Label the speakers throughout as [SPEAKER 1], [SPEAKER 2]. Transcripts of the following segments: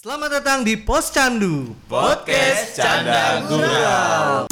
[SPEAKER 1] Selamat datang di Pos Candu.
[SPEAKER 2] Podcast Canda Gurau.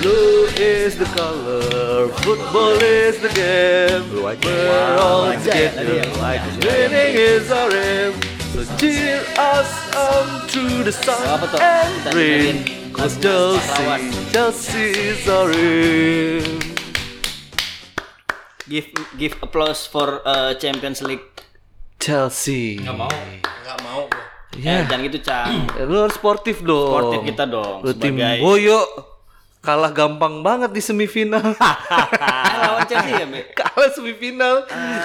[SPEAKER 3] Blue is the color, football is the game. We're all together like winning is our aim. So cheer us on through the sun and rain. Cause Chelsea, Chelsea is our aim.
[SPEAKER 4] give give applause for uh, Champions League.
[SPEAKER 3] Chelsea. Ya.
[SPEAKER 2] Gak mau gue.
[SPEAKER 4] Eh, jangan gitu, Cang.
[SPEAKER 3] Lu harus sportif dong.
[SPEAKER 4] Sportif kita dong
[SPEAKER 3] Lu tim
[SPEAKER 4] sebagai-
[SPEAKER 3] boyo kalah gampang banget di semifinal.
[SPEAKER 4] Ah, lawan Chelsea ya, Be?
[SPEAKER 3] kalah semifinal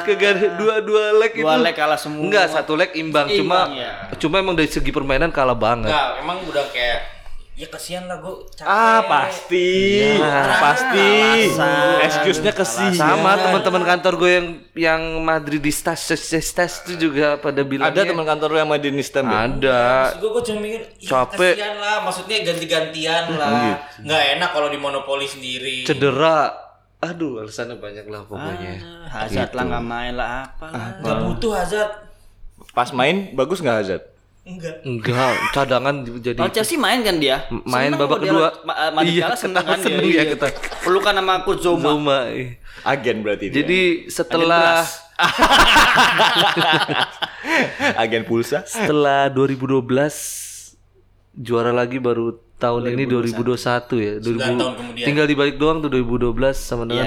[SPEAKER 3] kagak dua dua leg itu
[SPEAKER 4] Ah. Dua leg kalah semua.
[SPEAKER 3] enggak satu leg imbang,
[SPEAKER 4] Imbang,
[SPEAKER 3] cuma
[SPEAKER 4] ya.
[SPEAKER 3] cuma emang dari segi permainan kalah banget
[SPEAKER 2] Gak, emang udah kayak ya kasihan lah gue capek.
[SPEAKER 5] Ah pasti, Ah,
[SPEAKER 3] Nah,
[SPEAKER 5] pasti.
[SPEAKER 4] alasan.
[SPEAKER 5] Excuse-nya kesian.
[SPEAKER 4] iya.
[SPEAKER 3] sama teman-teman kantor gue yang yang Madridistas sesestas itu juga pada bilang "Iya,
[SPEAKER 5] Ada teman kantor lu yang Madinista Be?
[SPEAKER 3] ada
[SPEAKER 4] Iya.
[SPEAKER 2] Gue gue cuma mikir ya
[SPEAKER 3] Capek.
[SPEAKER 2] kasihan lah, maksudnya ganti-gantian lah. Nggak enak kalau di monopoli sendiri.
[SPEAKER 3] cedera aduh alasannya banyak lah pokoknya Gitu.
[SPEAKER 4] Hazard lah nggak main lah apa
[SPEAKER 3] Ah,
[SPEAKER 4] lah.
[SPEAKER 2] Gak butuh Hazard.
[SPEAKER 5] Pas main bagus nggak Hazard?
[SPEAKER 2] Enggak.
[SPEAKER 3] enggak cadangan jadi
[SPEAKER 4] Lawan Chelsea main kan dia?
[SPEAKER 3] gitu. M- main
[SPEAKER 4] Seneng
[SPEAKER 3] babak
[SPEAKER 4] kok dia
[SPEAKER 3] kedua.
[SPEAKER 4] lawan- Ma- uh, Madrid
[SPEAKER 3] Iya,
[SPEAKER 4] kalah seneng
[SPEAKER 3] kenapa
[SPEAKER 4] kan dia?
[SPEAKER 3] seneng ya
[SPEAKER 4] Iya.
[SPEAKER 3] kita?
[SPEAKER 4] Pelukan sama Kuzoma.
[SPEAKER 3] Zuma.
[SPEAKER 4] Iya.
[SPEAKER 5] Agen berarti dia.
[SPEAKER 3] jadi setelah
[SPEAKER 5] agen pulsa.
[SPEAKER 3] setelah 2012 juara lagi baru tahun ini 2021 ya 2000
[SPEAKER 2] tahun kemudian.
[SPEAKER 3] tinggal dibalik doang tuh 2012 sama
[SPEAKER 5] Iya,
[SPEAKER 3] dengan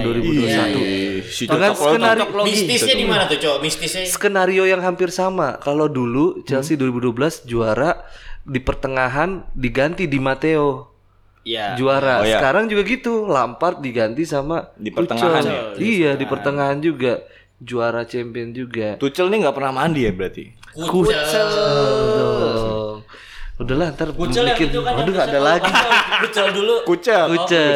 [SPEAKER 3] 2021
[SPEAKER 5] Si
[SPEAKER 3] dengan
[SPEAKER 5] iya. cocok lo
[SPEAKER 3] skenario
[SPEAKER 2] Mistisnya di mana tuh, cowok? Mistisnya
[SPEAKER 3] skenario yang hampir sama kalau dulu Chelsea 2012 juara di pertengahan diganti di Matteo
[SPEAKER 4] Iya.
[SPEAKER 3] juara
[SPEAKER 5] Oh, iya.
[SPEAKER 3] sekarang juga gitu Lampard diganti sama
[SPEAKER 5] Di
[SPEAKER 3] Tuchel.
[SPEAKER 5] pertengahan ya?
[SPEAKER 3] iya di pertengahan juga juara champion juga
[SPEAKER 5] Tuchel nih nggak pernah mandi ya berarti.
[SPEAKER 2] kucel.
[SPEAKER 3] Dong. Udahlah ntar
[SPEAKER 2] Kucel yang
[SPEAKER 3] bikin
[SPEAKER 2] itu kan. yang
[SPEAKER 3] Waduh nggak ada
[SPEAKER 2] kucel.
[SPEAKER 3] lagi
[SPEAKER 2] Kucel dulu.
[SPEAKER 5] Kucel.
[SPEAKER 3] Kucel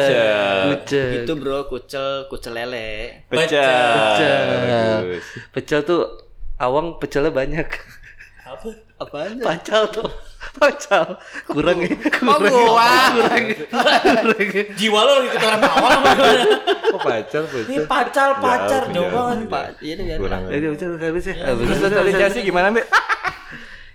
[SPEAKER 3] Kucel
[SPEAKER 4] Itu gitu, bro, kucel, kucel lele.
[SPEAKER 5] Pecel. Bagus.
[SPEAKER 3] Pecel tuh Awang pecelnya banyak
[SPEAKER 2] Apa?
[SPEAKER 4] Apaan?
[SPEAKER 3] Pacal tuh Pacal Kurang ya Kurang Kurang ya. kurang. ya.
[SPEAKER 2] Jiwa lo lagi ketelan awal apa gimana?
[SPEAKER 5] Kok pacar
[SPEAKER 2] Ini
[SPEAKER 5] pecel?
[SPEAKER 2] pacar,
[SPEAKER 3] Ya,
[SPEAKER 2] pacar.
[SPEAKER 5] Jauh,
[SPEAKER 2] Jauh
[SPEAKER 5] jauh.
[SPEAKER 2] banget.
[SPEAKER 4] Pak, iya iya.
[SPEAKER 5] Kurang.
[SPEAKER 3] Jadi Pacal nggak habis ya Habis.
[SPEAKER 5] Terus dari Chelsea gimana Be?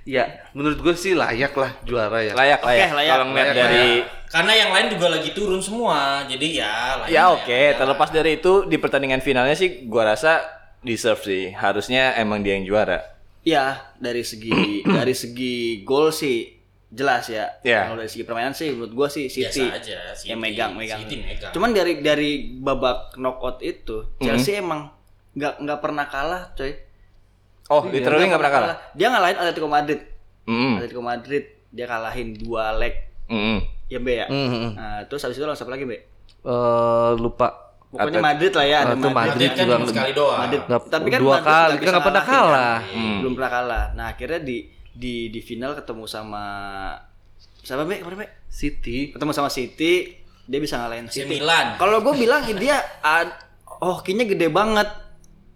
[SPEAKER 3] Ya menurut gue sih layak lah juara ya
[SPEAKER 5] Layak layak.
[SPEAKER 4] layak.
[SPEAKER 5] Kalau ngeliat dari
[SPEAKER 2] Karena yang lain juga lagi turun semua. Jadi ya. lain
[SPEAKER 5] Ya
[SPEAKER 2] lah
[SPEAKER 5] oke, terlepas dari itu di pertandingan finalnya sih gua rasa deserve sih. Harusnya emang dia yang juara.
[SPEAKER 4] Ya, dari segi dari segi gol sih jelas ya.
[SPEAKER 5] Ya.
[SPEAKER 4] Kalau dari segi permainan sih menurut gua sih City.
[SPEAKER 2] Biasa aja, City.
[SPEAKER 4] Yang megang-megang.
[SPEAKER 2] City megang.
[SPEAKER 4] Cuman dari dari babak knockout itu Chelsea
[SPEAKER 3] Mm-hmm.
[SPEAKER 4] emang nggak nggak pernah kalah, coy.
[SPEAKER 5] Oh, literally nggak pernah kalah.
[SPEAKER 4] Dia ngalahin Atletico Madrid.
[SPEAKER 5] Mm-mm.
[SPEAKER 3] Hmm.
[SPEAKER 4] Atletico Madrid dia kalahin dua leg
[SPEAKER 5] Mm-mm.
[SPEAKER 4] ya Be ya.
[SPEAKER 3] Mm-mm.
[SPEAKER 4] Nah, terus habis itu lawan siapa lagi Be?
[SPEAKER 3] Hmm, Eh, Lupa
[SPEAKER 4] Pokoknya Madrid lah ya, ada
[SPEAKER 3] Atlet- Ah, Madrid
[SPEAKER 2] Madrid kan
[SPEAKER 3] juga
[SPEAKER 2] cuma sekali doang.
[SPEAKER 4] Madrid.
[SPEAKER 3] Nggak-
[SPEAKER 4] tapi kan
[SPEAKER 3] dua kali,
[SPEAKER 4] Madrid nggak
[SPEAKER 3] kan nggak
[SPEAKER 4] bisa
[SPEAKER 3] pernah
[SPEAKER 4] ngalahin
[SPEAKER 3] kalah. Hmm.
[SPEAKER 4] kan. Belum pernah kalah. Nah, akhirnya di di di final ketemu sama siapa Be? Kemarin Be?
[SPEAKER 3] City
[SPEAKER 4] Ketemu sama City, dia bisa ngalahin
[SPEAKER 2] AC
[SPEAKER 4] City.
[SPEAKER 2] Milan.
[SPEAKER 4] Kalau gue bilang dia ad, hokinya gede banget.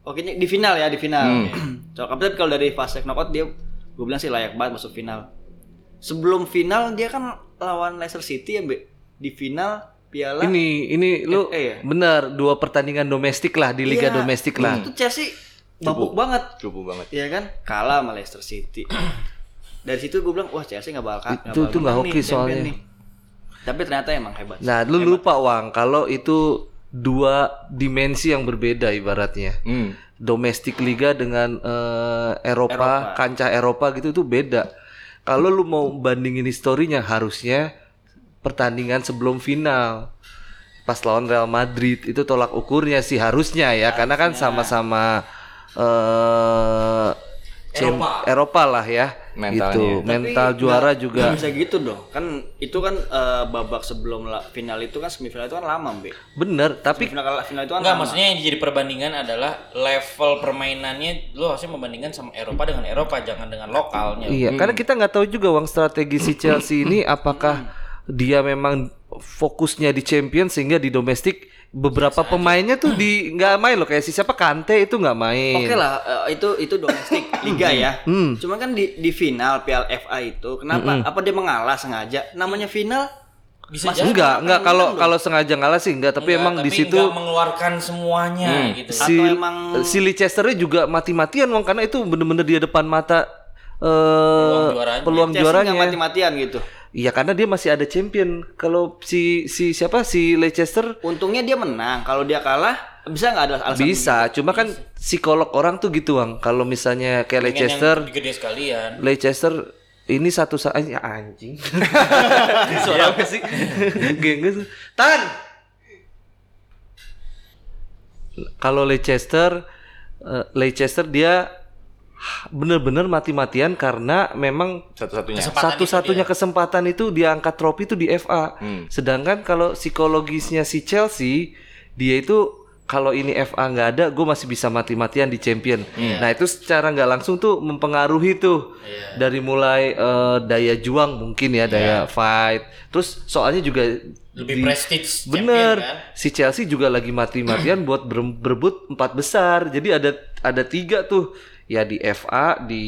[SPEAKER 4] Hokinya di final ya, di final.
[SPEAKER 3] Hmm.
[SPEAKER 4] So, tapi kalau dari fase knockout dia gue bilang sih layak banget masuk final. Sebelum final dia kan lawan Leicester City ya, Be. Di final Piala
[SPEAKER 3] ini ini lu
[SPEAKER 4] FA ya?
[SPEAKER 3] benar dua pertandingan domestik lah di liga
[SPEAKER 4] Iya.
[SPEAKER 3] domestik lah.
[SPEAKER 4] Itu Chelsea babuk banget,
[SPEAKER 5] Cupu banget.
[SPEAKER 4] ya kan? Kalah sama Leicester City. dari situ gue bilang, wah Chelsea nggak bakal
[SPEAKER 3] Itu- itu nggak hoki
[SPEAKER 4] menang nih, champion
[SPEAKER 3] soalnya.
[SPEAKER 4] nih. Tapi ternyata emang hebat.
[SPEAKER 3] Nah, lu lupa Wang kalau itu dua dimensi yang berbeda ibaratnya.
[SPEAKER 5] Hmm.
[SPEAKER 3] Domestik liga dengan eh, Eropa, kancah Eropa gitu itu beda. Kalau lu mau bandingin historinya harusnya pertandingan sebelum final. Pas lawan Real Madrid itu tolak ukurnya sih harusnya ya karena kan sama-sama eh cem- Eropa lah ya.
[SPEAKER 5] Mentalnya.
[SPEAKER 3] Gitu. Mental juara juga.
[SPEAKER 4] Nggak bisa gitu dong. Kan itu kan eh, babak sebelum la- final itu kan semifinal itu kan lama, Be.
[SPEAKER 3] Bener, tapi
[SPEAKER 4] Final final itu kan
[SPEAKER 2] Enggak,
[SPEAKER 4] lama.
[SPEAKER 2] maksudnya yang jadi perbandingan adalah level permainannya lo harusnya membandingkan sama Eropa dengan Eropa, jangan dengan lokalnya.
[SPEAKER 3] Iya, karena kita nggak tahu juga uang strategi si Chelsea ini apakah dia memang fokusnya di champion sehingga di domestik beberapa pemainnya tuh di nggak main loh kayak si siapa Kante itu nggak main.
[SPEAKER 4] Oke lah, eh, itu itu domestik liga ya.
[SPEAKER 3] Hmm,
[SPEAKER 4] Cuman kan di di final Piala FA itu kenapa? Apa dia mengalah sengaja? Namanya final
[SPEAKER 2] Bisa
[SPEAKER 4] masuk
[SPEAKER 3] enggak,
[SPEAKER 4] ke
[SPEAKER 3] enggak
[SPEAKER 4] lapangan
[SPEAKER 3] kalau
[SPEAKER 4] menang dong.
[SPEAKER 3] kalau sengaja ngalah sih enggak, tapi
[SPEAKER 2] Enggak,
[SPEAKER 3] emang di
[SPEAKER 2] tapi
[SPEAKER 3] situ
[SPEAKER 2] enggak mengeluarkan semuanya gitu.
[SPEAKER 3] si
[SPEAKER 4] Atau emang-
[SPEAKER 3] si Leicester juga mati-matian Wong karena itu bener-bener dia depan mata eh
[SPEAKER 2] juaranya.
[SPEAKER 3] peluang
[SPEAKER 4] Iya, Chelsea nggak
[SPEAKER 3] juaranya.
[SPEAKER 4] mati-matian gitu.
[SPEAKER 3] Iya karena dia masih ada champion. Kalau si si siapa si Leicester
[SPEAKER 4] Untungnya dia menang. Kalau dia kalah bisa nggak ada alasan?
[SPEAKER 3] bisa, cuma kan psikolog orang tuh gitu Wang. Kalau misalnya kayak
[SPEAKER 2] Pengen yang
[SPEAKER 3] Leicester,
[SPEAKER 2] gede sekalian.
[SPEAKER 3] Leicester ini satu saat ya anjing. Suara apa sih? Gengges. Tan. Kalau Leicester eh, Leicester dia bener-bener mati-matian karena memang
[SPEAKER 5] Satu-satunya.
[SPEAKER 2] Kesempatan
[SPEAKER 3] satu-satunya kesempatan itu diangkat trofi itu di FA.
[SPEAKER 5] Hmm.
[SPEAKER 3] Sedangkan kalau psikologisnya si Chelsea, dia itu kalau ini FA nggak ada, gue masih bisa mati-matian di Champion.
[SPEAKER 5] Hmm.
[SPEAKER 3] Nah itu secara nggak langsung tuh mempengaruhi tuh
[SPEAKER 2] Iya.
[SPEAKER 3] dari mulai eh, daya juang mungkin ya daya fight. Terus soalnya juga
[SPEAKER 2] Iya. Lebih
[SPEAKER 3] di-
[SPEAKER 2] prestige champion,
[SPEAKER 3] Bener,
[SPEAKER 2] kan?
[SPEAKER 3] si Chelsea juga lagi mati-matian buat ber- berebut empat besar. Jadi ada ada tiga tuh ya di FA, di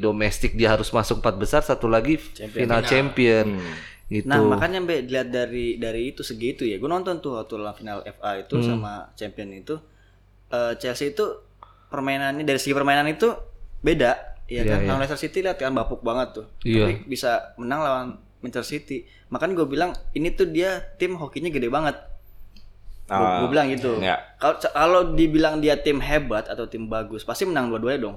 [SPEAKER 3] domestik dia harus masuk empat besar, satu lagi final champion gitu.
[SPEAKER 4] Nah makanya Be, dilihat dari dari itu segitu ya. Gue nonton tuh waktu lawan final FA itu
[SPEAKER 5] Hmm.
[SPEAKER 4] sama Champion itu eh, Chelsea itu permainannya dari segi permainan itu beda.
[SPEAKER 5] Iya,
[SPEAKER 4] Ya kan, Lawan Leicester City lihat kan bapuk banget tuh.
[SPEAKER 3] Iya.
[SPEAKER 4] Tapi bisa menang lawan Manchester City. Makanya gue bilang ini tuh dia tim hokinya gede banget.
[SPEAKER 5] Ah,
[SPEAKER 4] gue bilang gitu.
[SPEAKER 5] iya.
[SPEAKER 4] Kalau kalau dibilang dia tim hebat atau tim bagus, pasti menang dua-duanya dong.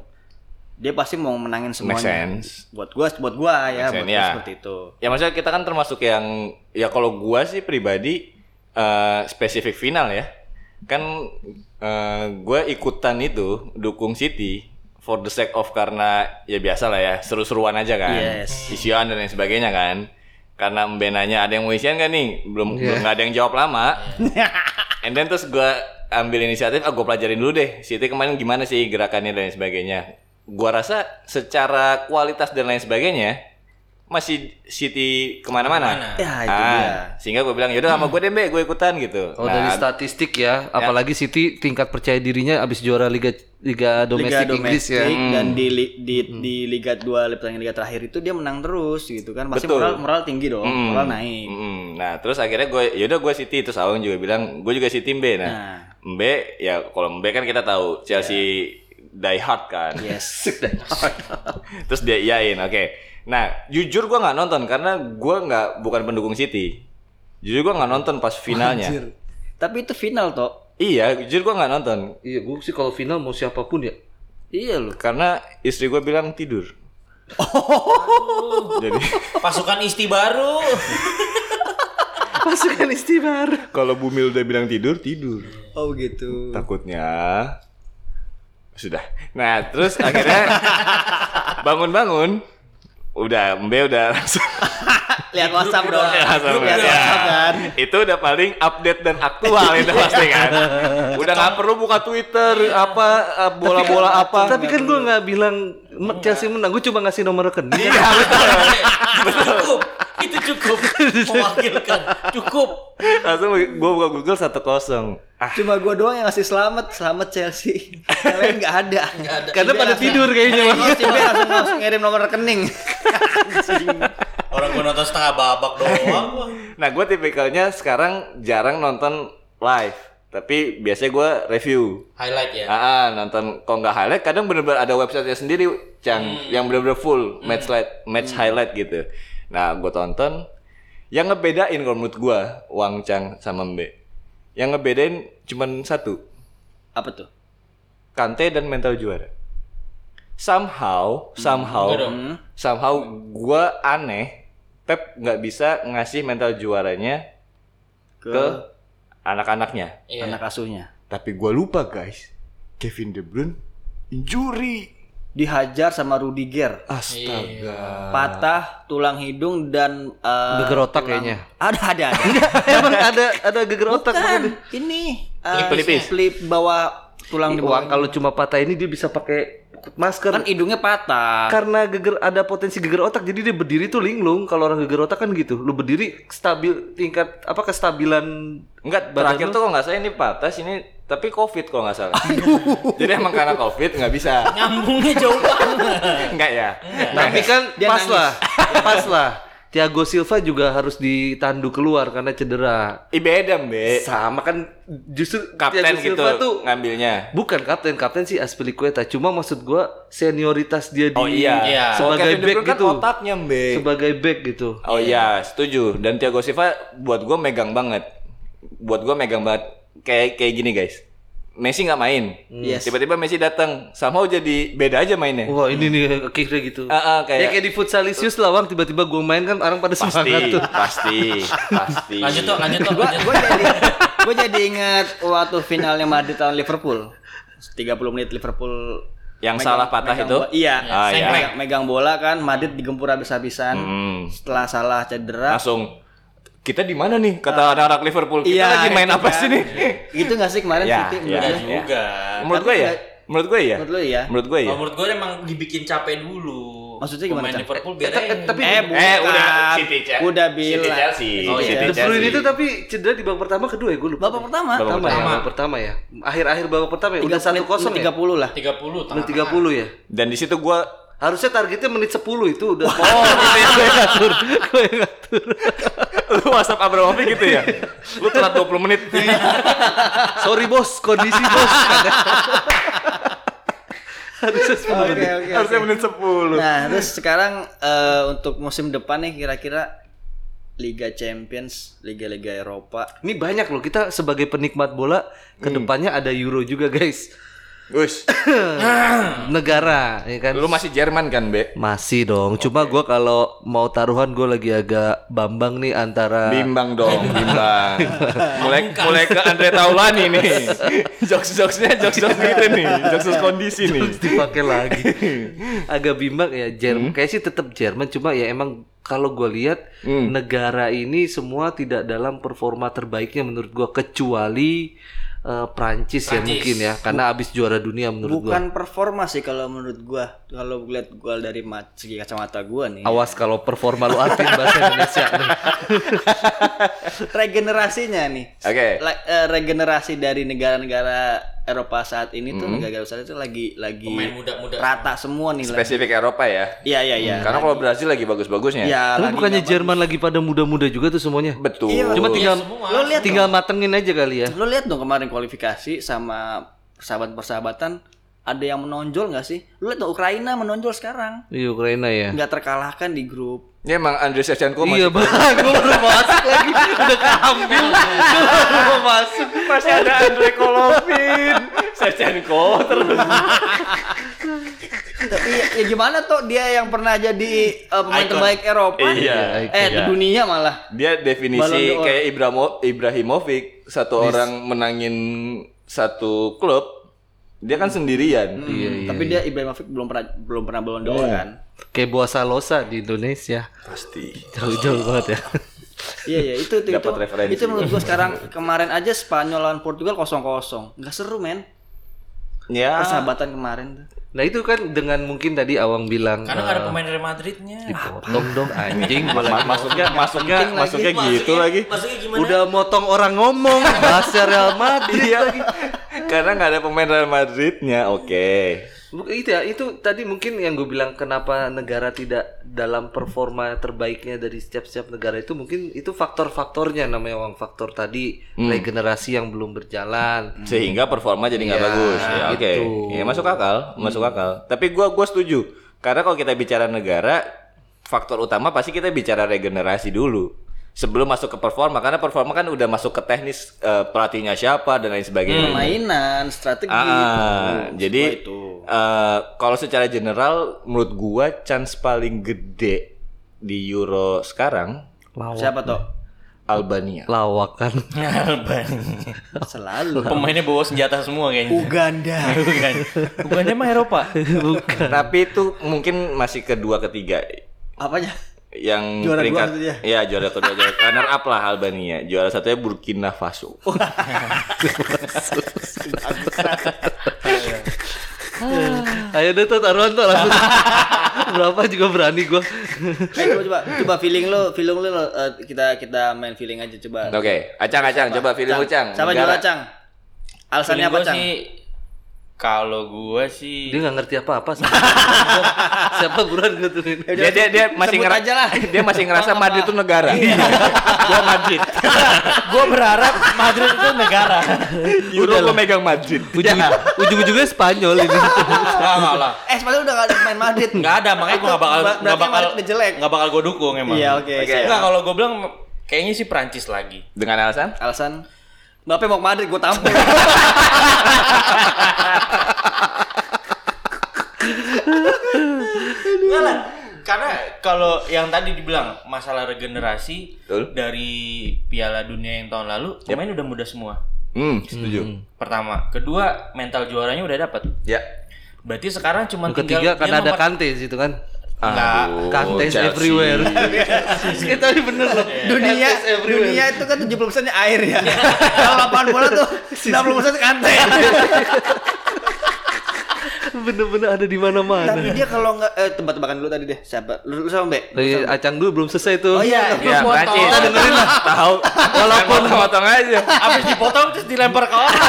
[SPEAKER 4] Dia pasti mau menangin
[SPEAKER 5] Make
[SPEAKER 4] semuanya.
[SPEAKER 5] sense.
[SPEAKER 4] Buat gua, buat gua ya,
[SPEAKER 5] Make
[SPEAKER 4] buat
[SPEAKER 5] sense,
[SPEAKER 4] gua
[SPEAKER 5] ya.
[SPEAKER 4] seperti itu.
[SPEAKER 5] Ya maksudnya kita kan termasuk yang ya kalau gua sih pribadi eh spesifik final ya. Kan eh gua ikutan itu dukung City for the sake of karena ya biasa lah ya, seru-seruan aja kan.
[SPEAKER 4] Yes.
[SPEAKER 5] Isian dan lain sebagainya kan. Karena mbenanya ada yang mau isian kan nih? Belum belum nggak ada yang jawab lama. And then terus gua ambil inisiatif, ah gue pelajarin dulu deh. City kemarin gimana sih gerakannya dan lain sebagainya. Gua rasa secara kualitas dan lain sebagainya masih City kemana-mana.
[SPEAKER 4] Ya, itu dia.
[SPEAKER 5] Ah, sehingga gue bilang yaudah sama gue deh, gue ikutan gitu.
[SPEAKER 3] Oh dari
[SPEAKER 5] Nah,
[SPEAKER 3] statistik ya, apalagi City tingkat percaya dirinya abis juara liga liga domestik Inggris ya.
[SPEAKER 4] domestik, dan di li- di, di Liga 2 pertandingan Liga terakhir itu dia menang terus gitu kan pasti
[SPEAKER 5] Betul.
[SPEAKER 4] moral moral tinggi dong moral naik
[SPEAKER 5] Mm, nah terus akhirnya gue yaudah gue City terus Awang juga bilang gue juga City Mbe nah,
[SPEAKER 4] Nah. Iya.
[SPEAKER 5] Mbe ya kalau Mbe kan kita tahu Chelsea die hard kan
[SPEAKER 4] yes
[SPEAKER 5] terus dia iain oke nah jujur gue nggak nonton karena gue nggak bukan pendukung City jujur gue nggak nonton pas finalnya
[SPEAKER 4] tapi itu final toh
[SPEAKER 5] iya jujur gue nggak nonton
[SPEAKER 3] Iya, gue sih kalau final mau siapapun ya.
[SPEAKER 4] iya loh
[SPEAKER 5] karena istri gue bilang tidur jadi
[SPEAKER 2] Pasukan Isti baru.
[SPEAKER 3] Pasukan kan istibar.
[SPEAKER 5] kalau Bumil udah bilang tidur tidur
[SPEAKER 4] oh gitu
[SPEAKER 5] takutnya sudah nah terus akhirnya bangun-bangun udah Mbe udah langsung
[SPEAKER 4] lihat WhatsApp dong
[SPEAKER 5] langsung
[SPEAKER 4] Grup lihat
[SPEAKER 5] ya.
[SPEAKER 4] WhatsApp kan
[SPEAKER 5] itu udah paling update dan aktual itu pasti kan udah nggak perlu buka Twitter apa eh, bola-bola apa
[SPEAKER 3] Tapi kan gue nggak bilang Chelsea menang, gue cuma ngasih nomor rekening.
[SPEAKER 2] cukup. Itu cukup mewakilkan. Cukup.
[SPEAKER 5] langsung gue buka Google satu kosong Ah,
[SPEAKER 4] cuma gua doang yang ngasih selamat selamat Chelsea kalian nggak ada
[SPEAKER 3] Karena pada tidur kayaknya. Bang.
[SPEAKER 4] Terus tiba langsung, langsung ngirim nomor rekening
[SPEAKER 2] Orang gua nonton setengah babak doang. wah.
[SPEAKER 5] nah gue tipikalnya sekarang jarang nonton live tapi biasanya gue review
[SPEAKER 2] Highlight ya.
[SPEAKER 5] Ah, ah, nonton kok nggak highlight kadang bener-bener ada websitenya sendiri Cang yang bener-bener full match light, match highlight gitu. Nah, gue tonton yang ngebedain kalau menurut gue Wang Chang sama Mbe. Yang ngebedain cuman satu,
[SPEAKER 4] apa tuh
[SPEAKER 5] Kante dan mental juara. Somehow, somehow,
[SPEAKER 2] Enggak dong.
[SPEAKER 5] somehow gue aneh Pep nggak bisa ngasih mental juaranya
[SPEAKER 4] ke,
[SPEAKER 5] ke anak-anaknya.
[SPEAKER 2] Iya.
[SPEAKER 4] anak asuhnya
[SPEAKER 5] Tapi gue lupa guys, Kevin De Bruyne injury.
[SPEAKER 4] dihajar sama Rudiger
[SPEAKER 2] Iya.
[SPEAKER 5] Astaga.
[SPEAKER 4] patah tulang hidung dan eh,
[SPEAKER 3] Geger otak
[SPEAKER 4] tulang-
[SPEAKER 3] kayaknya.
[SPEAKER 4] ada ada ada
[SPEAKER 3] Emang ada ada geger otak
[SPEAKER 4] Bukan,
[SPEAKER 3] gitu.
[SPEAKER 4] ini eh,
[SPEAKER 5] Pelipis.
[SPEAKER 4] pelip bawah tulang di
[SPEAKER 3] Wah,
[SPEAKER 4] bawah
[SPEAKER 3] kalau cuma patah ini dia bisa pakai masker
[SPEAKER 4] Kan hidungnya patah.
[SPEAKER 3] karena geger ada potensi geger otak jadi dia berdiri tuh linglung kalau orang geger otak kan gitu lu berdiri stabil tingkat apa kestabilan
[SPEAKER 5] Enggak,
[SPEAKER 3] Badan
[SPEAKER 5] terakhir
[SPEAKER 3] lu-
[SPEAKER 5] tuh kalau nggak salah ini patah sini tapi covid kalau nggak salah. Jadi emang karena covid nggak bisa.
[SPEAKER 2] Nyambungnya jauh banget.
[SPEAKER 5] Enggak ya.
[SPEAKER 2] Iya.
[SPEAKER 3] tapi kan
[SPEAKER 4] Nah, Dia
[SPEAKER 3] pas
[SPEAKER 4] nangis.
[SPEAKER 3] lah pas lah Thiago Silva juga harus ditandu keluar karena cedera
[SPEAKER 5] Ih beda Mbe.
[SPEAKER 3] sama kan justru
[SPEAKER 5] Kapten
[SPEAKER 3] Thiago
[SPEAKER 5] gitu
[SPEAKER 3] Silva tuh
[SPEAKER 5] ngambilnya.
[SPEAKER 3] bukan kapten kapten sih Aspilicueta cuma maksud gua senioritas dia di
[SPEAKER 5] Oh iya.
[SPEAKER 2] Iya.
[SPEAKER 3] sebagai
[SPEAKER 5] Kevin De
[SPEAKER 3] back
[SPEAKER 5] Bruyne kan
[SPEAKER 3] gitu
[SPEAKER 5] otaknya Mbe.
[SPEAKER 3] sebagai back gitu
[SPEAKER 5] Oh iya, setuju. Dan Thiago Silva buat gue megang banget. Buat gue megang banget. Kayak kayak gini guys. Messi nggak main.
[SPEAKER 4] Hmm. Yes. Oh,
[SPEAKER 5] Tiba-tiba Messi datang. Sama jadi beda aja mainnya.
[SPEAKER 3] Wah ini nih akhirnya gitu.
[SPEAKER 5] Ah, ah, kayak-
[SPEAKER 3] ya kayak di futsalisius lah bang tiba-tiba gue main kan orang pada
[SPEAKER 5] Pasti,
[SPEAKER 3] semangat tuh.
[SPEAKER 5] pasti, pasti.
[SPEAKER 2] Lanjut tuh, lanjut tuh,
[SPEAKER 4] Gua
[SPEAKER 2] lanjut.
[SPEAKER 4] gua jadi gua jadi ingat waktu finalnya Madrid lawan Liverpool. 30 menit Liverpool
[SPEAKER 5] Yang salah patah itu?
[SPEAKER 4] bola- Iya.
[SPEAKER 5] Ah, iya.
[SPEAKER 4] Megang, megang bola kan Madrid digempur habis-habisan.
[SPEAKER 5] Hmm.
[SPEAKER 4] Setelah salah cedera.
[SPEAKER 5] Langsung kita di mana nih? Kata anak-anak Liverpool. Kita lagi main
[SPEAKER 4] Ah. itu
[SPEAKER 5] apa
[SPEAKER 4] kan.
[SPEAKER 5] sih nih?
[SPEAKER 4] Gitu gak sih kemarin
[SPEAKER 5] Ya,
[SPEAKER 4] City
[SPEAKER 5] ya.
[SPEAKER 4] menurut
[SPEAKER 2] Nggak
[SPEAKER 4] lu?
[SPEAKER 2] juga.
[SPEAKER 5] Menurut gue ya.
[SPEAKER 4] nggak-
[SPEAKER 5] Menurut gue ya.
[SPEAKER 4] Menurut lu ya?
[SPEAKER 5] Menurut gue ya.
[SPEAKER 2] Kalau menurut gue emang dibikin capek dulu.
[SPEAKER 4] Maksudnya gimana,
[SPEAKER 2] Pemain
[SPEAKER 4] Chan?
[SPEAKER 2] Liverpool biar eh,
[SPEAKER 3] tapi
[SPEAKER 4] Eh, bukan.
[SPEAKER 5] Eh, udah, City, Cel-
[SPEAKER 4] Udah
[SPEAKER 5] City,
[SPEAKER 4] bilang.
[SPEAKER 5] Chelsea.
[SPEAKER 4] City,
[SPEAKER 2] Oh, iya.
[SPEAKER 4] Chelsea.
[SPEAKER 3] De Bruyne itu tapi cedera di babak pertama kedua ya gue lupa.
[SPEAKER 4] Babak pertama.
[SPEAKER 5] Babak
[SPEAKER 3] pertama, ya,
[SPEAKER 2] pertama.
[SPEAKER 3] babak pertama ya. Akhir-akhir babak pertama ya. Udah
[SPEAKER 4] 30
[SPEAKER 3] satu kosong ya.
[SPEAKER 4] 30 lah.
[SPEAKER 2] 30
[SPEAKER 3] Menit
[SPEAKER 2] tengah.
[SPEAKER 3] tiga puluh ya.
[SPEAKER 5] Dan di situ gue
[SPEAKER 3] Harusnya targetnya menit 10 itu udah. Oh, gue yang ngatur. Gue yang ngatur.
[SPEAKER 5] Oh, lu WhatsApp Abramovich gitu ya. Lu telat 20 menit.
[SPEAKER 3] Sorry bos, kondisi bos. Harusnya 10
[SPEAKER 4] Oke,
[SPEAKER 3] menit.
[SPEAKER 4] oke, oke.
[SPEAKER 5] Harusnya menit 10.
[SPEAKER 4] Nah, terus sekarang eh, untuk musim depan nih kira-kira Liga Champions, Liga-Liga Eropa.
[SPEAKER 3] Ini banyak loh kita sebagai penikmat bola kedepannya ada Euro juga guys.
[SPEAKER 5] Wis.
[SPEAKER 3] Negara ya kan.
[SPEAKER 5] Lu masih Jerman kan, Be?
[SPEAKER 3] Masih dong. Cuma gua kalau mau taruhan gua lagi agak bambang nih antara
[SPEAKER 5] Bimbang dong, bimbang. mulai mulai ke Andre Taulani nih. Jokes-jokesnya jokes-jokes gitu nih, jokes kondisi nih.
[SPEAKER 3] Terus dipakai lagi. agak bimbang ya
[SPEAKER 4] Hmm.
[SPEAKER 3] Jerman. Kayak sih tetap Jerman cuma ya emang kalau gua lihat
[SPEAKER 4] Hmm.
[SPEAKER 3] negara ini semua tidak dalam performa terbaiknya menurut gua kecuali eh, Prancis, ya mungkin ya karena abis juara dunia menurut gua.
[SPEAKER 4] Bukan performa sih kalau menurut gua. Kalau lihat gua dari ma- segi kacamata gua nih.
[SPEAKER 3] Awas kalau performa lu artiin bahasa Indonesia.
[SPEAKER 4] regenerasinya nih.
[SPEAKER 5] Oke.
[SPEAKER 4] La- eh, regenerasi dari negara-negara Eropa saat ini
[SPEAKER 3] Mm-hmm.
[SPEAKER 4] tuh negara-negara besar itu lagi lagi
[SPEAKER 2] Pemain muda-muda.
[SPEAKER 4] rata semua nih. lah.
[SPEAKER 5] Spesifik Eropa ya.
[SPEAKER 4] Iya iya iya.
[SPEAKER 5] Karena kalau Brazil lagi bagus-bagusnya.
[SPEAKER 4] Iya,
[SPEAKER 3] Mm-hmm. Tapi
[SPEAKER 4] lagi
[SPEAKER 3] bukannya
[SPEAKER 4] nggak- Iya,
[SPEAKER 3] Jerman lagi pada muda-muda juga tuh semuanya?
[SPEAKER 5] Betul.
[SPEAKER 3] Iya, Cuma tinggal
[SPEAKER 4] Lo lihat
[SPEAKER 3] tinggal matengin aja kali ya.
[SPEAKER 4] Lo lihat dong kemarin kualifikasi sama persahabatan-persahabatan ada yang menonjol nggak sih? Lo lihat dong Ukraina menonjol sekarang.
[SPEAKER 3] Di Ukraina ya.
[SPEAKER 4] Nggak terkalahkan di grup.
[SPEAKER 5] Ya emang Andre Shevchenko
[SPEAKER 3] iya bang,
[SPEAKER 5] masih
[SPEAKER 3] gue baru mau masuk lagi udah keambil, Gua baru mau masuk.
[SPEAKER 5] masih ada Andre Golovin. Shevchenko terus.
[SPEAKER 4] Tapi ya, ya gimana tuh dia yang pernah jadi eh, pemain terbaik Eropa?
[SPEAKER 5] Iya,
[SPEAKER 4] Eh, dunia malah.
[SPEAKER 5] Dia
[SPEAKER 4] Ballon
[SPEAKER 5] definisi
[SPEAKER 4] d'Or.
[SPEAKER 5] kayak Ibramo, Ibrahimovic, satu orang menangin satu klub, dia kan sendirian.
[SPEAKER 4] Tapi
[SPEAKER 5] iya.
[SPEAKER 4] dia Ibrahimovic belum pernah belum pernah Ballon d'Or kan?
[SPEAKER 3] Kayak buah salosa di Indonesia,
[SPEAKER 5] Pasti.
[SPEAKER 3] jauh-jauh banget ya.
[SPEAKER 4] Iya iya itu itu
[SPEAKER 5] Dapat
[SPEAKER 4] itu,
[SPEAKER 5] referensi.
[SPEAKER 4] itu menurut gua sekarang kemarin aja Spanyol lawan Portugal 0-0. Nggak seru men.
[SPEAKER 5] Ya.
[SPEAKER 4] Persahabatan kemarin tuh.
[SPEAKER 3] Nah itu kan dengan mungkin tadi Awang bilang "Ah,
[SPEAKER 2] Karena nggak ada pemain Real Madridnya.
[SPEAKER 3] potong dong anjing,
[SPEAKER 5] Ma- ma- masuknya masuknya masuknya gitu lagi.
[SPEAKER 2] Maksudnya gimana?
[SPEAKER 3] udah motong orang ngomong bahasa Real Madrid
[SPEAKER 5] Iya.
[SPEAKER 3] lagi.
[SPEAKER 5] Karena nggak ada pemain Real Madridnya. Oke.
[SPEAKER 3] Buk- Itu ya, itu tadi mungkin yang gue bilang kenapa negara tidak dalam performa terbaiknya dari setiap-setiap negara itu mungkin itu faktor-faktornya namanya uang faktor tadi regenerasi yang belum berjalan.
[SPEAKER 5] Sehingga performa jadi nggak bagus. Hmm. Ya, oke. Ya, masuk akal, masuk akal. Tapi gua gua setuju. Karena kalau kita bicara negara, faktor utama pasti kita bicara regenerasi dulu. Sebelum masuk ke performa karena performa kan udah masuk ke teknis eh, pelatihnya siapa dan lain sebagainya.
[SPEAKER 4] Permainan, strategi.
[SPEAKER 5] Ah,
[SPEAKER 4] Tuh,
[SPEAKER 5] jadi
[SPEAKER 4] semua iya, itu.
[SPEAKER 5] eh, kalau secara general menurut gua chance paling gede di Euro sekarang
[SPEAKER 4] siapa toh?
[SPEAKER 5] Albania.
[SPEAKER 3] Lawakan.
[SPEAKER 4] Selalu.
[SPEAKER 2] Pemainnya bawa senjata semua kayaknya. Kan?
[SPEAKER 4] Uganda.
[SPEAKER 2] Bukan. Bukannya mah Eropa.
[SPEAKER 3] Bukan.
[SPEAKER 5] Tapi itu mungkin masih kedua ketiga
[SPEAKER 4] Apanya?
[SPEAKER 5] yang
[SPEAKER 4] Juara dua
[SPEAKER 5] peringkat
[SPEAKER 4] maksudnya dia?
[SPEAKER 5] ya juara kedua juara runner up lah Albania juara satunya Burkina Faso
[SPEAKER 4] Oh.
[SPEAKER 3] Ayo deh tuh taruhan tuh langsung. Berapa juga berani gua.
[SPEAKER 4] Eh, coba, coba coba feeling lo, feeling lo eh, kita kita main feeling aja coba.
[SPEAKER 5] Oke, acang-acang coba feeling lu cang.
[SPEAKER 4] Sama
[SPEAKER 5] Negara.
[SPEAKER 4] juga Cang. Alasannya
[SPEAKER 2] Feeling
[SPEAKER 4] apa
[SPEAKER 2] gua
[SPEAKER 4] Cang?
[SPEAKER 2] sih kalau gua sih
[SPEAKER 3] Dia nggak ngerti apa-apa. sama. Siapa buruan gua turunin.
[SPEAKER 5] Dia dia dia masih
[SPEAKER 4] Sebut
[SPEAKER 5] ngerasa
[SPEAKER 4] aja lah.
[SPEAKER 5] dia masih ngerasa Madrid itu negara.
[SPEAKER 4] Iya.
[SPEAKER 3] Gua Madrid.
[SPEAKER 6] Gue berharap Madrid itu negara.
[SPEAKER 5] Udah lo megang Madrid.
[SPEAKER 3] Ujung, ujung-ujungnya Spanyol ini.
[SPEAKER 2] Enggak, enggak lah.
[SPEAKER 4] Eh, sebenarnya udah gak ada main Madrid.
[SPEAKER 2] Enggak ada, makanya gua enggak bakal
[SPEAKER 4] Ber- berarti
[SPEAKER 2] enggak bakal
[SPEAKER 4] Madrid udah jelek.
[SPEAKER 2] Enggak bakal gua dukung emang.
[SPEAKER 4] Iya, oke.
[SPEAKER 5] Oke.
[SPEAKER 4] siap.
[SPEAKER 2] Enggak kalau gua bilang kayaknya sih Prancis lagi.
[SPEAKER 5] Dengan alasan?
[SPEAKER 4] Alasan Mbappe mau ke Madrid, gue tampil.
[SPEAKER 2] Enggak lah. Karena kalau yang tadi dibilang masalah regenerasi
[SPEAKER 5] Betul.
[SPEAKER 2] dari Piala Dunia yang tahun lalu, pemain udah muda semua.
[SPEAKER 5] Hmm, setuju.
[SPEAKER 2] Pertama, kedua mental juaranya udah dapat.
[SPEAKER 5] Ya.
[SPEAKER 2] Berarti sekarang cuma
[SPEAKER 3] Ketiga
[SPEAKER 2] tinggal dia
[SPEAKER 3] karena ada
[SPEAKER 2] memper-
[SPEAKER 3] Kante di situ kan.
[SPEAKER 2] Enggak.
[SPEAKER 5] Aduh,
[SPEAKER 3] Kantes
[SPEAKER 5] Chelsea.
[SPEAKER 3] everywhere. Eh tapi bener loh.
[SPEAKER 4] dunia
[SPEAKER 3] Kantes everywhere. Iya.
[SPEAKER 4] dunia itu kan 70% nya air ya. Kalau lapangan bola tuh 60% kante.
[SPEAKER 3] bener-bener ada di mana-mana.
[SPEAKER 4] Tapi dia kalau nggak eh, tebak-tebakan dulu tadi deh. Siapa? Lu, lu sama Mbak?
[SPEAKER 3] Dari acang dulu belum selesai tuh.
[SPEAKER 4] Oh iya.
[SPEAKER 5] Ya, Prancis. Kita dengerin lah. Tahu. Walaupun potong aja.
[SPEAKER 2] Abis dipotong terus dilempar ke orang.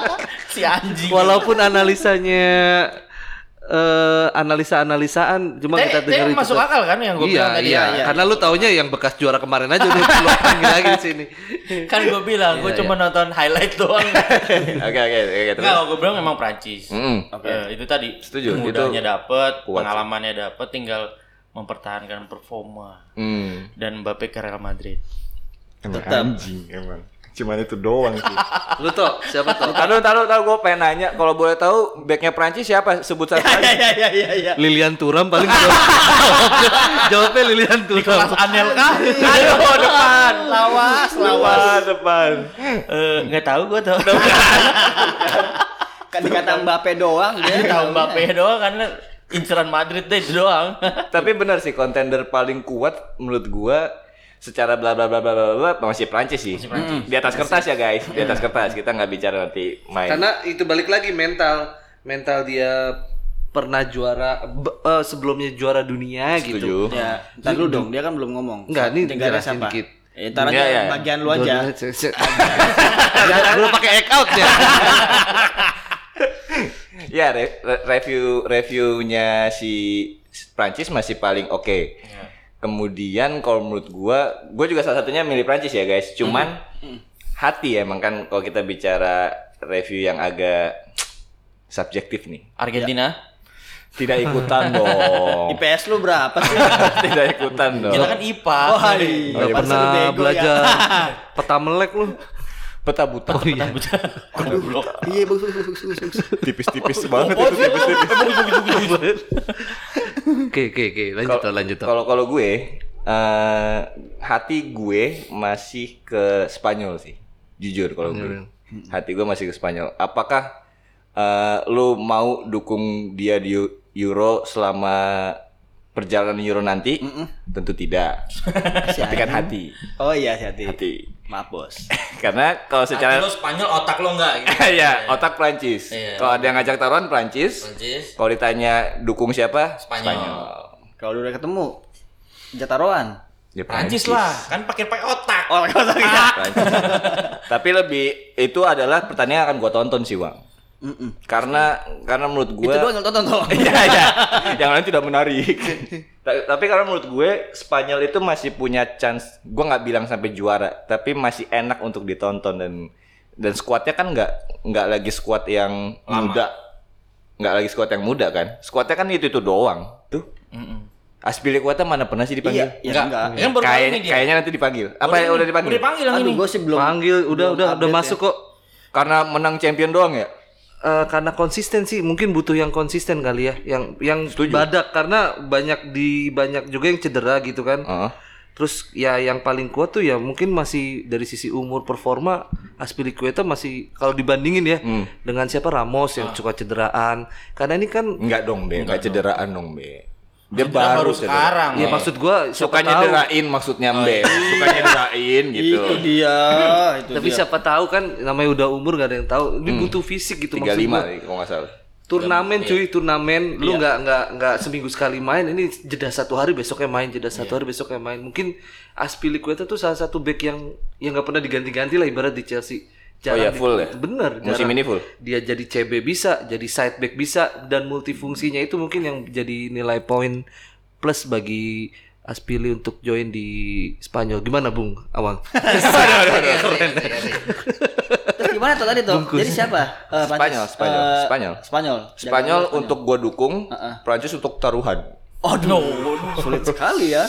[SPEAKER 2] si anjing.
[SPEAKER 3] Walaupun analisanya eh analisa-analisaan cuma
[SPEAKER 2] Tapi-
[SPEAKER 3] kita
[SPEAKER 2] tapi
[SPEAKER 3] dengerin
[SPEAKER 2] masuk
[SPEAKER 3] tetap.
[SPEAKER 2] akal kan yang gue
[SPEAKER 3] iya,
[SPEAKER 2] bilang tadi
[SPEAKER 3] iya,
[SPEAKER 2] ya?
[SPEAKER 3] Karena lu taunya yang bekas juara kemarin aja lu belum panggil lagi di sini.
[SPEAKER 2] kan gue bilang gue
[SPEAKER 3] Iya,
[SPEAKER 2] cuma nonton highlight doang
[SPEAKER 5] Oke, oke, oke, terus.
[SPEAKER 2] nggak gue bilang memang Prancis
[SPEAKER 5] Mm-mm.
[SPEAKER 2] Eh, itu tadi
[SPEAKER 5] Hmm, Setuju,
[SPEAKER 2] mudanya
[SPEAKER 5] itu
[SPEAKER 2] dapet
[SPEAKER 5] kuat.
[SPEAKER 2] pengalamannya dapet tinggal mempertahankan performa
[SPEAKER 5] Hmm.
[SPEAKER 2] dan Mbappe ke Real Madrid
[SPEAKER 5] Emang anjing emang. Cuman itu doang sih.
[SPEAKER 3] Lu tuh siapa tuh?
[SPEAKER 5] Taruh, taruh, taruh. Gue pengen nanya, kalau boleh tahu backnya Prancis siapa? Sebut satu aja.
[SPEAKER 4] Iya iya iya iya.
[SPEAKER 3] Lilian Turam paling jawab- jawabnya Lilian Turam.
[SPEAKER 2] Anelka
[SPEAKER 5] Aduh, depan.
[SPEAKER 4] Lawas, lawas.
[SPEAKER 5] Depan, depan.
[SPEAKER 2] Eh, nggak tahu gue tuh
[SPEAKER 4] Kan dikata Mbappe doang
[SPEAKER 2] Dia
[SPEAKER 3] Iya,
[SPEAKER 4] dia.
[SPEAKER 2] tahu Mbappe doang karena inceran Madrid deh itu doang
[SPEAKER 5] Tapi benar sih kontender paling kuat menurut gua secara bla bla bla bla bla bla masih Prancis sih. Mm. Di atas kertas ya guys, di atas kertas. Kita nggak bicara nanti main.
[SPEAKER 3] Karena itu balik lagi mental, mental dia pernah juara be- eh, sebelumnya juara dunia gitu.
[SPEAKER 5] Setuju.
[SPEAKER 4] Ya, ntar lu dong, dia kan belum ngomong.
[SPEAKER 3] Enggak, ini
[SPEAKER 4] Negaranya
[SPEAKER 3] jelasin dikit.
[SPEAKER 4] Ya, ntar aja
[SPEAKER 5] Iya, iya.
[SPEAKER 4] bagian lu aja.
[SPEAKER 3] Jangan lu pakai egg out ya.
[SPEAKER 5] Ya re- re- review reviewnya si Prancis masih paling oke.
[SPEAKER 4] Ya.
[SPEAKER 5] Kemudian kalau menurut gua, gua juga salah satunya milih Prancis ya guys. Cuman
[SPEAKER 4] Mm-hmm.
[SPEAKER 5] hati emang kan kalau kita bicara review yang agak subjektif nih.
[SPEAKER 2] Argentina
[SPEAKER 5] Tidak ikutan dong.
[SPEAKER 4] IPS lu berapa sih?
[SPEAKER 5] Tidak ikutan dong.
[SPEAKER 2] kita kan IPA
[SPEAKER 4] Wah, iya.
[SPEAKER 3] Gak
[SPEAKER 4] Pantes lu
[SPEAKER 3] Oh, pernah
[SPEAKER 4] bego ya.
[SPEAKER 3] belajar peta melek lu.
[SPEAKER 5] Peta buta.
[SPEAKER 2] Goblok.
[SPEAKER 4] Oh, Iya, bagus, bagus, bagus, bagus, Oh, bagus.
[SPEAKER 5] tipis-tipis banget itu tipis-tipis.
[SPEAKER 3] Oke oke oke lanjut
[SPEAKER 5] Kalau-
[SPEAKER 3] lah lanjut lah.
[SPEAKER 5] Kalau kalau gue eh hati gue masih ke Spanyol sih. Jujur kalau gue. Hati gue masih ke Spanyol. Apakah eh lu mau dukung dia di Eu- Euro selama perjalanan Euro nanti? Tentu tidak. Tapi kan hati.
[SPEAKER 4] Oh iya, hati-hati.
[SPEAKER 5] Hati.
[SPEAKER 4] Maaf, Bos.
[SPEAKER 5] Karena kalau secara
[SPEAKER 2] Hati lo Spanyol otak lo enggak gitu.
[SPEAKER 5] ya otak Prancis.
[SPEAKER 2] Iya.
[SPEAKER 5] Kalau ada yang ngajak taruhan Prancis.
[SPEAKER 2] Prancis.
[SPEAKER 5] Kalau ditanya dukung siapa?
[SPEAKER 2] Spanyol.
[SPEAKER 4] Kalau udah ketemu Jataroan.
[SPEAKER 5] Ya,
[SPEAKER 2] Prancis lah, kan pakai pakai otak.
[SPEAKER 4] Oh, kalau tadi.
[SPEAKER 5] Prancis. Tapi lebih itu adalah pertandingan yang akan gua tonton sih, Bang. Karena karena menurut
[SPEAKER 4] Itu
[SPEAKER 5] gua
[SPEAKER 4] doang yang tonton tolong.
[SPEAKER 5] Iya, iya. Yang lain tidak menarik. Ta- tapi karena menurut gue Spanyol itu masih punya chance. Gue nggak bilang sampai juara, tapi masih enak untuk ditonton dan dan skuadnya kan nggak nggak lagi skuad yang muda, nggak lagi skuad yang muda kan. Skuadnya kan itu itu doang. Tuh. Aspilicueta mana pernah sih dipanggil?
[SPEAKER 4] Iya, enggak.
[SPEAKER 2] Kan baru kali
[SPEAKER 5] Kayak-
[SPEAKER 2] ini dia.
[SPEAKER 5] kayaknya nanti dipanggil. Apa ya, udah dipanggil?
[SPEAKER 2] Udah dipanggil yang
[SPEAKER 4] Aduh,
[SPEAKER 2] ini.
[SPEAKER 4] gue sih belum
[SPEAKER 3] Panggil udah
[SPEAKER 4] belum
[SPEAKER 3] udah udah
[SPEAKER 4] update
[SPEAKER 3] masuk
[SPEAKER 4] ya.
[SPEAKER 3] kok.
[SPEAKER 5] Karena menang champion doang ya.
[SPEAKER 3] Eh, karena konsisten sih mungkin butuh yang konsisten kali ya yang yang badak karena banyak di banyak juga yang cedera gitu kan
[SPEAKER 5] Heeh.
[SPEAKER 3] terus ya yang paling kuat tuh ya mungkin masih dari sisi umur performa Aspilicueta masih kalau dibandingin ya
[SPEAKER 4] Hmm.
[SPEAKER 3] dengan siapa Ramos yang suka cederaan karena ini kan
[SPEAKER 5] Enggak dong, Be. Enggak cederaan dong, Be. Dia
[SPEAKER 2] Cedera
[SPEAKER 5] baru,
[SPEAKER 2] baru
[SPEAKER 5] cedera.
[SPEAKER 4] Nah,
[SPEAKER 2] sekarang.
[SPEAKER 3] ya
[SPEAKER 2] Be.
[SPEAKER 3] maksud gua
[SPEAKER 5] Suka
[SPEAKER 3] siapa tahu
[SPEAKER 5] nyederain maksudnya, Be. Suka nyederain gitu.
[SPEAKER 4] Itu dia, Oh, itu
[SPEAKER 3] tapi
[SPEAKER 4] dia. Hmm.
[SPEAKER 3] siapa tahu kan namanya udah umur gak ada yang tahu ini butuh fisik gitu
[SPEAKER 5] Tiga
[SPEAKER 3] maksud
[SPEAKER 5] lima
[SPEAKER 3] gua.
[SPEAKER 5] kalau nggak salah.
[SPEAKER 4] iya.
[SPEAKER 3] Turnamen cuy, turnamen lu nggak nggak nggak seminggu sekali main, ini jeda satu hari besoknya main, jeda
[SPEAKER 4] Iya.
[SPEAKER 3] satu hari besoknya main. Mungkin Aspilicueta tuh salah satu back yang yang nggak pernah diganti-ganti lah ibarat di Chelsea. di-
[SPEAKER 5] iya, full ya?
[SPEAKER 3] Bener.
[SPEAKER 5] Musim
[SPEAKER 3] jarang.
[SPEAKER 5] ini full?
[SPEAKER 3] Dia jadi CB bisa, jadi side back bisa dan multifungsinya itu mungkin yang jadi nilai poin plus bagi Aspili untuk join di Spanyol. Gimana Bung Awang?
[SPEAKER 4] Terus gimana tuh tadi tuh? Jadi siapa? Eh, Prancis.
[SPEAKER 5] Spanyol, Spanyol,
[SPEAKER 4] Eh,
[SPEAKER 5] Spanyol.
[SPEAKER 4] Spanyol.
[SPEAKER 5] Spanyol untuk gua dukung, Prancis untuk taruhan.
[SPEAKER 4] Aduh, sulit sekali ya.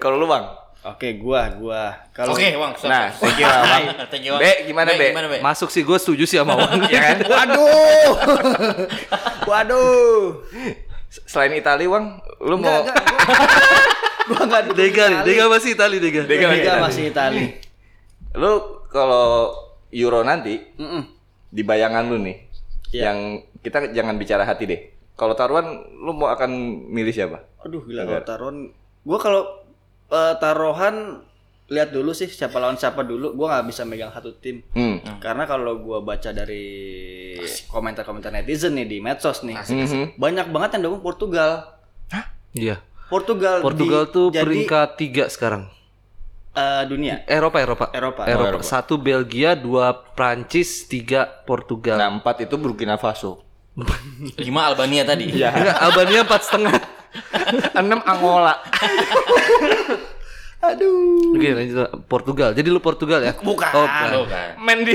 [SPEAKER 5] Kalau lu bang,
[SPEAKER 4] Oke, gua, gua. Kalau
[SPEAKER 2] Oke, Bang. Stop,
[SPEAKER 5] Nah,
[SPEAKER 2] stop,
[SPEAKER 5] thank
[SPEAKER 2] stop.
[SPEAKER 5] you, Bang.
[SPEAKER 2] Thank you, Bang.
[SPEAKER 5] Be, gimana, Be?
[SPEAKER 2] Gimana, Be?
[SPEAKER 3] Masuk sih gue setuju sih sama Awang.
[SPEAKER 5] ya kan?
[SPEAKER 4] Waduh. Waduh.
[SPEAKER 5] S- Selain Italia, bang, lu mau
[SPEAKER 4] Enggak, enggak. Gua enggak dukung
[SPEAKER 3] Dega nih,
[SPEAKER 4] Itali.
[SPEAKER 3] Dega masih Itali Dega.
[SPEAKER 5] Dega masih
[SPEAKER 4] Dega
[SPEAKER 5] Itali.
[SPEAKER 4] masih Itali.
[SPEAKER 5] lu kalau Euro nanti
[SPEAKER 4] Mm-mm.
[SPEAKER 5] di bayangan lu nih,
[SPEAKER 4] Iya.
[SPEAKER 5] yang kita jangan bicara hati deh. Kalau taruhan, lu mau akan milih siapa?
[SPEAKER 4] Aduh, gila kalau taruhan. Gua kalau eh, taruhan lihat dulu sih siapa lawan siapa dulu. Gua nggak bisa megang satu tim.
[SPEAKER 5] Hmm.
[SPEAKER 4] Karena kalau gua baca dari komentar-komentar netizen nih di medsos nih,
[SPEAKER 5] Mhm.
[SPEAKER 4] banyak banget yang dukung Portugal.
[SPEAKER 3] Iya.
[SPEAKER 4] Portugal, di-
[SPEAKER 3] Portugal tuh
[SPEAKER 4] jadi,
[SPEAKER 3] peringkat tiga sekarang.
[SPEAKER 4] eh, dunia.
[SPEAKER 3] Eropa, Eropa.
[SPEAKER 5] Oh,
[SPEAKER 4] Eropa.
[SPEAKER 3] Eropa. Satu Belgia, dua Prancis, tiga Portugal.
[SPEAKER 5] Nah, empat itu Burkina Faso.
[SPEAKER 2] Lima Albania tadi.
[SPEAKER 3] Enggak, Albania empat setengah.
[SPEAKER 5] Enam Angola.
[SPEAKER 3] Oke, lanjut Portugal. Jadi lu Portugal ya? Bukan. Oh,
[SPEAKER 2] Tuh
[SPEAKER 3] bukan.
[SPEAKER 2] kan.
[SPEAKER 5] Main di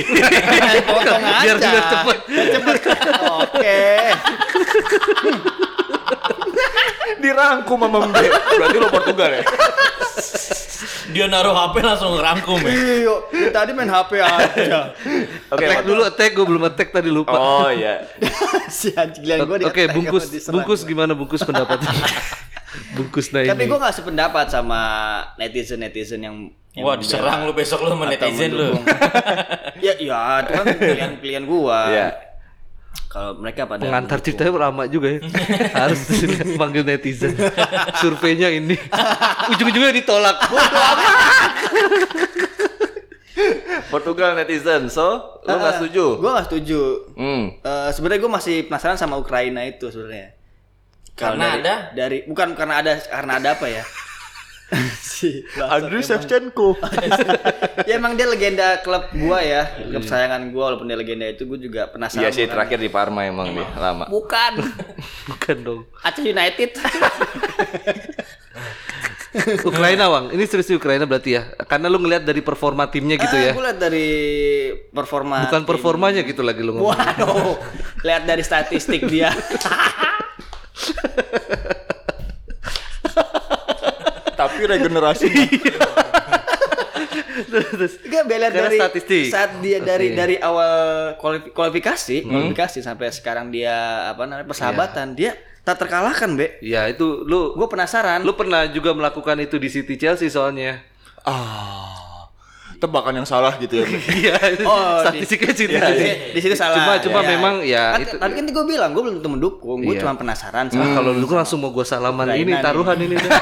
[SPEAKER 4] Potong
[SPEAKER 3] Biar
[SPEAKER 4] aja.
[SPEAKER 3] juga cepet.
[SPEAKER 4] Oke.
[SPEAKER 5] dirangkum sama Mbe. Berarti lu Portugal ya?
[SPEAKER 2] Dia naruh HP langsung ngerangkum ya.
[SPEAKER 4] Iya, tadi main HP aja.
[SPEAKER 5] Oke,
[SPEAKER 3] attack
[SPEAKER 5] Portugal.
[SPEAKER 3] dulu, attack. Gue belum attack tadi lupa.
[SPEAKER 5] Oh iya.
[SPEAKER 4] si anjing gila gue
[SPEAKER 3] Oke, bungkus, bungkus gimana bungkus pendapatnya? bungkus nah
[SPEAKER 4] Tapi
[SPEAKER 3] ini.
[SPEAKER 4] gue gak sependapat sama netizen-netizen yang yang
[SPEAKER 2] Wah,
[SPEAKER 4] membela
[SPEAKER 2] diserang lu besok lu sama
[SPEAKER 4] atau
[SPEAKER 2] netizen lu.
[SPEAKER 4] mendukung. ya, ya, itu kan pilihan-pilihan gua.
[SPEAKER 5] Iya.
[SPEAKER 4] Kalau mereka pada
[SPEAKER 3] Pengantar ceritanya lama juga ya. Harus panggil netizen. Surveinya ini. Ujung-ujungnya ditolak.
[SPEAKER 5] Portugal netizen. So, lu nggak setuju?
[SPEAKER 4] Gue gak Eh, setuju.
[SPEAKER 5] Hmm.
[SPEAKER 4] Eh, sebenarnya gue masih penasaran sama Ukraina itu sebenarnya. Kalau
[SPEAKER 2] Karena
[SPEAKER 4] dari-
[SPEAKER 2] ada?
[SPEAKER 4] dari bukan karena ada karena ada apa ya? si
[SPEAKER 5] Andrew Shevchenko.
[SPEAKER 4] ya emang dia legenda klub gua ya klub sayangan gua walaupun dia legenda itu gua juga penasaran
[SPEAKER 5] Iya sih
[SPEAKER 4] bukan?
[SPEAKER 5] terakhir di Parma emang dia lama.
[SPEAKER 4] bukan
[SPEAKER 3] Bukan dong.
[SPEAKER 4] Aceh United
[SPEAKER 3] Ukraina, Wang. Ini serius di Ukraina berarti ya. Karena lu ngelihat dari performa timnya gitu ya.
[SPEAKER 4] gue lihat dari performa
[SPEAKER 3] Bukan performanya gitu lagi lu ngomong.
[SPEAKER 4] waduh lihat dari statistik dia
[SPEAKER 5] Tapi regenerasi.
[SPEAKER 4] Enggak bela
[SPEAKER 3] Karena
[SPEAKER 4] dari
[SPEAKER 3] statistik. Iya.
[SPEAKER 4] saat dia dari
[SPEAKER 3] Oke. Hmm.
[SPEAKER 4] dari awal kualifi- kualifikasi kualifikasi sampai sekarang dia apa namanya
[SPEAKER 3] Iya.
[SPEAKER 4] persahabatan dia tak terkalahkan be
[SPEAKER 3] Ya itu lu
[SPEAKER 4] gue penasaran
[SPEAKER 3] lu pernah juga melakukan itu di City Chelsea soalnya.
[SPEAKER 5] ah. Tebakan yang salah gitu ya.
[SPEAKER 3] Iya, itu
[SPEAKER 4] Oh, di-
[SPEAKER 3] statistiknya City.
[SPEAKER 4] Iya, di, di situ salah.
[SPEAKER 3] Cuma cuma
[SPEAKER 4] Iya.
[SPEAKER 3] memang ya
[SPEAKER 4] Kan-
[SPEAKER 3] itu.
[SPEAKER 4] Tapi kan gue bilang gue belum tentu mendukung, gue
[SPEAKER 3] Iya.
[SPEAKER 4] cuma
[SPEAKER 3] Ah,
[SPEAKER 4] penasaran sama
[SPEAKER 3] kalau lu gua langsung mau gua salaman
[SPEAKER 4] Ukraina
[SPEAKER 3] ini
[SPEAKER 4] nih.
[SPEAKER 3] taruhan ini dah.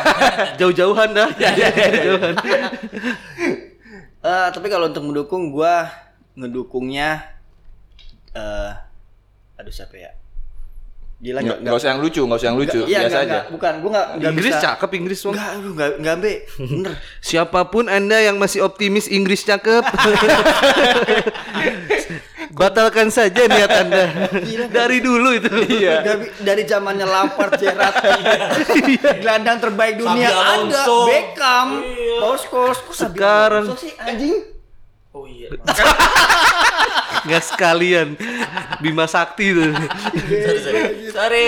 [SPEAKER 3] jauh-jauhan dah.
[SPEAKER 4] Iya,
[SPEAKER 3] Jauh-jauhan.
[SPEAKER 4] Eh, tapi kalau untuk mendukung gue ngedukungnya eh aduh siapa ya? Gila
[SPEAKER 5] Nggak
[SPEAKER 4] enggak
[SPEAKER 5] nggak usah yang lucu, nggak usah yang lucu,
[SPEAKER 4] Iya,
[SPEAKER 5] biasa
[SPEAKER 4] nggak,
[SPEAKER 5] aja.
[SPEAKER 4] nggak. bukan gue enggak enggak
[SPEAKER 3] Inggris
[SPEAKER 4] bisa.
[SPEAKER 3] cakep Inggris Wang.
[SPEAKER 4] Enggak, aduh enggak enggak be. Bener.
[SPEAKER 3] Siapapun Anda yang masih optimis Inggris cakep. Batalkan saja niat Anda. Dari dulu itu.
[SPEAKER 4] Iya. dari zamannya Lampard, Gerrard,
[SPEAKER 3] Iya.
[SPEAKER 4] Iya. gelandang terbaik dunia
[SPEAKER 2] Xabi
[SPEAKER 4] ada
[SPEAKER 2] Alonso.
[SPEAKER 4] Beckham, Bosco, kok Xabi
[SPEAKER 3] Iya. Sekarang.
[SPEAKER 4] Alonso sih anjing.
[SPEAKER 2] Oh iya.
[SPEAKER 3] Nggak sekalian. Bima Sakti itu.
[SPEAKER 2] Sorry, sorry. Sorry.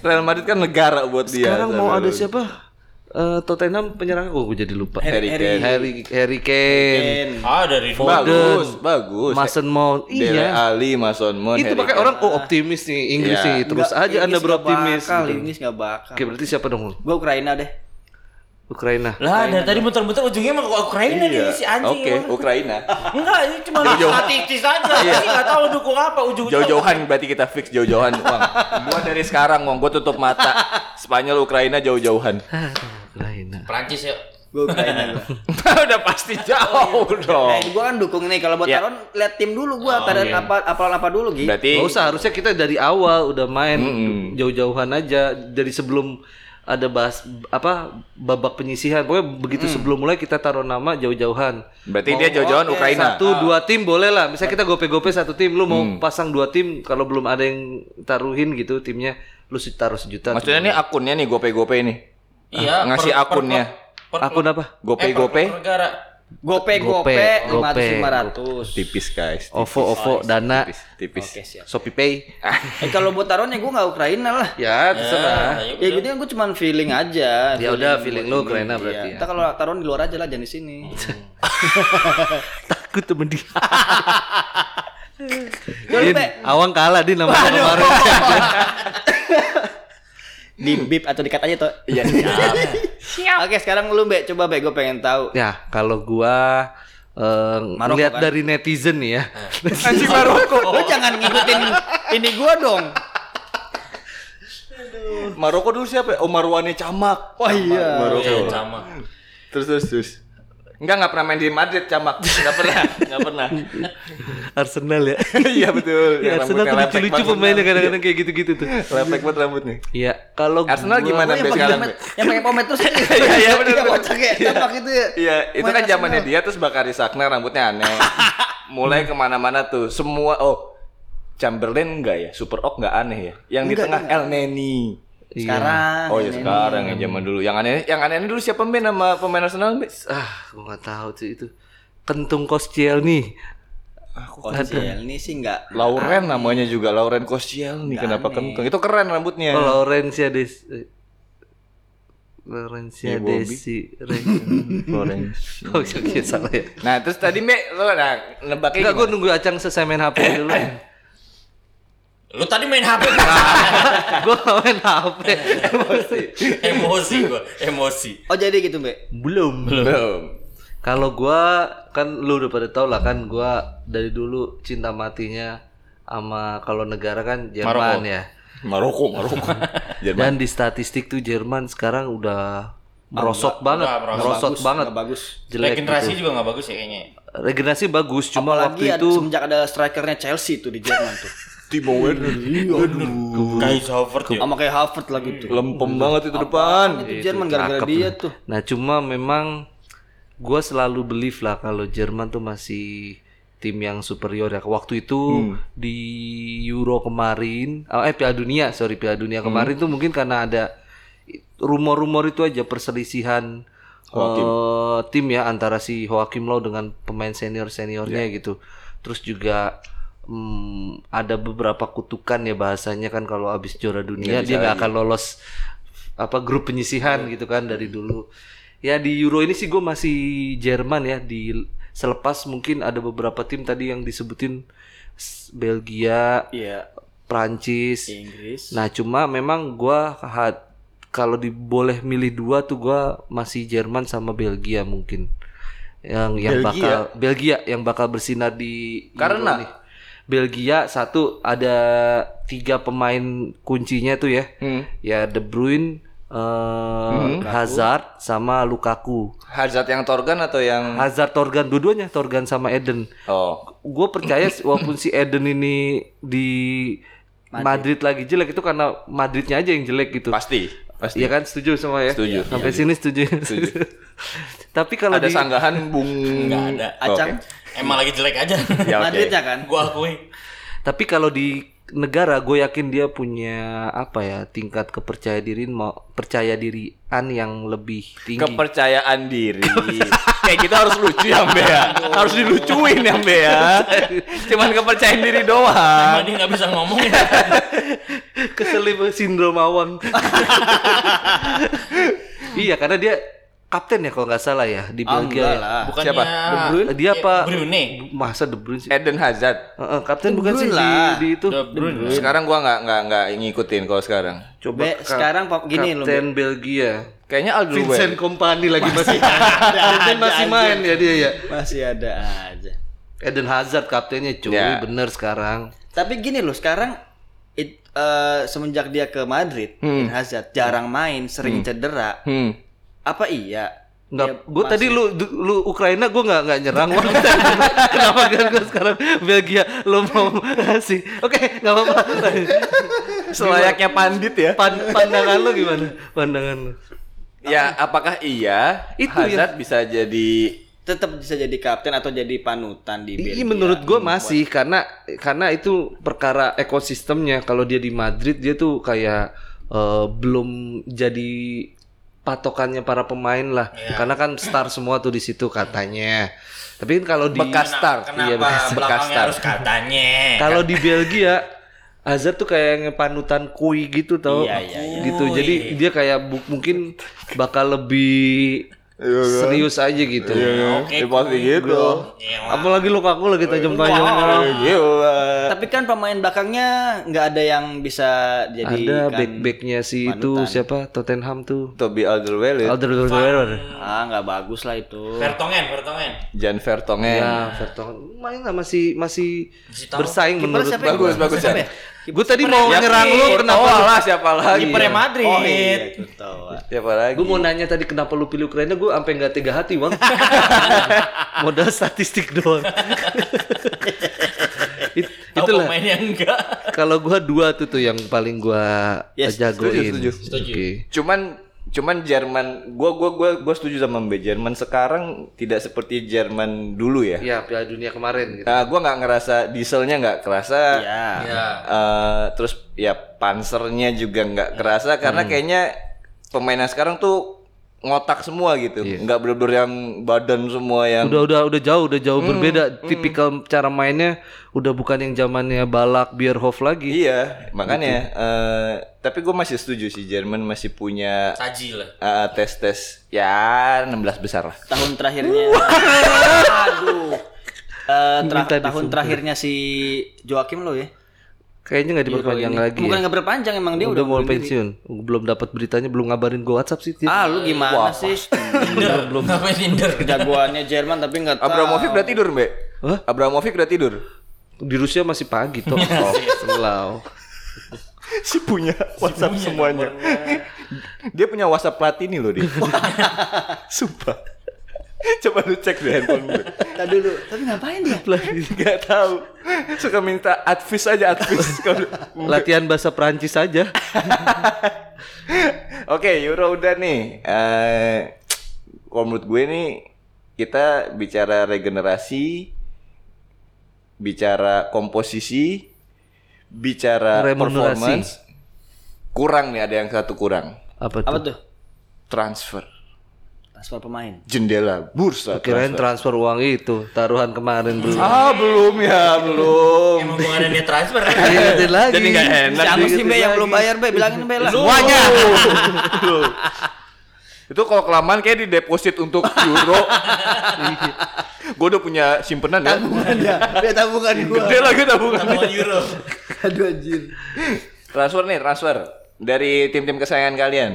[SPEAKER 5] Real Madrid kan negara buat dia.
[SPEAKER 3] Sekarang mau
[SPEAKER 5] Sampai
[SPEAKER 3] ada
[SPEAKER 5] lu-
[SPEAKER 3] siapa? Eh, Tottenham penyerang aku jadi lupa.
[SPEAKER 5] Harry Kane.
[SPEAKER 3] Harry Harry Kane.
[SPEAKER 2] Ah, dari
[SPEAKER 5] Bagus, bagus.
[SPEAKER 3] Mason Mount.
[SPEAKER 5] Dele
[SPEAKER 3] Iya.
[SPEAKER 5] Ali, Mason Mount,
[SPEAKER 3] Itu
[SPEAKER 5] Harry
[SPEAKER 3] pakai
[SPEAKER 5] Kane.
[SPEAKER 3] orang oh optimis nih Inggris
[SPEAKER 5] Iya.
[SPEAKER 3] nih. Terus
[SPEAKER 4] Nggak,
[SPEAKER 3] aja Anda
[SPEAKER 4] Inggris nggak
[SPEAKER 3] beroptimis.
[SPEAKER 4] Bakal,
[SPEAKER 3] gitu.
[SPEAKER 4] Inggris nggak bakal.
[SPEAKER 3] Oke, berarti siapa dong?
[SPEAKER 4] Gue Ukraina deh.
[SPEAKER 3] Ukraina.
[SPEAKER 2] Lah, dari tadi muter-muter ujungnya emang ke Ukraina
[SPEAKER 5] Iya.
[SPEAKER 2] nih si anjing.
[SPEAKER 5] Oke,
[SPEAKER 2] emang.
[SPEAKER 5] Ukraina.
[SPEAKER 2] Enggak, ini cuma
[SPEAKER 5] Jauh-jauh.
[SPEAKER 2] statistis aja. Iya. Enggak tahu dukung apa ujungnya.
[SPEAKER 5] Jauh-jauhan berarti kita fix jauh-jauhan, Bang. Gua dari sekarang, Bang, gua tutup mata. Spanyol Ukraina jauh-jauhan.
[SPEAKER 3] Ukraina.
[SPEAKER 2] Prancis ya.
[SPEAKER 4] Gue Ukraina gua.
[SPEAKER 5] Udah pasti jauh
[SPEAKER 3] Oh.
[SPEAKER 4] Nah,
[SPEAKER 5] dong.
[SPEAKER 4] gue kan dukung nih kalau buat
[SPEAKER 5] Ya.
[SPEAKER 4] taruhan lihat tim dulu gue, taruhan
[SPEAKER 3] iya.
[SPEAKER 4] apa apalan apa dulu gitu.
[SPEAKER 5] Berarti
[SPEAKER 3] Nggak usah harusnya kita dari awal udah main
[SPEAKER 5] Mm-mm.
[SPEAKER 3] jauh-jauhan aja dari sebelum ada bahas apa babak penyisihan pokoknya begitu
[SPEAKER 5] Mm.
[SPEAKER 3] sebelum mulai kita taruh nama jauh-jauhan
[SPEAKER 5] berarti dia jauh-jauhan
[SPEAKER 4] oke,
[SPEAKER 5] Ukraina.
[SPEAKER 3] satu dua tim boleh lah misalnya kita gope-gope satu tim lu
[SPEAKER 5] Hmm.
[SPEAKER 3] mau pasang dua tim kalau belum ada yang taruhin gitu timnya lu se- taruh sejuta
[SPEAKER 5] Maksudnya nih akunnya nih gope-gope nih.
[SPEAKER 2] Iya,
[SPEAKER 5] ngasih
[SPEAKER 2] per- per-
[SPEAKER 5] akunnya.
[SPEAKER 2] per-
[SPEAKER 3] akun apa
[SPEAKER 2] eh, per-
[SPEAKER 5] Gope-gope
[SPEAKER 2] per negara.
[SPEAKER 4] Gope
[SPEAKER 3] Gope,
[SPEAKER 4] gope lima ratus
[SPEAKER 3] gope,
[SPEAKER 4] lima ratus.
[SPEAKER 5] tipis guys.
[SPEAKER 3] ovo ovo dana
[SPEAKER 5] Tipis, Ah. tipis.
[SPEAKER 4] Oke siap.
[SPEAKER 3] shopee pay
[SPEAKER 4] Eh kalau buat taruhannya gue nggak Ukraina lah.
[SPEAKER 3] ya
[SPEAKER 5] Ah.
[SPEAKER 2] Nah,
[SPEAKER 3] terserah
[SPEAKER 2] ya
[SPEAKER 4] Ya gitu kan gue cuman feeling aja.
[SPEAKER 3] Ya udah, feeling lu Ukraina berarti ya.
[SPEAKER 4] Kita kalau taruhan di luar aja lah jangan di sini.
[SPEAKER 3] takut temen dia
[SPEAKER 4] Yo,
[SPEAKER 3] Din,
[SPEAKER 4] lu, Pe,
[SPEAKER 3] awang kalah din nama kemarin
[SPEAKER 4] di bip atau dikat aja toh. Iya. Oke sekarang lu Mbak coba Mbak gue pengen tahu.
[SPEAKER 3] Ya, kalau gua eh,
[SPEAKER 4] Maroko,
[SPEAKER 3] ngeliat
[SPEAKER 4] kan?
[SPEAKER 3] dari netizen nih ya.
[SPEAKER 5] Ah. Anjing Maroko.
[SPEAKER 4] Lu jangan ngikutin ini gue dong.
[SPEAKER 5] Maroko dulu siapa? ya? Oh Marwane Camak.
[SPEAKER 4] Wah iya.
[SPEAKER 5] Maroko.
[SPEAKER 2] Iya, sama.
[SPEAKER 5] Terus terus terus. Enggak enggak pernah main di Madrid Camak. Enggak pernah, enggak pernah.
[SPEAKER 3] Arsenal ya.
[SPEAKER 5] Iya betul.
[SPEAKER 3] Ya, Arsenal tuh lucu-lucu pemainnya kadang-kadang kayak gitu-gitu tuh.
[SPEAKER 5] Iya, Lepek banget rambutnya.
[SPEAKER 3] Iya, kalau gua-
[SPEAKER 5] Arsenal
[SPEAKER 3] iya.
[SPEAKER 5] gimana sampai sekarang? Be?
[SPEAKER 4] Yang pakai pomade terus.
[SPEAKER 5] Iya, iya, bener,
[SPEAKER 4] Iya
[SPEAKER 5] bener.
[SPEAKER 4] kocak ya. Tampak gitu ya.
[SPEAKER 5] Iya, itu
[SPEAKER 4] Main
[SPEAKER 5] kan zamannya
[SPEAKER 4] Arsenal.
[SPEAKER 5] dia terus Bakari Sakna rambutnya aneh. Mulai kemana-mana tuh semua oh Chamberlain enggak ya? Super Ok enggak aneh ya? Yang di
[SPEAKER 4] Enggak, Ah,
[SPEAKER 5] tengah El Neni.
[SPEAKER 3] Iya.
[SPEAKER 4] Sekarang.
[SPEAKER 5] oh ya
[SPEAKER 4] ini.
[SPEAKER 5] sekarang ya zaman dulu. Yang aneh yang aneh dulu siapa main sama pemain Arsenal? Be?
[SPEAKER 3] Ah, gua nggak tahu tuh itu. Kentung Kostiel nih.
[SPEAKER 4] Kocel ini sih nggak
[SPEAKER 5] Lauren namanya juga Lauren Koscielny nih kenapa kenteng? Itu keren rambutnya.
[SPEAKER 3] Oh, Laurencia Des eh,
[SPEAKER 5] Iya,
[SPEAKER 3] Laurencia
[SPEAKER 5] Bobby.
[SPEAKER 3] Desi. Re-
[SPEAKER 5] Lauren.
[SPEAKER 3] Oh, iya, iya, salah ya.
[SPEAKER 5] Nah, terus tadi Mbak lo nah, nebaknya
[SPEAKER 3] Enggak, gua
[SPEAKER 5] gimana?
[SPEAKER 3] nunggu Acang selesai main HP dulu.
[SPEAKER 2] Lu tadi main HP
[SPEAKER 3] gua nggak main HP.
[SPEAKER 2] emosi gua, emosi.
[SPEAKER 4] Oh jadi gitu Mbak.
[SPEAKER 3] Belum.
[SPEAKER 5] belum.
[SPEAKER 3] Kalau gua kan lu udah pada tau lah kan gua dari dulu cinta matinya sama kalau negara kan Jerman ya.
[SPEAKER 5] Maroko, Maroko. Jerman.
[SPEAKER 3] Dan di statistik tuh Jerman sekarang udah merosot banget,
[SPEAKER 2] udah merosot.
[SPEAKER 3] merosot banget.
[SPEAKER 4] Nggak bagus.
[SPEAKER 3] Jelek
[SPEAKER 2] Regenerasi
[SPEAKER 3] gitu.
[SPEAKER 2] juga nggak bagus ya kayaknya.
[SPEAKER 3] Regenerasi bagus, cuma waktu
[SPEAKER 4] Apalagi ada,
[SPEAKER 3] itu
[SPEAKER 4] semenjak ada strikernya Chelsea tuh di Jerman tuh.
[SPEAKER 5] Timo Werner.
[SPEAKER 2] Kayak Harvard
[SPEAKER 5] Iya.
[SPEAKER 2] ya.
[SPEAKER 4] Sama kayak Harvard lagi tuh.
[SPEAKER 5] Lempem banget itu depan.
[SPEAKER 3] Iya,
[SPEAKER 4] Itu Jerman gara-gara
[SPEAKER 3] cakep
[SPEAKER 4] dia
[SPEAKER 3] lah.
[SPEAKER 4] tuh.
[SPEAKER 3] Nah, cuma memang gua selalu believe lah kalau Jerman tuh masih tim yang superior ya. Waktu itu di Euro kemarin, ah, eh Piala Dunia, sorry Piala Dunia kemarin tuh mungkin karena ada rumor-rumor itu aja perselisihan eh, tim ya antara si Joachim Low dengan pemain senior-seniornya gitu. Terus juga hmm, ada beberapa kutukan ya bahasanya kan kalau abis juara dunia dia nggak akan lolos apa grup penyisihan gitu kan dari dulu. Ya di Euro ini sih gue masih Jerman ya di selepas mungkin ada beberapa tim tadi yang disebutin s- Belgia,
[SPEAKER 4] Iya.
[SPEAKER 3] Prancis.
[SPEAKER 4] Inggris.
[SPEAKER 3] Nah cuma memang gua ha- kalau diboleh milih dua tuh gua masih Jerman sama Belgia mungkin yang yang bakal Belgia yang bakal bersinar di Euro
[SPEAKER 5] Karena?
[SPEAKER 3] nih. Belgia satu ada tiga pemain kuncinya tuh ya
[SPEAKER 5] Hmm.
[SPEAKER 3] ya De Bruyne, eh, Hazard sama Lukaku.
[SPEAKER 5] Hazard yang Torgan atau yang
[SPEAKER 3] Hazard Torgan dua-duanya Torgan sama Eden.
[SPEAKER 5] Oh.
[SPEAKER 3] Gue percaya walaupun si Eden ini di Madrid. lagi jelek itu karena Madridnya aja yang jelek gitu.
[SPEAKER 5] Pasti. Pasti.
[SPEAKER 3] Iya kan setuju semua ya.
[SPEAKER 5] Setuju.
[SPEAKER 3] Sampai sini setuju. Tapi kalau
[SPEAKER 5] Ada
[SPEAKER 3] di
[SPEAKER 5] sanggahan Bung
[SPEAKER 2] Nggak ada.
[SPEAKER 4] Acang.
[SPEAKER 5] Oke.
[SPEAKER 2] Emang lagi jelek aja.
[SPEAKER 5] Ya, oke.
[SPEAKER 4] Madridnya kan.
[SPEAKER 2] Gua akui.
[SPEAKER 3] tapi kalau di negara gue yakin dia punya apa ya tingkat kepercaya diri mau percaya dirian yang lebih tinggi.
[SPEAKER 5] Kepercayaan diri. Kayak gitu harus lucu ya, Mbak. ya. Harus dilucuin ya, Mbak. ya. Cuman kepercayaan diri doang.
[SPEAKER 2] Emang dia nggak bisa ngomong ya.
[SPEAKER 3] Keselip sindrom awang. iya karena dia kapten ya kalau nggak salah ya di
[SPEAKER 4] Ah,
[SPEAKER 3] Belgia.
[SPEAKER 4] enggak
[SPEAKER 3] ya.
[SPEAKER 4] lah. Eh,
[SPEAKER 2] Bukannya
[SPEAKER 5] Siapa? De Bruyne?
[SPEAKER 3] Dia apa?
[SPEAKER 2] Brune.
[SPEAKER 3] Masa De Bruyne sih?
[SPEAKER 5] Eden Hazard.
[SPEAKER 3] Eh, eh, kapten bukan sih di,
[SPEAKER 4] lah.
[SPEAKER 3] di itu.
[SPEAKER 2] De Bruyne.
[SPEAKER 5] Sekarang gua nggak nggak nggak ngikutin kalau sekarang.
[SPEAKER 3] Coba
[SPEAKER 4] Be, sekarang pok- gini loh.
[SPEAKER 3] kapten Belgia.
[SPEAKER 5] Kayaknya Aldo
[SPEAKER 3] Vincent
[SPEAKER 5] Well.
[SPEAKER 3] Kompany lagi masih Vincent masih main ya dia ya.
[SPEAKER 4] Mbak. Masih ada aja.
[SPEAKER 3] Eden Hazard kaptennya cuy,
[SPEAKER 5] Ya.
[SPEAKER 3] bener sekarang.
[SPEAKER 4] Tapi gini loh sekarang it- eh, semenjak
[SPEAKER 3] Hmm.
[SPEAKER 4] dia ke Madrid, Eden Hazard jarang main, sering cedera.
[SPEAKER 5] Hmm.
[SPEAKER 4] Apa iya?
[SPEAKER 3] Nggak, gue tadi lu lu Ukraina gue nggak nggak nyerang Wah. Kenapa kan gue sekarang Belgia lu mau ngasih? Oke, nggak apa-apa.
[SPEAKER 5] Selayaknya pandit ya.
[SPEAKER 3] Pan- pandangan lu gimana? Pandangan lu.
[SPEAKER 5] Ya, apakah iya
[SPEAKER 3] Itu
[SPEAKER 5] Hazard bisa jadi
[SPEAKER 4] tetap bisa jadi kapten atau jadi panutan di
[SPEAKER 3] Iya
[SPEAKER 4] Belgia.
[SPEAKER 3] menurut gue masih karena karena itu perkara ekosistemnya kalau dia di Madrid dia tuh kayak eh, belum jadi patokannya para pemain lah
[SPEAKER 5] Iya.
[SPEAKER 3] karena kan star semua tuh di situ katanya tapi kan kalau di
[SPEAKER 5] Bekas star.
[SPEAKER 2] Kenapa
[SPEAKER 5] Iya, bekas- bekas
[SPEAKER 2] belakangnya
[SPEAKER 5] star.
[SPEAKER 2] harus katanya?
[SPEAKER 4] Eh, kan.
[SPEAKER 3] kalau di Belgia Hazard tuh kayak ngepanutan kui gitu tau
[SPEAKER 4] Iya, iya, iya.
[SPEAKER 3] gitu jadi dia kayak bu- mungkin bakal lebih serius aja gitu
[SPEAKER 5] Iya, kan?
[SPEAKER 2] Oke.
[SPEAKER 5] Di pos gitu.
[SPEAKER 4] Iya,
[SPEAKER 3] apalagi Lukaku lagi tajam-tajam
[SPEAKER 5] Gila.
[SPEAKER 4] Tapi kan pemain belakangnya nggak ada yang bisa jadi
[SPEAKER 3] ada
[SPEAKER 4] kan-
[SPEAKER 3] back-backnya si itu
[SPEAKER 4] panutan.
[SPEAKER 3] siapa Tottenham tuh
[SPEAKER 5] Toby Alderweireld,
[SPEAKER 3] Alderweireld
[SPEAKER 4] Ah, nggak bagus lah itu.
[SPEAKER 2] Vertongen, Vertongen.
[SPEAKER 5] Jan Vertonghen.
[SPEAKER 3] ya Vertonghen main lah masih masih
[SPEAKER 2] Masih tahu.
[SPEAKER 3] bersaing menurut
[SPEAKER 4] siapa
[SPEAKER 3] gua.
[SPEAKER 5] Bagus, bagus
[SPEAKER 3] ya?
[SPEAKER 5] Jan.
[SPEAKER 3] Gue tadi mau nyerang lu kenapa?
[SPEAKER 5] Oh, lah siapa lagi?
[SPEAKER 6] Kipernya Madrid.
[SPEAKER 4] Oh iya, aku tahu.
[SPEAKER 5] Siapa lagi?
[SPEAKER 3] Gue mau nanya tadi kenapa lu pilih Ukraina, gue sampai nggak tega hati bang. Modal statistik doang. It-
[SPEAKER 2] Tahu
[SPEAKER 3] itulah.
[SPEAKER 2] pemainnya enggak.
[SPEAKER 3] Kalau gua dua tuh tuh yang paling gua
[SPEAKER 4] Yes,
[SPEAKER 3] jagoin.
[SPEAKER 5] setuju, setuju.
[SPEAKER 2] Setuju.
[SPEAKER 3] Oke.
[SPEAKER 5] Cuman cuman Jerman gua gua gua gua setuju sama Mbe Jerman sekarang tidak seperti Jerman dulu ya.
[SPEAKER 3] Ya Piala Dunia kemarin. Gitu.
[SPEAKER 5] Nah, gua nggak ngerasa dieselnya nggak kerasa.
[SPEAKER 4] Iya.
[SPEAKER 2] Ya.
[SPEAKER 5] Eh, terus ya pansernya juga nggak kerasa karena kayaknya pemainnya sekarang tuh ngotak semua gitu. Nggak bener-bener yang badan semua yang
[SPEAKER 3] Udah udah udah jauh udah jauh berbeda. Tipikal cara mainnya udah bukan yang zamannya Balak Bierhoff lagi.
[SPEAKER 5] iya, makanya eh, tapi gua masih setuju sih Jerman masih punya
[SPEAKER 2] Saji lah.
[SPEAKER 5] eh, tes-tes ya 16 besar lah.
[SPEAKER 4] Tahun terakhirnya. Aduh. Eh, tra-
[SPEAKER 3] Minta
[SPEAKER 4] tahun
[SPEAKER 3] disumpah.
[SPEAKER 4] terakhirnya si Joakim lo ya.
[SPEAKER 3] Kayaknya nggak diperpanjang lagi.
[SPEAKER 4] Bukan
[SPEAKER 3] ya.
[SPEAKER 4] nggak berpanjang emang dia
[SPEAKER 3] udah,
[SPEAKER 4] udah,
[SPEAKER 3] mau
[SPEAKER 4] bunuh diri.
[SPEAKER 3] pensiun. Belum dapat beritanya, belum ngabarin gua WhatsApp sih. Tit.
[SPEAKER 5] Gitu.
[SPEAKER 4] Ah, lu gimana sih?
[SPEAKER 2] Tinder, belum sampai Tinder.
[SPEAKER 4] Jagoannya Jerman tapi nggak
[SPEAKER 5] Ah,
[SPEAKER 4] tahu.
[SPEAKER 5] Abramovich udah tidur, Mbak?
[SPEAKER 3] Hah?
[SPEAKER 5] Abramovich udah tidur.
[SPEAKER 3] Di Rusia masih pagi toh. Oh, selau.
[SPEAKER 5] si punya WhatsApp semuanya. dia punya WhatsApp Platini loh dia. Sumpah. Coba lu cek di handphone gue.
[SPEAKER 4] Tadi dulu. Tapi ngapain dia?
[SPEAKER 5] Gak tahu. Suka minta advis aja advis. Kalau-
[SPEAKER 3] Latihan bahasa Perancis aja.
[SPEAKER 5] Oke, Euro udah nih. Eh, kalau menurut gue nih kita bicara regenerasi, bicara komposisi, bicara
[SPEAKER 3] Remunerasi.
[SPEAKER 5] performance. Kurang nih ada yang satu kurang.
[SPEAKER 3] Apa
[SPEAKER 4] Apa
[SPEAKER 3] tuh?
[SPEAKER 4] tuh?
[SPEAKER 5] Transfer.
[SPEAKER 4] Transfer pemain.
[SPEAKER 5] Jendela bursa
[SPEAKER 3] Kirain transfer uang itu taruhan kemarin dulu.
[SPEAKER 5] Ah belum ya belum.
[SPEAKER 2] Emang gua ada niat transfer.
[SPEAKER 3] Diingetin lagi.
[SPEAKER 5] Jadi nggak enak.
[SPEAKER 4] Siapa sih
[SPEAKER 3] Diingetin
[SPEAKER 4] Mbak yang
[SPEAKER 3] lagi.
[SPEAKER 4] belum bayar, Mbak? Bilangin Mbak lah.
[SPEAKER 5] Semuanya. Itu kalau kelamaan kayak di deposit untuk euro. gue udah punya simpenan ya.
[SPEAKER 4] Iya, Dia tabungan gua.
[SPEAKER 5] Gede lagi tabungan.
[SPEAKER 2] Euro.
[SPEAKER 4] Aduh anjir.
[SPEAKER 5] Transfer nih transfer dari tim-tim kesayangan kalian.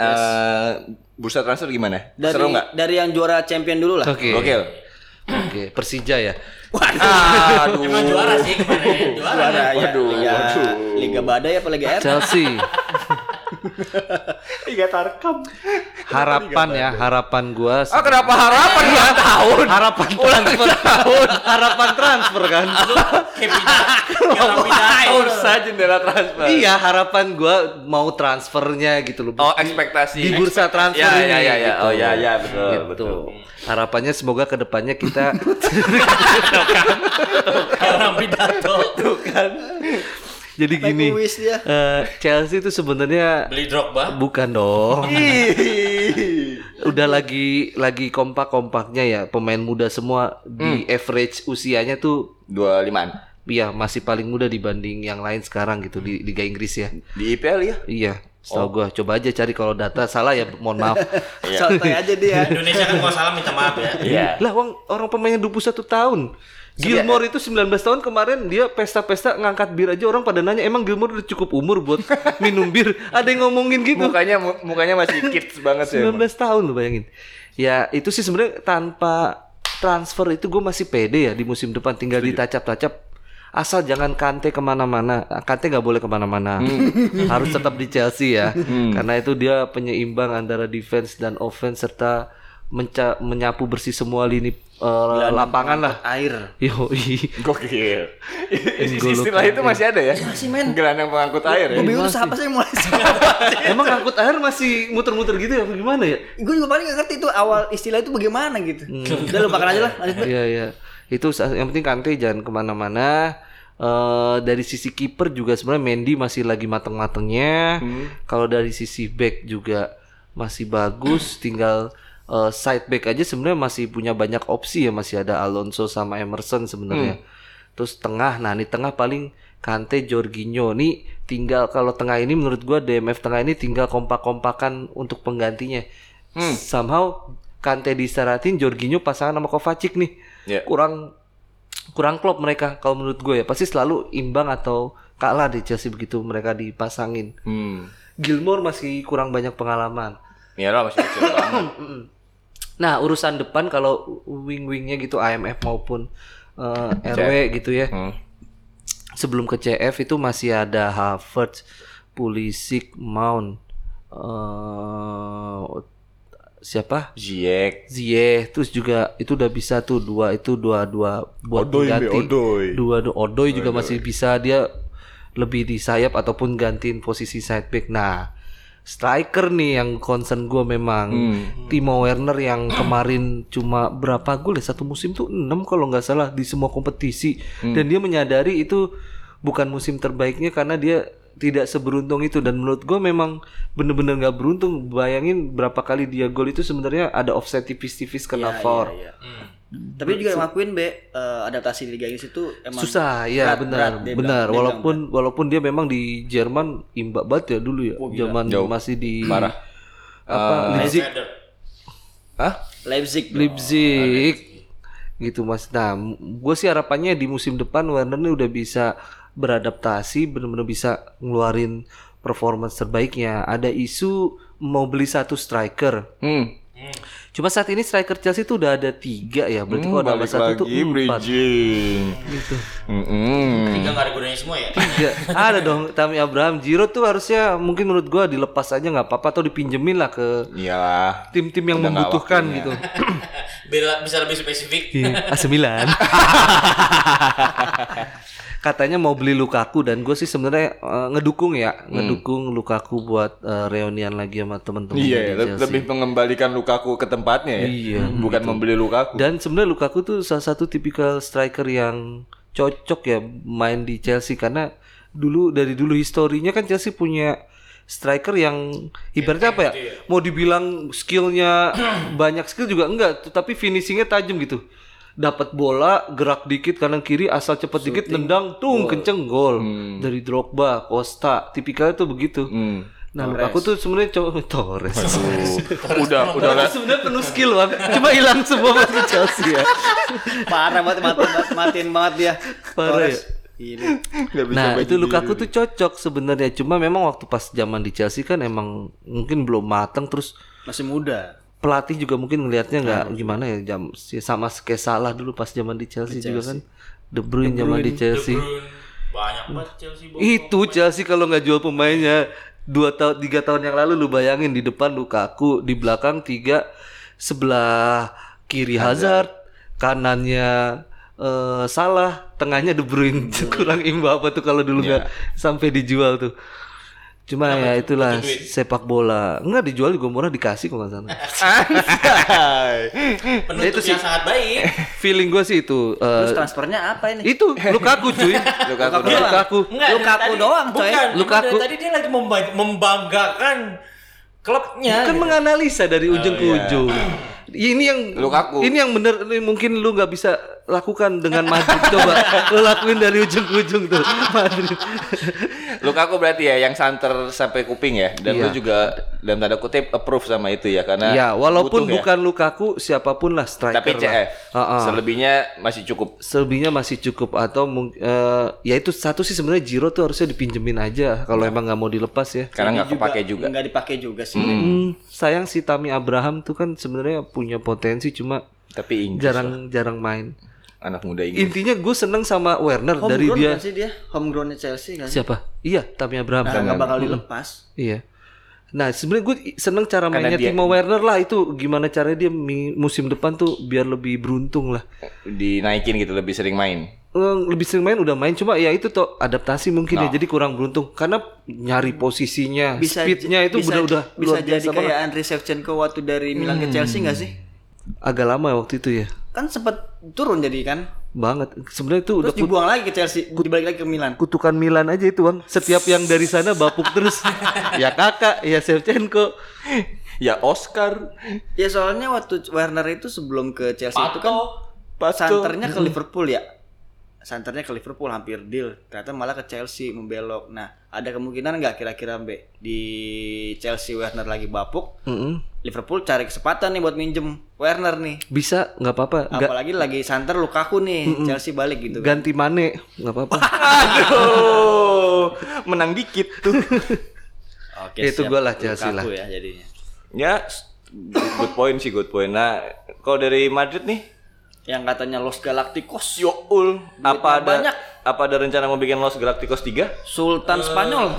[SPEAKER 5] Eh, bursa transfer gimana?
[SPEAKER 4] Dari
[SPEAKER 5] Seru nggak?
[SPEAKER 4] dari yang juara champion dulu lah.
[SPEAKER 3] Oke. Oke.
[SPEAKER 5] Gokil.
[SPEAKER 3] Persija ya.
[SPEAKER 5] Aduh.
[SPEAKER 2] Emang juara sih kemarin. Juara.
[SPEAKER 4] Juara ya.
[SPEAKER 5] Waduh,
[SPEAKER 4] Liga,
[SPEAKER 5] waduh.
[SPEAKER 4] Liga Badai apa Liga R?
[SPEAKER 3] Chelsea.
[SPEAKER 5] Tiga tarkam.
[SPEAKER 3] Harapan ya, harapan gua.
[SPEAKER 5] Ah kenapa harapan dua tahun?
[SPEAKER 3] Harapan transfer tahun. Harapan transfer kan.
[SPEAKER 2] Kayak pindah- kayak pidato.
[SPEAKER 5] Bursa jendela transfer.
[SPEAKER 3] Iya, harapan gua mau transfernya gitu loh.
[SPEAKER 5] Oh ekspektasi
[SPEAKER 3] di bursa transfer
[SPEAKER 5] ya,
[SPEAKER 3] ini.
[SPEAKER 5] Ya, ya, ya.
[SPEAKER 3] gitu.
[SPEAKER 5] Oh ya ya betul
[SPEAKER 3] Gitu.
[SPEAKER 5] betul.
[SPEAKER 3] Harapannya semoga kedepannya kita
[SPEAKER 2] Orang pidato.
[SPEAKER 3] jadi gini.
[SPEAKER 4] Like a wish dia.
[SPEAKER 3] eh, Chelsea itu sebenarnya
[SPEAKER 2] Beli Drogba.
[SPEAKER 3] bukan dong. Udah lagi lagi kompak-kompaknya ya pemain muda semua di
[SPEAKER 5] Hmm.
[SPEAKER 3] average usianya tuh
[SPEAKER 5] Dua limaan
[SPEAKER 3] ya masih paling muda dibanding yang lain sekarang gitu di Liga Inggris ya.
[SPEAKER 5] di IPL ya.
[SPEAKER 3] Iya, setahu gua coba aja cari kalau data salah ya mohon maaf.
[SPEAKER 4] Santai aja dia.
[SPEAKER 2] Indonesia kan kalau salah minta maaf ya.
[SPEAKER 5] Iya.
[SPEAKER 3] Lah orang, orang pemainnya 21 tahun. Gilmore itu 19 tahun kemarin dia pesta-pesta ngangkat bir aja orang pada nanya emang Gilmore udah cukup umur buat minum bir. Ada yang ngomongin gitu.
[SPEAKER 5] Mukanya mu- mukanya masih kids banget ya. sih.
[SPEAKER 3] 19 tahun lo bayangin. Ya itu sih sebenarnya tanpa transfer itu gue masih pede ya di musim depan tinggal ditacap-tacap asal jangan Kante kemana-mana. Ah, Kante nggak boleh kemana-mana, harus tetap di Chelsea ya, karena itu dia penyeimbang antara defense dan offense serta menca- menyapu bersih semua lini eh, lapangan lah.
[SPEAKER 4] air
[SPEAKER 3] Yoi.
[SPEAKER 5] Gokil.
[SPEAKER 3] N'Golo
[SPEAKER 5] Istilah itu masih ada ya?
[SPEAKER 4] Masih, men.
[SPEAKER 5] Gelandang pengangkut air ya?
[SPEAKER 4] gue bingung tuh siapa sih yang mulai siapa
[SPEAKER 3] Emang angkut air masih muter-muter gitu ya? apa Gimana ya?
[SPEAKER 4] gue juga paling gak ngerti itu awal istilah itu bagaimana gitu
[SPEAKER 5] Hmm.
[SPEAKER 4] udah lupakan aja lah lanjut
[SPEAKER 3] Iya iya. Itu sa- yang penting Kante jangan kemana-mana. Eh, dari sisi kiper juga sebenarnya Mendy masih lagi mateng-matengnya. Kalau dari sisi back juga masih bagus. Tinggal eh, side back aja sebenarnya masih punya banyak opsi ya. Masih ada Alonso sama Emerson sebenarnya. Terus tengah, nah ini tengah paling Kante, Jorginho nih tinggal kalau tengah ini menurut gua DMF tengah ini tinggal kompak-kompakan untuk penggantinya. Somehow Kante diistirahatin, Jorginho pasangan sama Kovacic nih.
[SPEAKER 5] Iya.
[SPEAKER 3] Kurang kurang klop mereka kalau menurut gue ya. Pasti selalu imbang atau kalah di Chelsea begitu mereka dipasangin.
[SPEAKER 5] Hmm.
[SPEAKER 3] Gilmore masih kurang banyak pengalaman.
[SPEAKER 5] Mira masih kecil banget.
[SPEAKER 3] Nah, urusan depan kalau wing-wingnya gitu AMF maupun eh, RW gitu ya.
[SPEAKER 5] Hmm.
[SPEAKER 3] sebelum ke CF itu masih ada Havertz, Pulisic, Mount, eh, siapa?
[SPEAKER 5] Ziyech.
[SPEAKER 3] Ziyech, terus juga itu udah bisa tuh dua itu dua dua buat
[SPEAKER 5] Odoi,
[SPEAKER 3] ganti.
[SPEAKER 5] Be, Odoi.
[SPEAKER 3] Dua dua- Odoi juga masih bisa dia lebih di sayap ataupun gantiin posisi side back. Nah, striker nih yang concern gue memang Timo Werner yang kemarin cuma berapa gue lihat satu musim tuh 6 kalau nggak salah di semua kompetisi dan dia menyadari itu bukan musim terbaiknya karena dia tidak seberuntung itu dan menurut gue memang bener-bener nggak beruntung bayangin berapa kali dia gol itu sebenarnya ada offset tipis-tipis kena foul
[SPEAKER 4] tapi juga ngakuin be eh, adaptasi di Liga Inggris itu emang
[SPEAKER 3] susah ya
[SPEAKER 4] berat,
[SPEAKER 3] benar
[SPEAKER 4] berat, Oh, dia
[SPEAKER 3] benar
[SPEAKER 4] bilang. Dia
[SPEAKER 3] walaupun walaupun dia memang di Jerman imba banget ya dulu ya zaman masih di
[SPEAKER 5] Parah.
[SPEAKER 3] apa
[SPEAKER 4] Eh,
[SPEAKER 3] Leipzig
[SPEAKER 5] Hah?
[SPEAKER 4] Leipzig
[SPEAKER 3] Leipzig gitu mas nah gue sih harapannya di musim depan Werner ini udah bisa beradaptasi benar-benar bisa ngeluarin performance terbaiknya ada isu mau beli satu striker
[SPEAKER 5] Hmm.
[SPEAKER 3] cuma saat ini striker Chelsea itu udah ada tiga ya berarti kalau ada
[SPEAKER 5] Hmm, Balik
[SPEAKER 3] satu tuh hmm,
[SPEAKER 5] lagi,
[SPEAKER 3] empat
[SPEAKER 5] bridging. Mm-mm.
[SPEAKER 2] Tiga nggak ada gunanya semua ya.
[SPEAKER 3] Iya, ada dong Tami Abraham Giroud tuh harusnya mungkin menurut gua dilepas aja nggak apa-apa atau dipinjemin lah ke
[SPEAKER 5] Iyalah.
[SPEAKER 3] tim-tim yang
[SPEAKER 5] Udah nggak
[SPEAKER 3] membutuhkan
[SPEAKER 5] waktunya.
[SPEAKER 3] gitu.
[SPEAKER 2] Bila bisa lebih spesifik.
[SPEAKER 3] Iya, AC Milan. Katanya mau beli Lukaku dan gue sih sebenarnya eh, ngedukung ya,
[SPEAKER 5] Hmm.
[SPEAKER 3] ngedukung Lukaku buat eh, reunian lagi sama temen-temen
[SPEAKER 5] Iya,
[SPEAKER 3] di
[SPEAKER 5] le-
[SPEAKER 3] Chelsea.
[SPEAKER 5] lebih mengembalikan Lukaku ke tempatnya ya.
[SPEAKER 3] Iya,
[SPEAKER 5] Bukan membeli Lukaku.
[SPEAKER 3] Dan sebenarnya Lukaku tuh salah satu tipikal striker yang cocok ya main di Chelsea karena dulu dari dulu historinya kan Chelsea punya striker yang ibaratnya apa ya? Mau dibilang skillnya banyak skill juga enggak, tetapi finishingnya tajam gitu. Dapat bola, gerak dikit kanan kiri, asal cepet dikit nendang, tung kenceng gol. Dari Drogba, Costa, tipikalnya tuh begitu. Nah, Lukaku tuh sebenarnya cowok Torres.
[SPEAKER 5] Udah, udah
[SPEAKER 3] Torres sebenarnya penuh skill, Bang. Cuma hilang semua pas ke Chelsea ya.
[SPEAKER 4] parah banget matiin banget, matiin banget dia
[SPEAKER 3] Parah ya?
[SPEAKER 4] Torres. Gini.
[SPEAKER 3] Nah itu Lukaku tuh cocok sebenarnya cuma memang waktu pas zaman di Chelsea kan emang mungkin belum matang terus
[SPEAKER 4] masih muda
[SPEAKER 3] pelatih juga mungkin ngelihatnya nggak gimana ya jam ya sama kayak salah dulu pas zaman di Chelsea, juga kan De Bruyne zaman di Chelsea
[SPEAKER 2] Banyak banget Chelsea. Bo.
[SPEAKER 3] itu Chelsea kalau nggak jual pemainnya dua tahun tiga tahun yang lalu lu bayangin di depan Lukaku di belakang tiga sebelah kiri Hazard, kanannya eh, Salah tengahnya De Bruyne Ya. kurang imba apa tuh kalau dulu nggak sampai dijual tuh cuma ya itulah sepak bola nggak dijual juga murah dikasih kok nggak salah
[SPEAKER 2] Penutupnya sangat baik.
[SPEAKER 3] feeling gue sih itu
[SPEAKER 4] terus
[SPEAKER 3] eh,
[SPEAKER 4] transfernya apa ini
[SPEAKER 3] itu Lukaku cuy
[SPEAKER 5] Lukaku
[SPEAKER 3] Lukaku, Lukaku.
[SPEAKER 2] Enggak, dari
[SPEAKER 4] Lukaku
[SPEAKER 2] tadi-
[SPEAKER 4] doang, coy.
[SPEAKER 2] Bukan,
[SPEAKER 3] Lukaku.
[SPEAKER 2] Lukaku. tadi dia lagi memba- membanggakan klubnya.
[SPEAKER 3] kan
[SPEAKER 2] gitu. iya.
[SPEAKER 3] menganalisa dari ujung ke ujung. Ini yang
[SPEAKER 5] Lukaku.
[SPEAKER 3] ini yang bener ini mungkin lu nggak bisa lakukan dengan Madrid coba lu lakuin dari ujung ke ujung tuh Madrid.
[SPEAKER 5] Lukaku berarti ya yang santer sampai kuping ya. Dan
[SPEAKER 3] Iya.
[SPEAKER 5] lu juga dalam tanda kutip approve sama itu ya karena
[SPEAKER 3] ya walaupun
[SPEAKER 5] butuh ya.
[SPEAKER 3] bukan Lukaku siapapun lah striker
[SPEAKER 5] tapi
[SPEAKER 3] lah.
[SPEAKER 5] CF.
[SPEAKER 3] Heeh.
[SPEAKER 5] Selebihnya masih cukup.
[SPEAKER 3] Selebihnya masih cukup atau mung- eh, ya itu satu sih sebenarnya Jiro tuh harusnya dipinjemin aja kalau emang nggak mau dilepas ya.
[SPEAKER 5] Karena nggak kepake juga.
[SPEAKER 4] nggak dipakai juga sih
[SPEAKER 3] Hmm, sayang si Tami Abraham tuh kan sebenarnya punya potensi cuma
[SPEAKER 5] Tapi Inggris.
[SPEAKER 3] jarang jarang main.
[SPEAKER 5] anak muda Inggris.
[SPEAKER 3] Intinya gue seneng sama Werner dari
[SPEAKER 4] Homegrown
[SPEAKER 3] dia
[SPEAKER 4] kan sih dia homegrown Chelsea kan
[SPEAKER 3] siapa? Iya, Tammy Abraham.
[SPEAKER 4] nah, nggak
[SPEAKER 3] Hmm.
[SPEAKER 4] bakal dilepas
[SPEAKER 3] Iya. Nah, sebenarnya gue seneng cara
[SPEAKER 5] Karena
[SPEAKER 3] mainnya
[SPEAKER 5] dia-
[SPEAKER 3] Timo Werner lah itu gimana caranya dia mi- musim depan tuh biar lebih beruntung lah.
[SPEAKER 5] Dinaikin gitu lebih sering main.
[SPEAKER 3] Eh, lebih sering main udah main cuma ya itu tuh adaptasi mungkin ya jadi kurang beruntung karena nyari posisinya,
[SPEAKER 4] Nah. bisa
[SPEAKER 3] speednya itu udah
[SPEAKER 4] bisa,
[SPEAKER 3] udah
[SPEAKER 4] bisa
[SPEAKER 3] luar
[SPEAKER 4] jadi
[SPEAKER 3] biasa banget. Hmm.
[SPEAKER 4] kayak Andriy Shevchenko waktu dari Milan ke Chelsea nggak sih
[SPEAKER 3] Agak lama waktu itu ya.
[SPEAKER 4] kan sempet turun jadi kan
[SPEAKER 3] Banget. Sebenarnya itu udah
[SPEAKER 4] terus dibuang lagi ke Chelsea dibalik lagi ke Milan
[SPEAKER 3] kutukan Milan aja itu bang setiap yang dari sana bapuk terus ya kakak ya Shevchenko
[SPEAKER 5] Ya Oscar.
[SPEAKER 4] ya soalnya waktu Werner itu sebelum ke Chelsea itu kan santernya
[SPEAKER 3] Hmm.
[SPEAKER 4] ke Liverpool ya santernya ke Liverpool hampir deal ternyata malah ke Chelsea membelok nah ada kemungkinan nggak kira-kira Mbe, di Chelsea Werner lagi bapuk
[SPEAKER 3] Mm-mm.
[SPEAKER 4] Liverpool cari kesempatan nih buat minjem Werner nih
[SPEAKER 3] bisa nggak apa-apa nggak
[SPEAKER 4] apalagi lagi santer Lukaku nih Chelsea balik gitu kan
[SPEAKER 3] ganti Mane nggak apa-apa
[SPEAKER 5] Aduh, Oh, menang dikit tuh.
[SPEAKER 4] oke
[SPEAKER 3] Itu
[SPEAKER 4] siap.
[SPEAKER 3] gua lah Chelsea
[SPEAKER 4] Lukaku ya jadinya
[SPEAKER 5] ya, good point sih, good point. Nah, kalau dari Madrid nih,
[SPEAKER 4] yang katanya Los Galacticos
[SPEAKER 5] Youl, apa ada
[SPEAKER 4] banyak.
[SPEAKER 5] apa ada rencana mau bikin Los Galacticos 3?
[SPEAKER 3] Eh.
[SPEAKER 4] Sultan Spanyol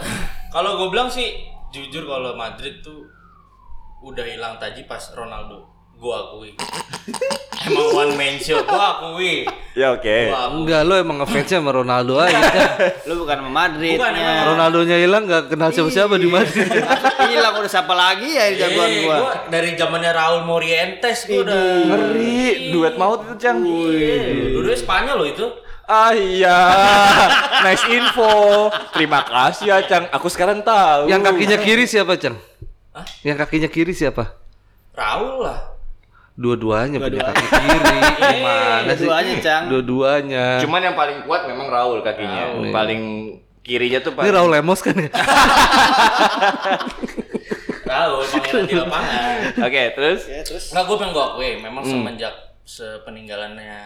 [SPEAKER 2] Kalau gue bilang sih jujur kalau Madrid tuh udah hilang taji pas Ronaldo. Gue akui. Emang one man show. Gue akui.
[SPEAKER 5] Ya oke.
[SPEAKER 2] Gue akui.
[SPEAKER 3] Enggak, lo emang ngefansnya sama Ronaldo aja
[SPEAKER 4] lu bukan sama Madrid
[SPEAKER 2] Bukan, emang
[SPEAKER 4] ya.
[SPEAKER 3] Ronaldonya hilang nggak kenal siapa-siapa di Madrid
[SPEAKER 4] hilang udah siapa lagi ya
[SPEAKER 2] Iya,
[SPEAKER 4] jagoan gua
[SPEAKER 2] gua dari zamannya Raul Morientes gue udah
[SPEAKER 5] Ngeri, duet maut itu, Cang.
[SPEAKER 2] Dulu Spanyol loh itu.
[SPEAKER 5] Ah iya, nice info. Terima kasih ya, Cang. Aku sekarang tahu.
[SPEAKER 3] yang kakinya kiri siapa Cang? yang kakinya kiri siapa?
[SPEAKER 2] Raul lah.
[SPEAKER 3] dua-duanya punya kaki kiri gimana sih?
[SPEAKER 4] Dua-duanya, Eh, Cang.
[SPEAKER 3] dua-duanya
[SPEAKER 5] Cuman yang paling kuat memang Eh. Raul iya. kakinya. Paling kirinya tuh
[SPEAKER 3] ini
[SPEAKER 5] paling
[SPEAKER 3] Raul Lemos kan ya?
[SPEAKER 2] Raul pangeran di lapangan.
[SPEAKER 5] Oke, terus?
[SPEAKER 2] Enggak gue pengen gue akui. Memang
[SPEAKER 5] Hmm.
[SPEAKER 2] semenjak sepeninggalannya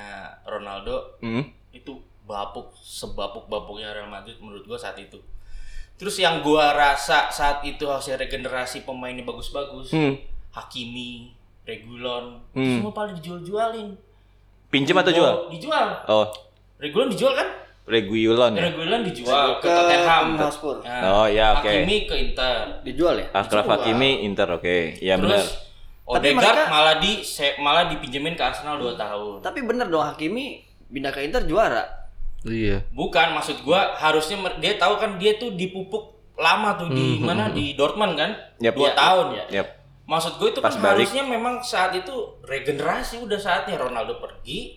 [SPEAKER 2] Ronaldo
[SPEAKER 5] Hmm.
[SPEAKER 2] itu bapuk sebapuk bapuknya Real Madrid menurut gue saat itu. Terus yang gua rasa saat itu hasil regenerasi pemainnya bagus-bagus.
[SPEAKER 5] Hmm.
[SPEAKER 2] Hakimi, Regulon,
[SPEAKER 5] Hmm.
[SPEAKER 2] semua paling dijual-jualin.
[SPEAKER 5] Pinjem atau
[SPEAKER 2] Gol
[SPEAKER 5] jual?
[SPEAKER 2] Dijual.
[SPEAKER 5] Oh,
[SPEAKER 2] Regulon dijual kan?
[SPEAKER 5] Reguilon ya.
[SPEAKER 2] Regulon dijual ke,
[SPEAKER 4] Ke
[SPEAKER 2] Tottenham.
[SPEAKER 4] Hotspur.
[SPEAKER 5] Oh,
[SPEAKER 2] Nah,
[SPEAKER 5] ya, oke.
[SPEAKER 2] Hakimi ke Inter.
[SPEAKER 4] dijual ya
[SPEAKER 5] Akraf Hakimi Inter oke. Ya benar.
[SPEAKER 2] Terus Odegaard
[SPEAKER 4] mereka-
[SPEAKER 2] malah di se- malah dipinjemin ke Arsenal 2 tahun.
[SPEAKER 4] tapi bener dong Hakimi pindah ke Inter juara
[SPEAKER 3] iya
[SPEAKER 2] Bukan maksud gua harusnya mer- dia tahu kan dia tuh dipupuk lama tuh di
[SPEAKER 5] Hmm,
[SPEAKER 2] mana di Dortmund kan?
[SPEAKER 5] Yap.
[SPEAKER 2] Dua
[SPEAKER 5] Yap.
[SPEAKER 2] tahun ya.
[SPEAKER 5] Yap.
[SPEAKER 2] Maksud gue itu
[SPEAKER 5] Pas
[SPEAKER 2] kan
[SPEAKER 5] balik.
[SPEAKER 2] harusnya memang saat itu regenerasi udah saatnya Ronaldo pergi.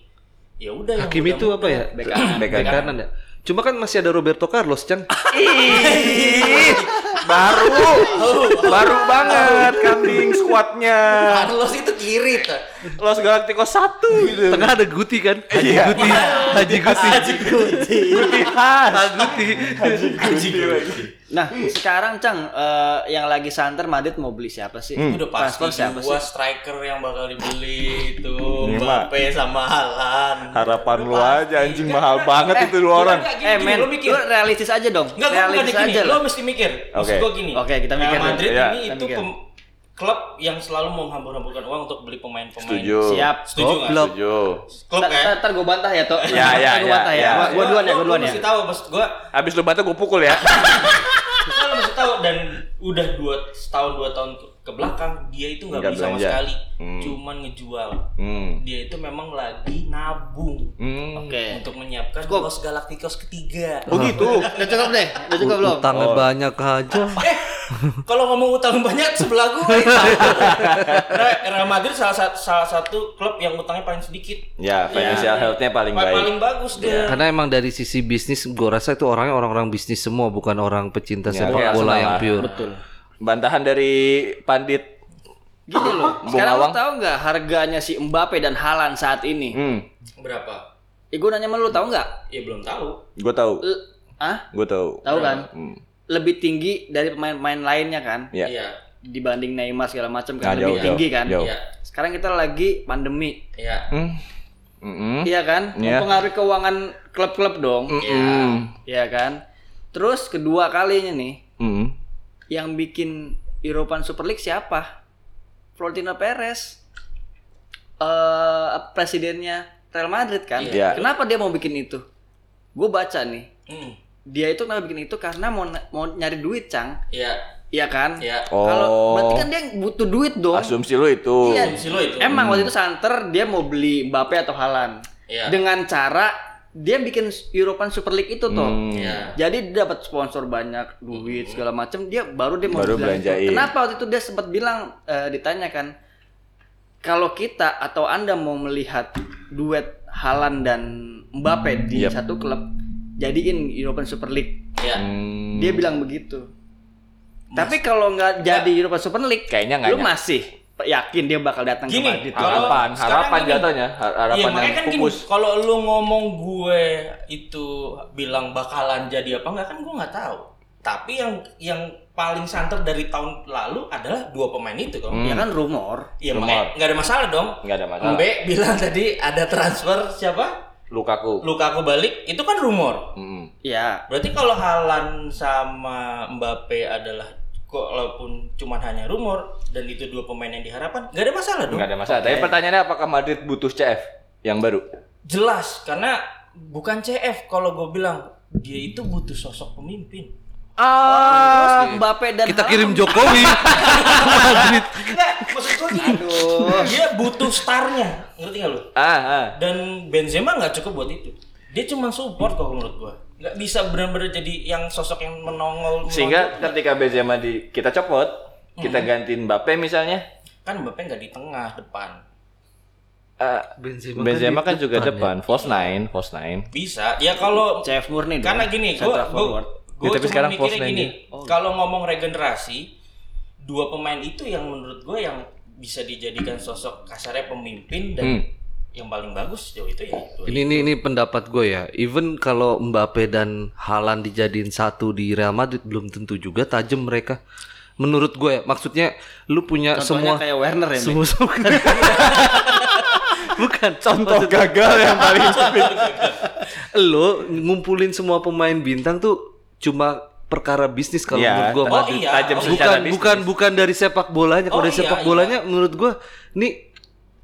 [SPEAKER 2] Ya udah yang
[SPEAKER 3] Hakimi itu
[SPEAKER 2] muda-muda.
[SPEAKER 3] apa ya?
[SPEAKER 2] Bek kanan.
[SPEAKER 5] Bek
[SPEAKER 3] Bek kanan ya. Cuma kan masih ada Roberto Carlos, Cang.
[SPEAKER 5] baru baru banget kambing squadnya.
[SPEAKER 2] Carlos itu kiri tuh.
[SPEAKER 5] Los Galacticos 1 gitu.
[SPEAKER 3] Tengah ada Guti kan? Haji Guti. Haji Guti. Haji Guti. Guti.
[SPEAKER 4] nah sekarang Cang eh, yang lagi santer Madrid mau beli siapa sih
[SPEAKER 5] Hmm.
[SPEAKER 2] Udah pasti
[SPEAKER 4] transfer siapa sih
[SPEAKER 2] dua striker yang bakal dibeli itu
[SPEAKER 5] Ini mah-
[SPEAKER 2] Mbappe sama Haaland.
[SPEAKER 5] Harapan lu aja anjing
[SPEAKER 2] Enggak,
[SPEAKER 5] mahal
[SPEAKER 2] enggak.
[SPEAKER 5] banget itu dua
[SPEAKER 2] Enggak,
[SPEAKER 5] orang.
[SPEAKER 2] enggak, gini,
[SPEAKER 4] eh
[SPEAKER 2] gini,
[SPEAKER 4] men
[SPEAKER 2] lu mikir.
[SPEAKER 4] lu realistis aja dong
[SPEAKER 2] Enggak, gue bukan
[SPEAKER 4] realistis
[SPEAKER 2] gini.
[SPEAKER 4] aja
[SPEAKER 2] Lo
[SPEAKER 4] lah
[SPEAKER 2] mesti mikir. Maksud
[SPEAKER 5] Oke.
[SPEAKER 2] gue gini.
[SPEAKER 4] Oke, kita
[SPEAKER 2] Real
[SPEAKER 4] mikir dulu.
[SPEAKER 2] Madrid
[SPEAKER 5] Ya,
[SPEAKER 2] ini
[SPEAKER 4] kita
[SPEAKER 2] itu
[SPEAKER 4] mikir.
[SPEAKER 2] pem- klub yang selalu menghambur-hamburkan uang untuk beli pemain-pemain.
[SPEAKER 5] Setuju.
[SPEAKER 4] siap
[SPEAKER 2] Setuju nggak?
[SPEAKER 3] Goblok.
[SPEAKER 5] Setuju.
[SPEAKER 2] Klub
[SPEAKER 4] Ntar- ntar
[SPEAKER 2] ya.
[SPEAKER 4] ntar gue bantah ya toh
[SPEAKER 5] Ya, ya,
[SPEAKER 4] Ntar gua
[SPEAKER 5] ya,
[SPEAKER 4] bantah ya
[SPEAKER 5] ya.
[SPEAKER 4] Gua- gua duluan ya
[SPEAKER 2] Lu-
[SPEAKER 4] gua duluan
[SPEAKER 2] lu
[SPEAKER 4] ya
[SPEAKER 2] Mesti tahu maksud gue.
[SPEAKER 5] Abis lu batu gue pukul ya.
[SPEAKER 2] Lu mesti tahu dan udah dua setahun dua tahun ke- ke belakang dia itu nggak
[SPEAKER 5] Nggak
[SPEAKER 2] beli sama
[SPEAKER 5] belanja.
[SPEAKER 2] sekali.
[SPEAKER 5] Hmm.
[SPEAKER 2] Cuman ngejual.
[SPEAKER 5] Hmm.
[SPEAKER 2] Dia itu memang lagi nabung
[SPEAKER 5] Hmm.
[SPEAKER 4] oke
[SPEAKER 2] untuk menyiapkan
[SPEAKER 4] Cukup.
[SPEAKER 2] Los Galacticos ketiga.
[SPEAKER 5] Begitu.
[SPEAKER 4] udah cukup deh udah cukup belum
[SPEAKER 3] Utangnya banyak aja.
[SPEAKER 2] Eh, kalau ngomong utang banyak sebelah gue. Nah, Real Madrid salah satu salah satu klub yang utangnya paling sedikit.
[SPEAKER 5] Ya, financial health-nya paling
[SPEAKER 2] Pa-
[SPEAKER 5] baik. Iya.
[SPEAKER 2] Paling bagus dia.
[SPEAKER 3] Karena emang dari sisi bisnis, gue rasa itu orangnya orang-orang bisnis semua, bukan orang pecinta
[SPEAKER 5] Ya,
[SPEAKER 3] sepak
[SPEAKER 5] kayak
[SPEAKER 3] bola
[SPEAKER 5] Arsenal
[SPEAKER 3] yang
[SPEAKER 5] lah.
[SPEAKER 3] pure.
[SPEAKER 5] Bantahan dari pandit.
[SPEAKER 4] gini Gitu loh
[SPEAKER 5] Bung
[SPEAKER 4] sekarang lu
[SPEAKER 5] Awang.
[SPEAKER 4] tahu nggak harganya si Mbappe dan Haaland saat ini
[SPEAKER 5] Hmm.
[SPEAKER 2] Berapa?
[SPEAKER 4] Eh, gue nanya sama lu tahu nggak
[SPEAKER 2] Ya belum tahu.
[SPEAKER 5] Gue tahu.
[SPEAKER 4] L- ah
[SPEAKER 5] Gue tahu.
[SPEAKER 4] tahu kan
[SPEAKER 5] Hmm.
[SPEAKER 4] lebih tinggi dari pemain-pemain lainnya kan
[SPEAKER 5] Ya.
[SPEAKER 2] Iya.
[SPEAKER 4] dibanding Neymar segala macam
[SPEAKER 5] Nah,
[SPEAKER 4] kan lebih
[SPEAKER 5] jauh,
[SPEAKER 4] tinggi
[SPEAKER 5] jauh,
[SPEAKER 4] kan
[SPEAKER 5] jauh.
[SPEAKER 2] Iya.
[SPEAKER 4] sekarang kita lagi pandemi
[SPEAKER 2] Iya.
[SPEAKER 5] Hmm. Mm-mm.
[SPEAKER 4] iya kan
[SPEAKER 5] Iya.
[SPEAKER 4] mempengaruhi keuangan klub-klub dong
[SPEAKER 5] Mm.
[SPEAKER 4] iya kan terus kedua kalinya nih
[SPEAKER 5] Mm.
[SPEAKER 4] yang bikin European Super League siapa Florentino Perez eh presidennya Real Madrid kan.
[SPEAKER 5] Iya.
[SPEAKER 4] Kenapa dia mau bikin itu? Gue baca nih.
[SPEAKER 2] Hmm.
[SPEAKER 4] Dia itu kenapa bikin itu karena mau mau nyari duit, Cang.
[SPEAKER 2] Iya,
[SPEAKER 4] Iya kan?
[SPEAKER 2] iya.
[SPEAKER 4] Kalau berarti
[SPEAKER 5] Oh.
[SPEAKER 4] kan dia butuh duit dong.
[SPEAKER 5] Asumsi lu itu.
[SPEAKER 4] Iya.
[SPEAKER 2] Asumsi lo itu.
[SPEAKER 4] Emang
[SPEAKER 5] Hmm.
[SPEAKER 4] waktu itu santer dia mau beli Mbappe atau Halan.
[SPEAKER 2] Iya.
[SPEAKER 4] Dengan cara dia bikin European Super League itu toh.
[SPEAKER 5] Hmm.
[SPEAKER 2] Iya.
[SPEAKER 4] Jadi dia dapat sponsor banyak, duit segala macam. Dia baru dia mau
[SPEAKER 5] Baru
[SPEAKER 4] bilang itu.
[SPEAKER 5] belanjain.
[SPEAKER 4] Kenapa waktu itu dia sempat bilang eh, ditanyakan kalau kita atau anda mau melihat duet Halan dan Mbappe di
[SPEAKER 5] Hmm. Yap.
[SPEAKER 4] satu klub, jadiin European Super League.
[SPEAKER 2] Iya.
[SPEAKER 5] Hmm.
[SPEAKER 4] Dia bilang begitu. Tapi kalau nggak jadi European Super League,
[SPEAKER 5] Kayaknya nggak
[SPEAKER 4] lu
[SPEAKER 5] nya-
[SPEAKER 4] masih yakin dia bakal datang
[SPEAKER 2] Gini,
[SPEAKER 4] ke Madrid?
[SPEAKER 2] kalau
[SPEAKER 5] harapan,
[SPEAKER 2] sekarang
[SPEAKER 5] harapan
[SPEAKER 2] gini.
[SPEAKER 5] jatuhnya, har- harapan
[SPEAKER 2] Iya makanya
[SPEAKER 5] yang
[SPEAKER 2] kan gini,
[SPEAKER 5] pupus.
[SPEAKER 2] kalau lu ngomong gue itu bilang bakalan jadi apa enggak kan gue nggak tahu. Tapi yang yang paling santer dari tahun lalu adalah dua pemain itu kan.
[SPEAKER 3] Hmm.
[SPEAKER 4] Ya kan rumor.
[SPEAKER 2] Iya
[SPEAKER 5] Rumor.
[SPEAKER 2] makanya nggak ada masalah dong.
[SPEAKER 5] Nggak Iya, ada masalah.
[SPEAKER 2] Mbe bilang tadi ada transfer siapa?
[SPEAKER 5] Lukaku.
[SPEAKER 2] Lukaku balik, itu kan rumor.
[SPEAKER 5] Hmm.
[SPEAKER 4] Ya,
[SPEAKER 2] Berarti kalau Halan sama Mbappe adalah walaupun cuman hanya rumor dan itu dua pemain yang diharapkan, nggak ada masalah dong.
[SPEAKER 5] Nggak ada masalah. Tapi pertanyaannya apakah Madrid butuh CF yang baru?
[SPEAKER 2] Jelas karena bukan CF kalau gue bilang dia itu butuh sosok pemimpin.
[SPEAKER 4] Ah, Mbappe dan
[SPEAKER 3] Kita kirim Jokowi. Madrid.
[SPEAKER 2] Enggak, maksud gue gini. Dia butuh starnya, ngerti nggak lu?
[SPEAKER 5] Ah, ah.
[SPEAKER 2] Dan Benzema nggak cukup buat itu. Dia cuma support kok menurut gue. Nggak bisa benar-benar jadi yang sosok yang menongol. menonjol.
[SPEAKER 5] Sehingga ketika Benzema di kita copot, kita gantiin Mbappe misalnya,
[SPEAKER 2] kan Mbappe nggak di tengah depan.
[SPEAKER 5] eh,
[SPEAKER 3] Benzema,
[SPEAKER 5] Benzema kan
[SPEAKER 3] di
[SPEAKER 5] juga
[SPEAKER 3] ya.
[SPEAKER 5] depan, false nine, false nine.
[SPEAKER 2] Bisa. Ya kalau
[SPEAKER 4] CF murni dong.
[SPEAKER 2] karena gini
[SPEAKER 4] Central
[SPEAKER 2] gua gua,
[SPEAKER 4] Iya. forward.
[SPEAKER 2] gua
[SPEAKER 5] Ya, tapi
[SPEAKER 2] cuma
[SPEAKER 5] sekarang
[SPEAKER 2] mikirnya
[SPEAKER 5] Fosnan
[SPEAKER 2] gini
[SPEAKER 5] dia.
[SPEAKER 2] kalau ngomong regenerasi dua pemain itu yang menurut gue yang bisa dijadikan sosok kasarnya pemimpin dan
[SPEAKER 5] Hmm.
[SPEAKER 2] yang paling bagus jauh itu ya itu
[SPEAKER 3] Ini ini ini pendapat gue ya. Even kalau Mbappe dan Haaland dijadiin satu di Real Madrid belum tentu juga tajam mereka. Menurut gue ya, maksudnya lu punya semua
[SPEAKER 4] Contohnya kayak Werner ya.
[SPEAKER 3] semua semua- bukan
[SPEAKER 5] Contoh gagal yang paling
[SPEAKER 3] lo ngumpulin semua pemain bintang tuh cuma perkara bisnis kalau
[SPEAKER 5] Iya,
[SPEAKER 3] menurut gua
[SPEAKER 5] ta-
[SPEAKER 2] Oh,
[SPEAKER 3] Madrid.
[SPEAKER 2] iya.
[SPEAKER 5] tajam
[SPEAKER 2] Oh,
[SPEAKER 5] secara
[SPEAKER 3] bukan
[SPEAKER 5] bisnis.
[SPEAKER 3] bukan bukan dari sepak bolanya kalau
[SPEAKER 2] Oh,
[SPEAKER 3] dari
[SPEAKER 2] iya,
[SPEAKER 3] sepak
[SPEAKER 2] iya.
[SPEAKER 3] bolanya menurut gua nih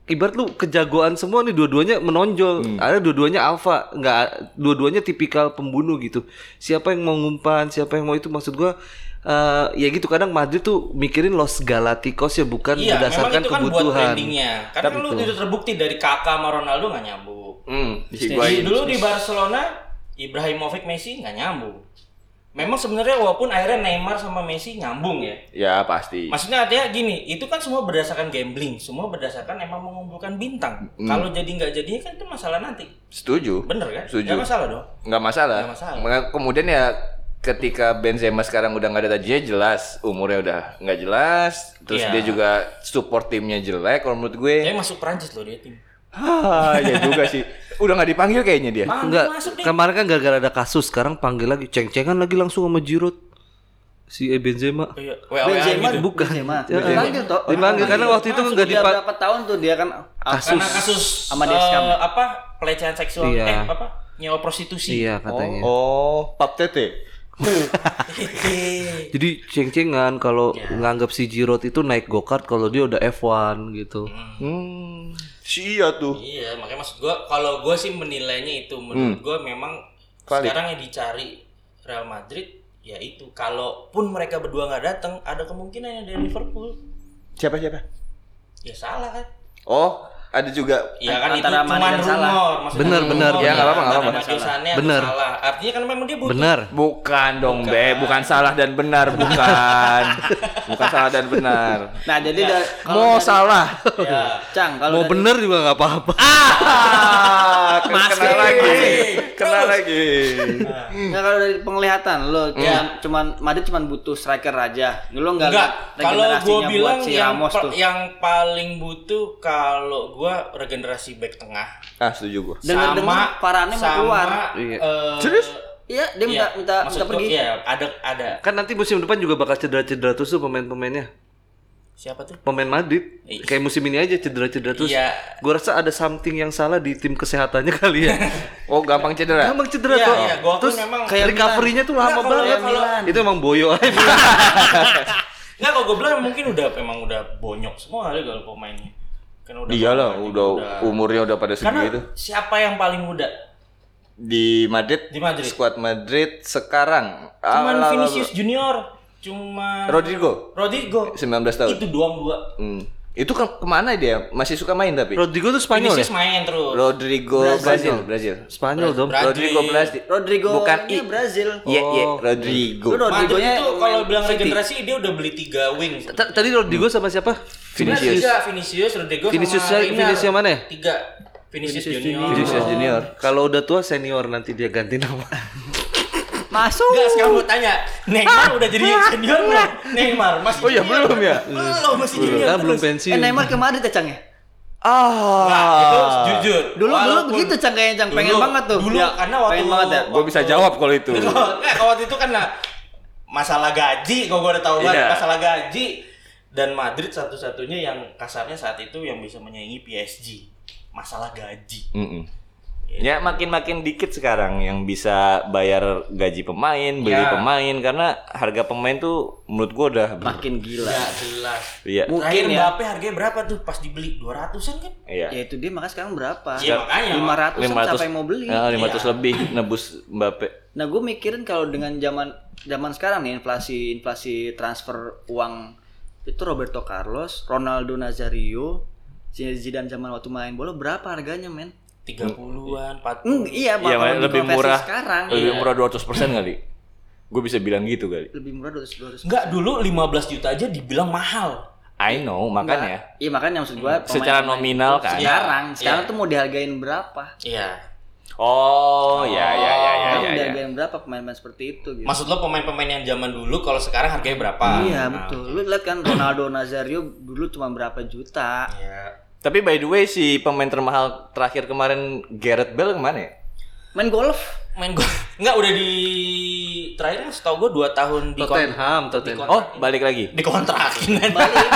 [SPEAKER 3] ibarat lu kejagoan semua nih dua-duanya menonjol
[SPEAKER 2] Hmm.
[SPEAKER 3] ada dua-duanya alfa nggak dua-duanya tipikal pembunuh gitu siapa yang mau ngumpan siapa yang mau itu maksud gua eh, ya gitu kadang Madrid tuh mikirin Los Galaticos ya bukan
[SPEAKER 2] iya memang
[SPEAKER 3] berdasarkan
[SPEAKER 2] itu kan buat
[SPEAKER 3] kebutuhan
[SPEAKER 2] brandingnya karena kan lu udah terbukti dari kakak sama Ronaldo nggak nyambung
[SPEAKER 5] Hmm,
[SPEAKER 2] Di- Iya,
[SPEAKER 5] dihiguain.
[SPEAKER 2] dulu di Barcelona Ibrahimovic Messi nggak nyambung memang sebenarnya walaupun akhirnya Neymar sama Messi nyambung ya
[SPEAKER 5] Ya pasti.
[SPEAKER 2] Maksudnya artinya gini, itu kan semua berdasarkan gambling, semua berdasarkan emang mengumpulkan bintang. Kalau jadi nggak jadinya kan itu masalah nanti,
[SPEAKER 5] Setuju.
[SPEAKER 2] bener kan?
[SPEAKER 5] Setuju.
[SPEAKER 2] Nggak masalah dong.
[SPEAKER 5] nggak masalah.
[SPEAKER 2] Nggak masalah.
[SPEAKER 5] Maka Kemudian ya ketika Benzema sekarang udah nggak ada tajinya jelas umurnya udah nggak jelas terus
[SPEAKER 2] Iya.
[SPEAKER 5] dia juga support timnya jelek kalau menurut gue
[SPEAKER 2] Tapi masuk Prancis loh dia tim.
[SPEAKER 5] Hah, ya juga sih udah nggak dipanggil kayaknya dia
[SPEAKER 2] Mang,
[SPEAKER 3] Enggak,
[SPEAKER 2] Ah, masuk deh.
[SPEAKER 3] kemarin kan gara-gara ada kasus, sekarang panggil lagi ceng-cengan lagi langsung sama Giroud. Si eh, Benzema.
[SPEAKER 2] Iya,
[SPEAKER 4] Benzema
[SPEAKER 2] WA gitu.
[SPEAKER 3] Bukan.
[SPEAKER 4] Benzema.
[SPEAKER 3] Ya,
[SPEAKER 4] Dipanggil toh. orang
[SPEAKER 3] Dipanggil karena waktu itu
[SPEAKER 4] Masuk
[SPEAKER 3] enggak
[SPEAKER 4] dia
[SPEAKER 3] dipanggil.
[SPEAKER 4] berapa tahun tuh dia kan
[SPEAKER 3] Kasus.
[SPEAKER 2] Karena kasus
[SPEAKER 4] Sama
[SPEAKER 2] eh,
[SPEAKER 4] Deskam.
[SPEAKER 2] apa pelecehan seksual
[SPEAKER 3] Iya.
[SPEAKER 2] eh apa nyawa prostitusi.
[SPEAKER 3] Iya katanya.
[SPEAKER 5] oh pap tete
[SPEAKER 2] Hehehe.
[SPEAKER 3] Jadi ceng-cengan kalau
[SPEAKER 2] Ya.
[SPEAKER 3] nganggap si Giroud itu naik go-kart kalau dia udah F1 gitu.
[SPEAKER 5] hmm si iya tuh
[SPEAKER 2] iya, makanya maksud gua kalau gua sih menilainya itu menurut
[SPEAKER 3] Hmm.
[SPEAKER 2] gua memang
[SPEAKER 5] Valid.
[SPEAKER 2] sekarang yang dicari Real Madrid ya itu kalaupun mereka berdua nggak datang ada kemungkinan yang dari Liverpool
[SPEAKER 5] siapa siapa
[SPEAKER 2] ya salah kan
[SPEAKER 5] oh ada juga
[SPEAKER 2] Ya kan
[SPEAKER 4] Antara Mane
[SPEAKER 2] itu cuma
[SPEAKER 4] dan
[SPEAKER 2] rumor,
[SPEAKER 4] Salah.
[SPEAKER 2] maksudnya
[SPEAKER 3] Bener,
[SPEAKER 2] rumor.
[SPEAKER 3] bener. Ya,
[SPEAKER 5] nggak apa-apa, nggak
[SPEAKER 2] Antara
[SPEAKER 5] apa-apa.
[SPEAKER 2] Matteo Sane atau
[SPEAKER 3] Bener.
[SPEAKER 2] Salah. Artinya kan memang dia butuh.
[SPEAKER 3] Bener.
[SPEAKER 5] bukan dong be bukan salah dan benar bukan bukan salah dan benar
[SPEAKER 4] Nah, jadi da- kalau
[SPEAKER 5] mau
[SPEAKER 4] dari-
[SPEAKER 5] salah
[SPEAKER 4] Ya. Cang,
[SPEAKER 3] Ya.
[SPEAKER 4] kalau
[SPEAKER 3] Mau
[SPEAKER 4] dari-
[SPEAKER 3] bener juga nggak apa-apa.
[SPEAKER 5] ah kena, kena lagi kena lagi
[SPEAKER 4] Nah, kalau dari penglihatan lo
[SPEAKER 3] Hmm.
[SPEAKER 4] cuman, cuman Madrid cuman butuh striker aja. Lo enggak
[SPEAKER 2] Enggak, kalau gue
[SPEAKER 4] regenerasinya buat
[SPEAKER 2] bilang
[SPEAKER 4] si
[SPEAKER 2] yang,
[SPEAKER 4] Ramos
[SPEAKER 2] per- ya,
[SPEAKER 4] tuh.
[SPEAKER 2] yang paling butuh kalau gue regenerasi back tengah
[SPEAKER 5] ah setuju gue
[SPEAKER 4] Dengar-dengar
[SPEAKER 2] sama
[SPEAKER 4] Varane mau
[SPEAKER 2] sama,
[SPEAKER 4] keluar.
[SPEAKER 3] Iya.
[SPEAKER 2] eh,
[SPEAKER 5] Serius?
[SPEAKER 4] Iya, dia minta
[SPEAKER 2] iya,
[SPEAKER 4] minta
[SPEAKER 2] maksud
[SPEAKER 4] minta
[SPEAKER 2] gua,
[SPEAKER 4] pergi.
[SPEAKER 2] Iya, ada ada
[SPEAKER 3] Kan nanti musim depan juga bakal cedera-cedera terus tuh pemain-pemainnya.
[SPEAKER 2] siapa tuh?
[SPEAKER 3] Pemain Madrid
[SPEAKER 2] Iya.
[SPEAKER 3] kayak musim ini aja cedera-cedera terus.
[SPEAKER 2] Iya.
[SPEAKER 3] Gue rasa ada something yang salah di tim kesehatannya kali ya.
[SPEAKER 5] oh gampang cedera
[SPEAKER 3] Emang cedera
[SPEAKER 2] Iya,
[SPEAKER 3] kok.
[SPEAKER 2] iya, gua akui
[SPEAKER 3] Terus
[SPEAKER 2] memang.
[SPEAKER 3] kayak recovery-nya tuh lama
[SPEAKER 2] Enggak, kalau Iya.
[SPEAKER 3] banget.
[SPEAKER 2] yang Milan.
[SPEAKER 3] Itu emang boyo aja.
[SPEAKER 2] Enggak, kalau gue bilang mungkin udah emang udah bonyok semua kali kalau pemainnya. Kan
[SPEAKER 5] Iyalah, udah gitu. umurnya udah pada
[SPEAKER 2] Karena
[SPEAKER 5] segitu.
[SPEAKER 2] siapa yang paling muda?
[SPEAKER 5] Di Madrid,
[SPEAKER 2] Di Madrid.
[SPEAKER 5] squad Madrid sekarang
[SPEAKER 2] Cuman
[SPEAKER 5] ala- ala-
[SPEAKER 2] Vinicius Junior, cuma
[SPEAKER 5] Rodrigo
[SPEAKER 2] Rodrigo.
[SPEAKER 5] 19 tahun.
[SPEAKER 2] Itu doang gua.
[SPEAKER 5] Hmm. Itu ke- kemana dia? Masih suka main tapi.
[SPEAKER 3] Rodrigo tuh Spanyol ya?
[SPEAKER 2] Vinicius main terus.
[SPEAKER 5] Rodrigo Brazil, Brazil.
[SPEAKER 3] Spanyol dong.
[SPEAKER 2] Brazil.
[SPEAKER 5] Rodrigo Brazil.
[SPEAKER 4] Rodrigo
[SPEAKER 5] bukan I.
[SPEAKER 4] ini Brazil.
[SPEAKER 5] Iya, iya,
[SPEAKER 3] Oh.
[SPEAKER 5] Rodrigo.
[SPEAKER 4] Lu Rodrigo.
[SPEAKER 2] Madrid
[SPEAKER 4] Rodrigonya
[SPEAKER 2] itu kalau
[SPEAKER 4] main
[SPEAKER 2] bilang
[SPEAKER 4] City.
[SPEAKER 2] regenerasi dia udah beli tiga wing.
[SPEAKER 3] Ta- Tadi Rodrigo sama siapa?
[SPEAKER 5] Vinicius.
[SPEAKER 2] Tiga Vinicius, Rodrigo
[SPEAKER 3] Vinicius
[SPEAKER 2] sama
[SPEAKER 3] yang-
[SPEAKER 2] Reina.
[SPEAKER 3] Vinicius yang mana ya?
[SPEAKER 2] Tiga. Vinicius, Junior.
[SPEAKER 5] Vinicius Junior.
[SPEAKER 3] Kalau udah tua senior nanti dia ganti nama.
[SPEAKER 4] Masuk.
[SPEAKER 2] Enggak, sekarang mau tanya. Neymar udah jadi senior belum? Neymar masih
[SPEAKER 5] Oh iya,
[SPEAKER 2] junior.
[SPEAKER 5] belum ya?
[SPEAKER 2] Belum, masih junior.
[SPEAKER 3] Kan belum
[SPEAKER 2] terus.
[SPEAKER 4] Eh
[SPEAKER 3] pensiun.
[SPEAKER 4] Neymar ke Madrid ya Cang ya?
[SPEAKER 5] Ah.
[SPEAKER 2] Nah, itu jujur.
[SPEAKER 4] Dulu dulu
[SPEAKER 2] Walaupun-
[SPEAKER 4] begitu Cang kayaknya Cang pengen
[SPEAKER 2] Dulu-
[SPEAKER 4] banget tuh.
[SPEAKER 2] Dulu
[SPEAKER 4] Ya,
[SPEAKER 2] karena waktu
[SPEAKER 4] pengen banget ya.
[SPEAKER 5] Gue bisa jawab kalau itu.
[SPEAKER 4] Gitu.
[SPEAKER 2] Nggak, kalau waktu itu kan nah, masalah gaji, kalau gue udah tahu banget
[SPEAKER 5] Iya.
[SPEAKER 2] masalah gaji dan Madrid satu-satunya yang kasarnya saat itu yang bisa menyaingi PSG masalah gaji.
[SPEAKER 5] Mm-mm. Ya makin-makin dikit sekarang yang bisa bayar gaji pemain, beli
[SPEAKER 2] Ya.
[SPEAKER 5] pemain karena harga pemain tuh menurut gua udah
[SPEAKER 4] Makin gila.
[SPEAKER 2] Ya jelas.
[SPEAKER 5] Iya.
[SPEAKER 4] Mungkin
[SPEAKER 2] Terakhir
[SPEAKER 4] ya.
[SPEAKER 2] Mbappe harganya berapa tuh pas dibeli 200-an kan?
[SPEAKER 5] Iya.
[SPEAKER 4] Ya itu dia makanya sekarang berapa?
[SPEAKER 2] Iya, makanya.
[SPEAKER 4] 500 siapa yang mau beli?
[SPEAKER 5] Eh, 500
[SPEAKER 2] Iya.
[SPEAKER 5] lebih nebus Mbappe.
[SPEAKER 4] Nah, gue mikirin kalau dengan zaman zaman sekarang nih inflasi inflasi transfer uang itu Roberto Carlos, Ronaldo Nazario, Zidane zaman waktu main bola berapa harganya, men?
[SPEAKER 2] 30-an, 40
[SPEAKER 4] Hmm, iya,
[SPEAKER 5] Iya,
[SPEAKER 4] bakal
[SPEAKER 5] lebih
[SPEAKER 4] dikonversi
[SPEAKER 5] murah.
[SPEAKER 4] sekarang. Iya.
[SPEAKER 5] Lebih murah 200% kali. Gue bisa bilang gitu kali.
[SPEAKER 4] Lebih murah 200 200.
[SPEAKER 2] Enggak, dulu 15 juta aja dibilang mahal.
[SPEAKER 5] I know, makanya
[SPEAKER 4] Iya, makanya maksud gue
[SPEAKER 5] ya. secara nominal kan.
[SPEAKER 4] sekarang, sekarang
[SPEAKER 2] Iya.
[SPEAKER 4] tuh mau dihargain berapa?
[SPEAKER 2] Iya.
[SPEAKER 5] Oh, ya ya ya ya
[SPEAKER 4] Sekarang
[SPEAKER 5] ya.
[SPEAKER 4] mau
[SPEAKER 5] ya.
[SPEAKER 4] dihargain berapa pemain-pemain seperti itu gitu.
[SPEAKER 2] Maksud lo pemain-pemain yang zaman dulu kalau sekarang harganya berapa?
[SPEAKER 4] iya,
[SPEAKER 2] Nah,
[SPEAKER 4] betul. Lu lihat kan Ronaldo Nazario dulu cuma berapa juta?
[SPEAKER 2] Iya.
[SPEAKER 5] Tapi by the way si pemain termahal terakhir kemarin Gareth Bale kemana ya?
[SPEAKER 4] Main golf.
[SPEAKER 2] Main gue enggak udah di terakhir kan setahu gue 2 tahun di
[SPEAKER 3] Tottenham, Tottenham.
[SPEAKER 5] Oh, balik lagi.
[SPEAKER 2] di kontrakin
[SPEAKER 4] balik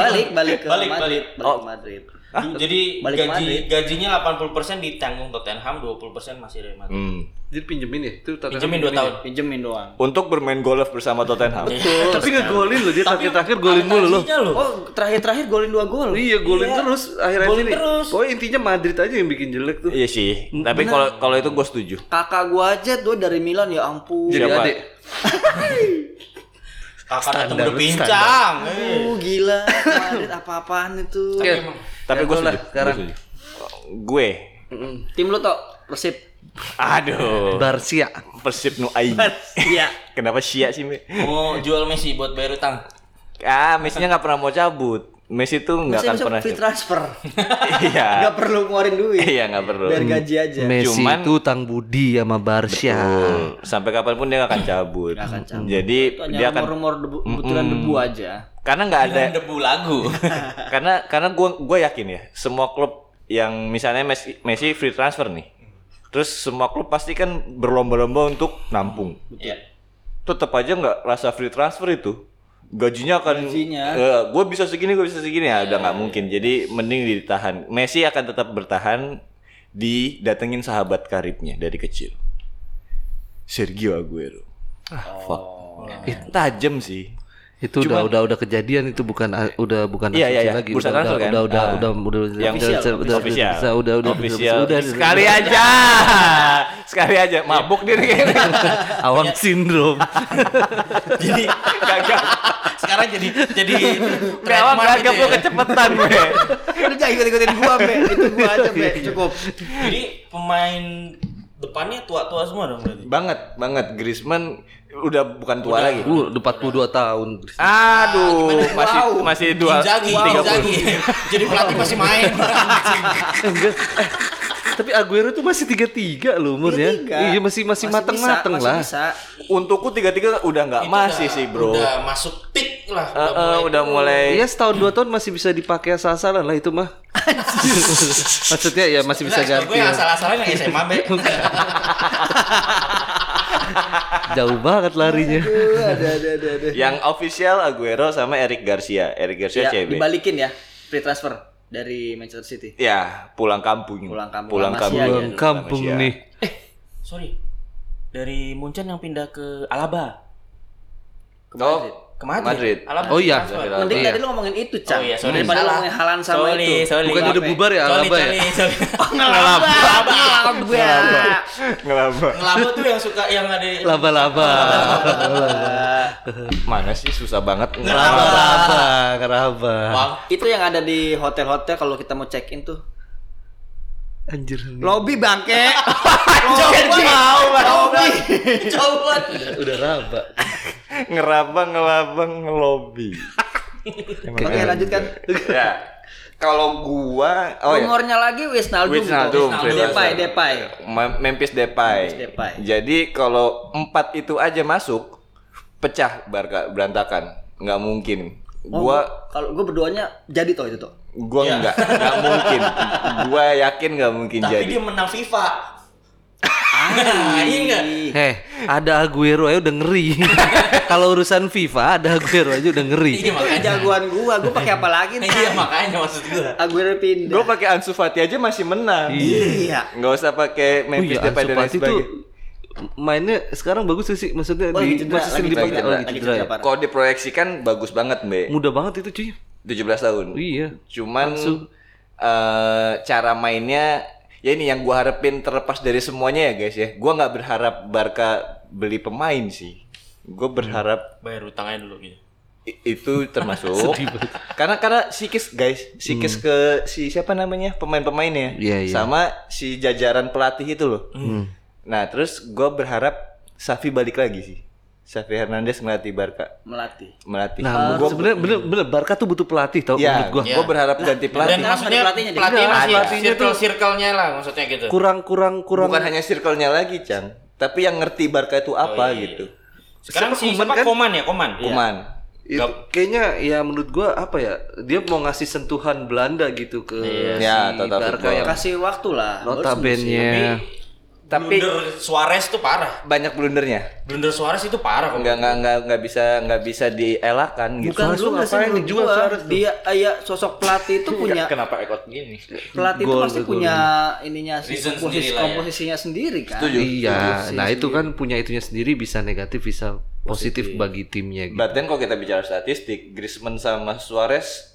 [SPEAKER 4] balik balik ke
[SPEAKER 2] Balik,
[SPEAKER 4] Madrid balik
[SPEAKER 2] balik. Ah.
[SPEAKER 4] ke Madrid
[SPEAKER 2] Jadi
[SPEAKER 4] Balik ke
[SPEAKER 2] gaji
[SPEAKER 4] Madrid.
[SPEAKER 2] gajinya 80% ditanggung Tottenham, 20% masih dari Madrid.
[SPEAKER 5] Hmm.
[SPEAKER 3] Jadi pinjemin ya? Itu Tottenham
[SPEAKER 2] Pinjemin 2 tahun.
[SPEAKER 4] pinjemin doang
[SPEAKER 5] Untuk bermain golf bersama Tottenham.
[SPEAKER 3] Tapi ngegolin loh dia terakhir-terakhir golin mulu loh.
[SPEAKER 2] Gajinya lo.
[SPEAKER 4] oh terakhir terakhir golin dua gol
[SPEAKER 3] Iya, golin
[SPEAKER 2] Iya.
[SPEAKER 3] terus akhirnya
[SPEAKER 2] Golin
[SPEAKER 3] ini.
[SPEAKER 2] terus.
[SPEAKER 3] Pokoknya intinya Madrid aja yang bikin jelek tuh.
[SPEAKER 5] Iya sih. Tapi kalau kalau itu gue setuju.
[SPEAKER 4] kakak gua aja tuh dari Milan ya ampun
[SPEAKER 3] Jadi
[SPEAKER 5] Siapa?
[SPEAKER 3] adik.
[SPEAKER 2] Kakak datang berbincang.
[SPEAKER 4] Aduh, gila Madrid apa apaan itu
[SPEAKER 2] Eh,
[SPEAKER 3] Oke.
[SPEAKER 5] Tapi gue
[SPEAKER 3] Jadwal lah
[SPEAKER 5] setuju.
[SPEAKER 3] sekarang.
[SPEAKER 5] Gua setuju. Gue.
[SPEAKER 4] tim lu toh persib
[SPEAKER 5] Aduh.
[SPEAKER 3] Barcia.
[SPEAKER 5] Persib nu aing.
[SPEAKER 4] iya
[SPEAKER 5] Kenapa sia sih? Mi?
[SPEAKER 2] Mau jual Messi buat bayar utang.
[SPEAKER 5] Ah, Messi-nya nggak pernah mau cabut. Messi tuh nggak
[SPEAKER 4] nggak
[SPEAKER 5] akan
[SPEAKER 4] bisa
[SPEAKER 5] pernah.
[SPEAKER 4] free
[SPEAKER 5] cabut.
[SPEAKER 4] transfer
[SPEAKER 5] Iya.
[SPEAKER 4] nggak perlu ngeluarin duit
[SPEAKER 5] Iya nggak perlu.
[SPEAKER 4] biar gaji aja
[SPEAKER 3] Messi
[SPEAKER 5] Cuman-
[SPEAKER 3] itu utang budi sama Barca.
[SPEAKER 5] Betul. Hmm. Sampai kapanpun dia nggak akan cabut. Jadi
[SPEAKER 4] itu
[SPEAKER 5] dia
[SPEAKER 4] hanya
[SPEAKER 5] akan
[SPEAKER 4] rumor-rumor debu, butiran debu aja
[SPEAKER 5] karena nggak ada
[SPEAKER 2] Dengan debu lagu.
[SPEAKER 5] karena karena gue gue yakin ya semua klub yang misalnya Messi, Messi free transfer nih terus semua klub pasti kan berlomba-lomba untuk nampung
[SPEAKER 2] Iya.
[SPEAKER 5] tetap aja nggak rasa free transfer itu gajinya akan
[SPEAKER 4] Gajinya.
[SPEAKER 5] gue bisa segini gue bisa segini
[SPEAKER 3] Iya,
[SPEAKER 5] ya udah nggak mungkin jadi mending ditahan Messi akan tetap bertahan didatengin sahabat karibnya dari kecil Sergio Aguero ah
[SPEAKER 3] Oh.
[SPEAKER 5] fuck Eh, tajam sih
[SPEAKER 3] Itu udah udah udah kejadian itu bukan udah bukan
[SPEAKER 5] Iya, iya,
[SPEAKER 3] asumsi
[SPEAKER 5] iya.
[SPEAKER 3] lagi.
[SPEAKER 5] Bursa
[SPEAKER 3] udah,
[SPEAKER 5] transfer,
[SPEAKER 3] udah,
[SPEAKER 5] kan?
[SPEAKER 3] udah, udah,
[SPEAKER 5] Ah.
[SPEAKER 3] udah, udah,
[SPEAKER 5] yang
[SPEAKER 3] udah, udah, udah,
[SPEAKER 5] official
[SPEAKER 3] udah, udah, udah,
[SPEAKER 5] official
[SPEAKER 3] udah, udah,
[SPEAKER 5] sekali aja sekali aja mabuk dia nih kayaknya
[SPEAKER 3] Awang sindrom.
[SPEAKER 2] jadi
[SPEAKER 5] gagap
[SPEAKER 2] sekarang jadi jadi
[SPEAKER 5] Gawang
[SPEAKER 2] trademark
[SPEAKER 5] gagap
[SPEAKER 2] gitu
[SPEAKER 5] lu kan.
[SPEAKER 2] ya.
[SPEAKER 5] kecepetan gue
[SPEAKER 4] udah jangan ikut-ikutin gua be itu gua aja be cukup
[SPEAKER 2] Jadi pemain depannya tua-tua semua dong berarti.
[SPEAKER 5] banget banget Griezmann udah bukan tua lagi
[SPEAKER 3] Uh, udah 42 tahun.
[SPEAKER 2] Ah,
[SPEAKER 5] aduh masih masih dua
[SPEAKER 2] Inzaghi,
[SPEAKER 5] tiga puluh
[SPEAKER 2] Inzaghi. Jadi pelatih masih main.
[SPEAKER 3] Enggak. Eh, tapi Aguero tuh masih 33 loh umurnya. Iya, masih masih mateng-mateng
[SPEAKER 4] bisa,
[SPEAKER 3] lah.
[SPEAKER 4] masih bisa.
[SPEAKER 5] untukku tiga tiga udah nggak
[SPEAKER 2] Itu
[SPEAKER 5] masih
[SPEAKER 2] udah-
[SPEAKER 5] sih bro
[SPEAKER 2] Udah masuk tik lah.
[SPEAKER 5] Eh, eh, udah mulai
[SPEAKER 3] Iya setahun dua tahun masih bisa dipakai asal-asalan lah itu mah. Maksudnya ya masih bisa ganti.
[SPEAKER 2] Gue yang
[SPEAKER 3] lah.
[SPEAKER 2] asal-asalan yang SMA be.
[SPEAKER 3] Jauh banget larinya.
[SPEAKER 4] Aduh, ada ada ada ada.
[SPEAKER 5] yang official Aguero sama Eric Garcia Eric Garcia
[SPEAKER 4] Ya,
[SPEAKER 5] CB
[SPEAKER 4] dibalikin ya free transfer dari Manchester City.
[SPEAKER 5] ya pulang kampung
[SPEAKER 4] Pulang kampung
[SPEAKER 5] pulang
[SPEAKER 4] sama
[SPEAKER 5] kampung
[SPEAKER 4] Sia
[SPEAKER 3] Pulang kampung
[SPEAKER 5] Sama Sia.
[SPEAKER 3] nih.
[SPEAKER 2] Sorry. Dari Munchen yang pindah ke Alaba.
[SPEAKER 5] oh
[SPEAKER 4] Madrid.
[SPEAKER 2] ke Madrid.
[SPEAKER 5] Madrid.
[SPEAKER 2] Alam-
[SPEAKER 3] Oh iya.
[SPEAKER 2] transfer.
[SPEAKER 5] Alaba,
[SPEAKER 4] Mending
[SPEAKER 3] iya.
[SPEAKER 4] tadi lu ngomongin itu, Cak.
[SPEAKER 2] Oh iya, sorry.
[SPEAKER 4] Daripada lu
[SPEAKER 2] Salah.
[SPEAKER 4] ngomongin halan sama
[SPEAKER 2] Sorry,
[SPEAKER 4] itu.
[SPEAKER 2] sorry.
[SPEAKER 3] Bukannya udah bubar ya
[SPEAKER 2] Sorry,
[SPEAKER 3] Alaba ya?
[SPEAKER 2] sorry, sorry.
[SPEAKER 4] Ngelaba. Ngelaba.
[SPEAKER 5] Ngelaba.
[SPEAKER 2] Ngelaba tuh yang suka yang ada
[SPEAKER 3] Laba-laba.
[SPEAKER 5] Mana sih susah banget ngelaba.
[SPEAKER 3] Laba-laba, keraba.
[SPEAKER 2] Bang.
[SPEAKER 4] Itu yang ada di hotel-hotel kalau kita mau check in tuh.
[SPEAKER 3] Anjir.
[SPEAKER 4] Lobby bangke. Lobby. Lobby.
[SPEAKER 2] Coba.
[SPEAKER 3] Udah raba.
[SPEAKER 5] Ngeraba ngelaba ngelobi. Emang
[SPEAKER 4] Oke,
[SPEAKER 5] ada
[SPEAKER 4] lanjutkan.
[SPEAKER 5] juga. Ya. Kalau gua oh ya.
[SPEAKER 4] Umurnya lagi Wijnaldum.
[SPEAKER 5] Wijnaldum,
[SPEAKER 4] Wijnaldum. Depay,
[SPEAKER 5] Wijnaldum.
[SPEAKER 4] Depay.
[SPEAKER 5] Ma- Memphis Depay.
[SPEAKER 4] Memphis Depay.
[SPEAKER 5] Jadi kalau empat itu aja masuk pecah Barca berantakan. nggak mungkin.
[SPEAKER 4] Oh,
[SPEAKER 5] Gua
[SPEAKER 4] kalau gua Iya. berduanya jadi toh itu toh.
[SPEAKER 5] gua nggak nggak mungkin. Gua yakin nggak mungkin
[SPEAKER 2] Tapi
[SPEAKER 5] jadi.
[SPEAKER 2] dia menang FIFA. Ah, iya enggak?
[SPEAKER 3] Heh, ada Aguero aja udah ngeri. Kalau urusan FIFA ada Aguero aja udah ngeri.
[SPEAKER 2] Iya makanya.
[SPEAKER 4] Jagoan gua, gua pakai apa lagi? Cak?
[SPEAKER 2] Iya makanya maksud gua.
[SPEAKER 4] Aguero pindah.
[SPEAKER 5] Gua pakai Ansu Fati aja masih menang.
[SPEAKER 4] Iya.
[SPEAKER 5] Nggak usah pakai
[SPEAKER 3] Oh
[SPEAKER 5] Memphis
[SPEAKER 3] iya,
[SPEAKER 5] Depay dan lain
[SPEAKER 3] Ansupati tuh
[SPEAKER 5] sebagainya.
[SPEAKER 3] mainnya sekarang bagus sih, maksudnya
[SPEAKER 4] Oh, lagi
[SPEAKER 3] di
[SPEAKER 4] cedera,
[SPEAKER 3] masih sering
[SPEAKER 4] lagi
[SPEAKER 3] dipakai
[SPEAKER 5] cedera,
[SPEAKER 3] oh, lagi
[SPEAKER 4] lagi
[SPEAKER 3] cedera. ya?
[SPEAKER 4] cedera, Pak.
[SPEAKER 5] Kalau diproyeksikan bagus banget, Mbak.
[SPEAKER 3] Muda banget itu cuy.
[SPEAKER 5] 17 tahun.
[SPEAKER 3] Iya.
[SPEAKER 5] Cuman
[SPEAKER 3] Langsung.
[SPEAKER 5] eh, cara mainnya ya ini yang gua harapin terlepas dari semuanya ya guys ya. Gua nggak berharap Barca beli pemain sih. Gue
[SPEAKER 3] Hmm.
[SPEAKER 5] berharap
[SPEAKER 2] Bayar utangnya dulu gitu.
[SPEAKER 5] i- itu termasuk karena karena sikis guys, sikis ke si siapa namanya pemain-pemainnya
[SPEAKER 3] Hmm. Iya, Hmm. iya.
[SPEAKER 5] sama si jajaran pelatih itu loh. Nah terus gua berharap Safi balik lagi sih. Safi Hernandez melatih Barca
[SPEAKER 4] Melatih.
[SPEAKER 5] melatih.
[SPEAKER 3] Nah,
[SPEAKER 5] Gua-
[SPEAKER 3] sebenarnya bener bener Barca tuh butuh pelatih tau
[SPEAKER 5] ya,
[SPEAKER 3] menurut gua.
[SPEAKER 5] gua berharap ganti pelatih.
[SPEAKER 2] Dan maksudnya
[SPEAKER 4] ada pelatihnya
[SPEAKER 2] pelatihnya,
[SPEAKER 4] dia.
[SPEAKER 2] masih
[SPEAKER 5] Ada.
[SPEAKER 2] circle-circle-nya lah maksudnya gitu.
[SPEAKER 3] Kurang kurang kurang
[SPEAKER 5] bukan hanya circle-nya lagi, Cang, tapi yang ngerti Barca itu apa
[SPEAKER 2] iya.
[SPEAKER 5] gitu.
[SPEAKER 2] Sekarang si
[SPEAKER 3] Kuman
[SPEAKER 2] siapa
[SPEAKER 3] kan?
[SPEAKER 2] Koman ya, Koman.
[SPEAKER 5] Kuman.
[SPEAKER 3] Itu
[SPEAKER 2] Gap.
[SPEAKER 3] kayaknya ya menurut gua apa ya dia mau ngasih sentuhan Belanda gitu ke si
[SPEAKER 5] Ya, total
[SPEAKER 3] Barca
[SPEAKER 5] football.
[SPEAKER 3] yang
[SPEAKER 4] Kasih waktu lah.
[SPEAKER 2] Iya.
[SPEAKER 3] notabene
[SPEAKER 5] Tapi-
[SPEAKER 2] blunder Suarez tuh parah.
[SPEAKER 5] Banyak blundernya.
[SPEAKER 2] Blunder Suarez itu parah kok.
[SPEAKER 5] Enggak enggak enggak enggak bisa enggak bisa dielakkan gitu.
[SPEAKER 4] Bukan lu nggak sih menurut
[SPEAKER 5] dijual Iya,
[SPEAKER 4] gua,
[SPEAKER 5] Suarez?
[SPEAKER 4] dia eh, ya sosok pelatih itu punya
[SPEAKER 2] Kenapa ekot gini?
[SPEAKER 4] pelatih itu
[SPEAKER 3] Gol,
[SPEAKER 4] pasti
[SPEAKER 3] gol.
[SPEAKER 4] punya ininya sih
[SPEAKER 2] Reason
[SPEAKER 4] komposisi,
[SPEAKER 2] sendiri lah ya.
[SPEAKER 4] komposisinya sendiri kan.
[SPEAKER 3] Iya, nah itu kan punya itunya sendiri bisa negatif bisa positif, bagi timnya gitu.
[SPEAKER 5] But then kalau kita bicara statistik, Griezmann sama Suarez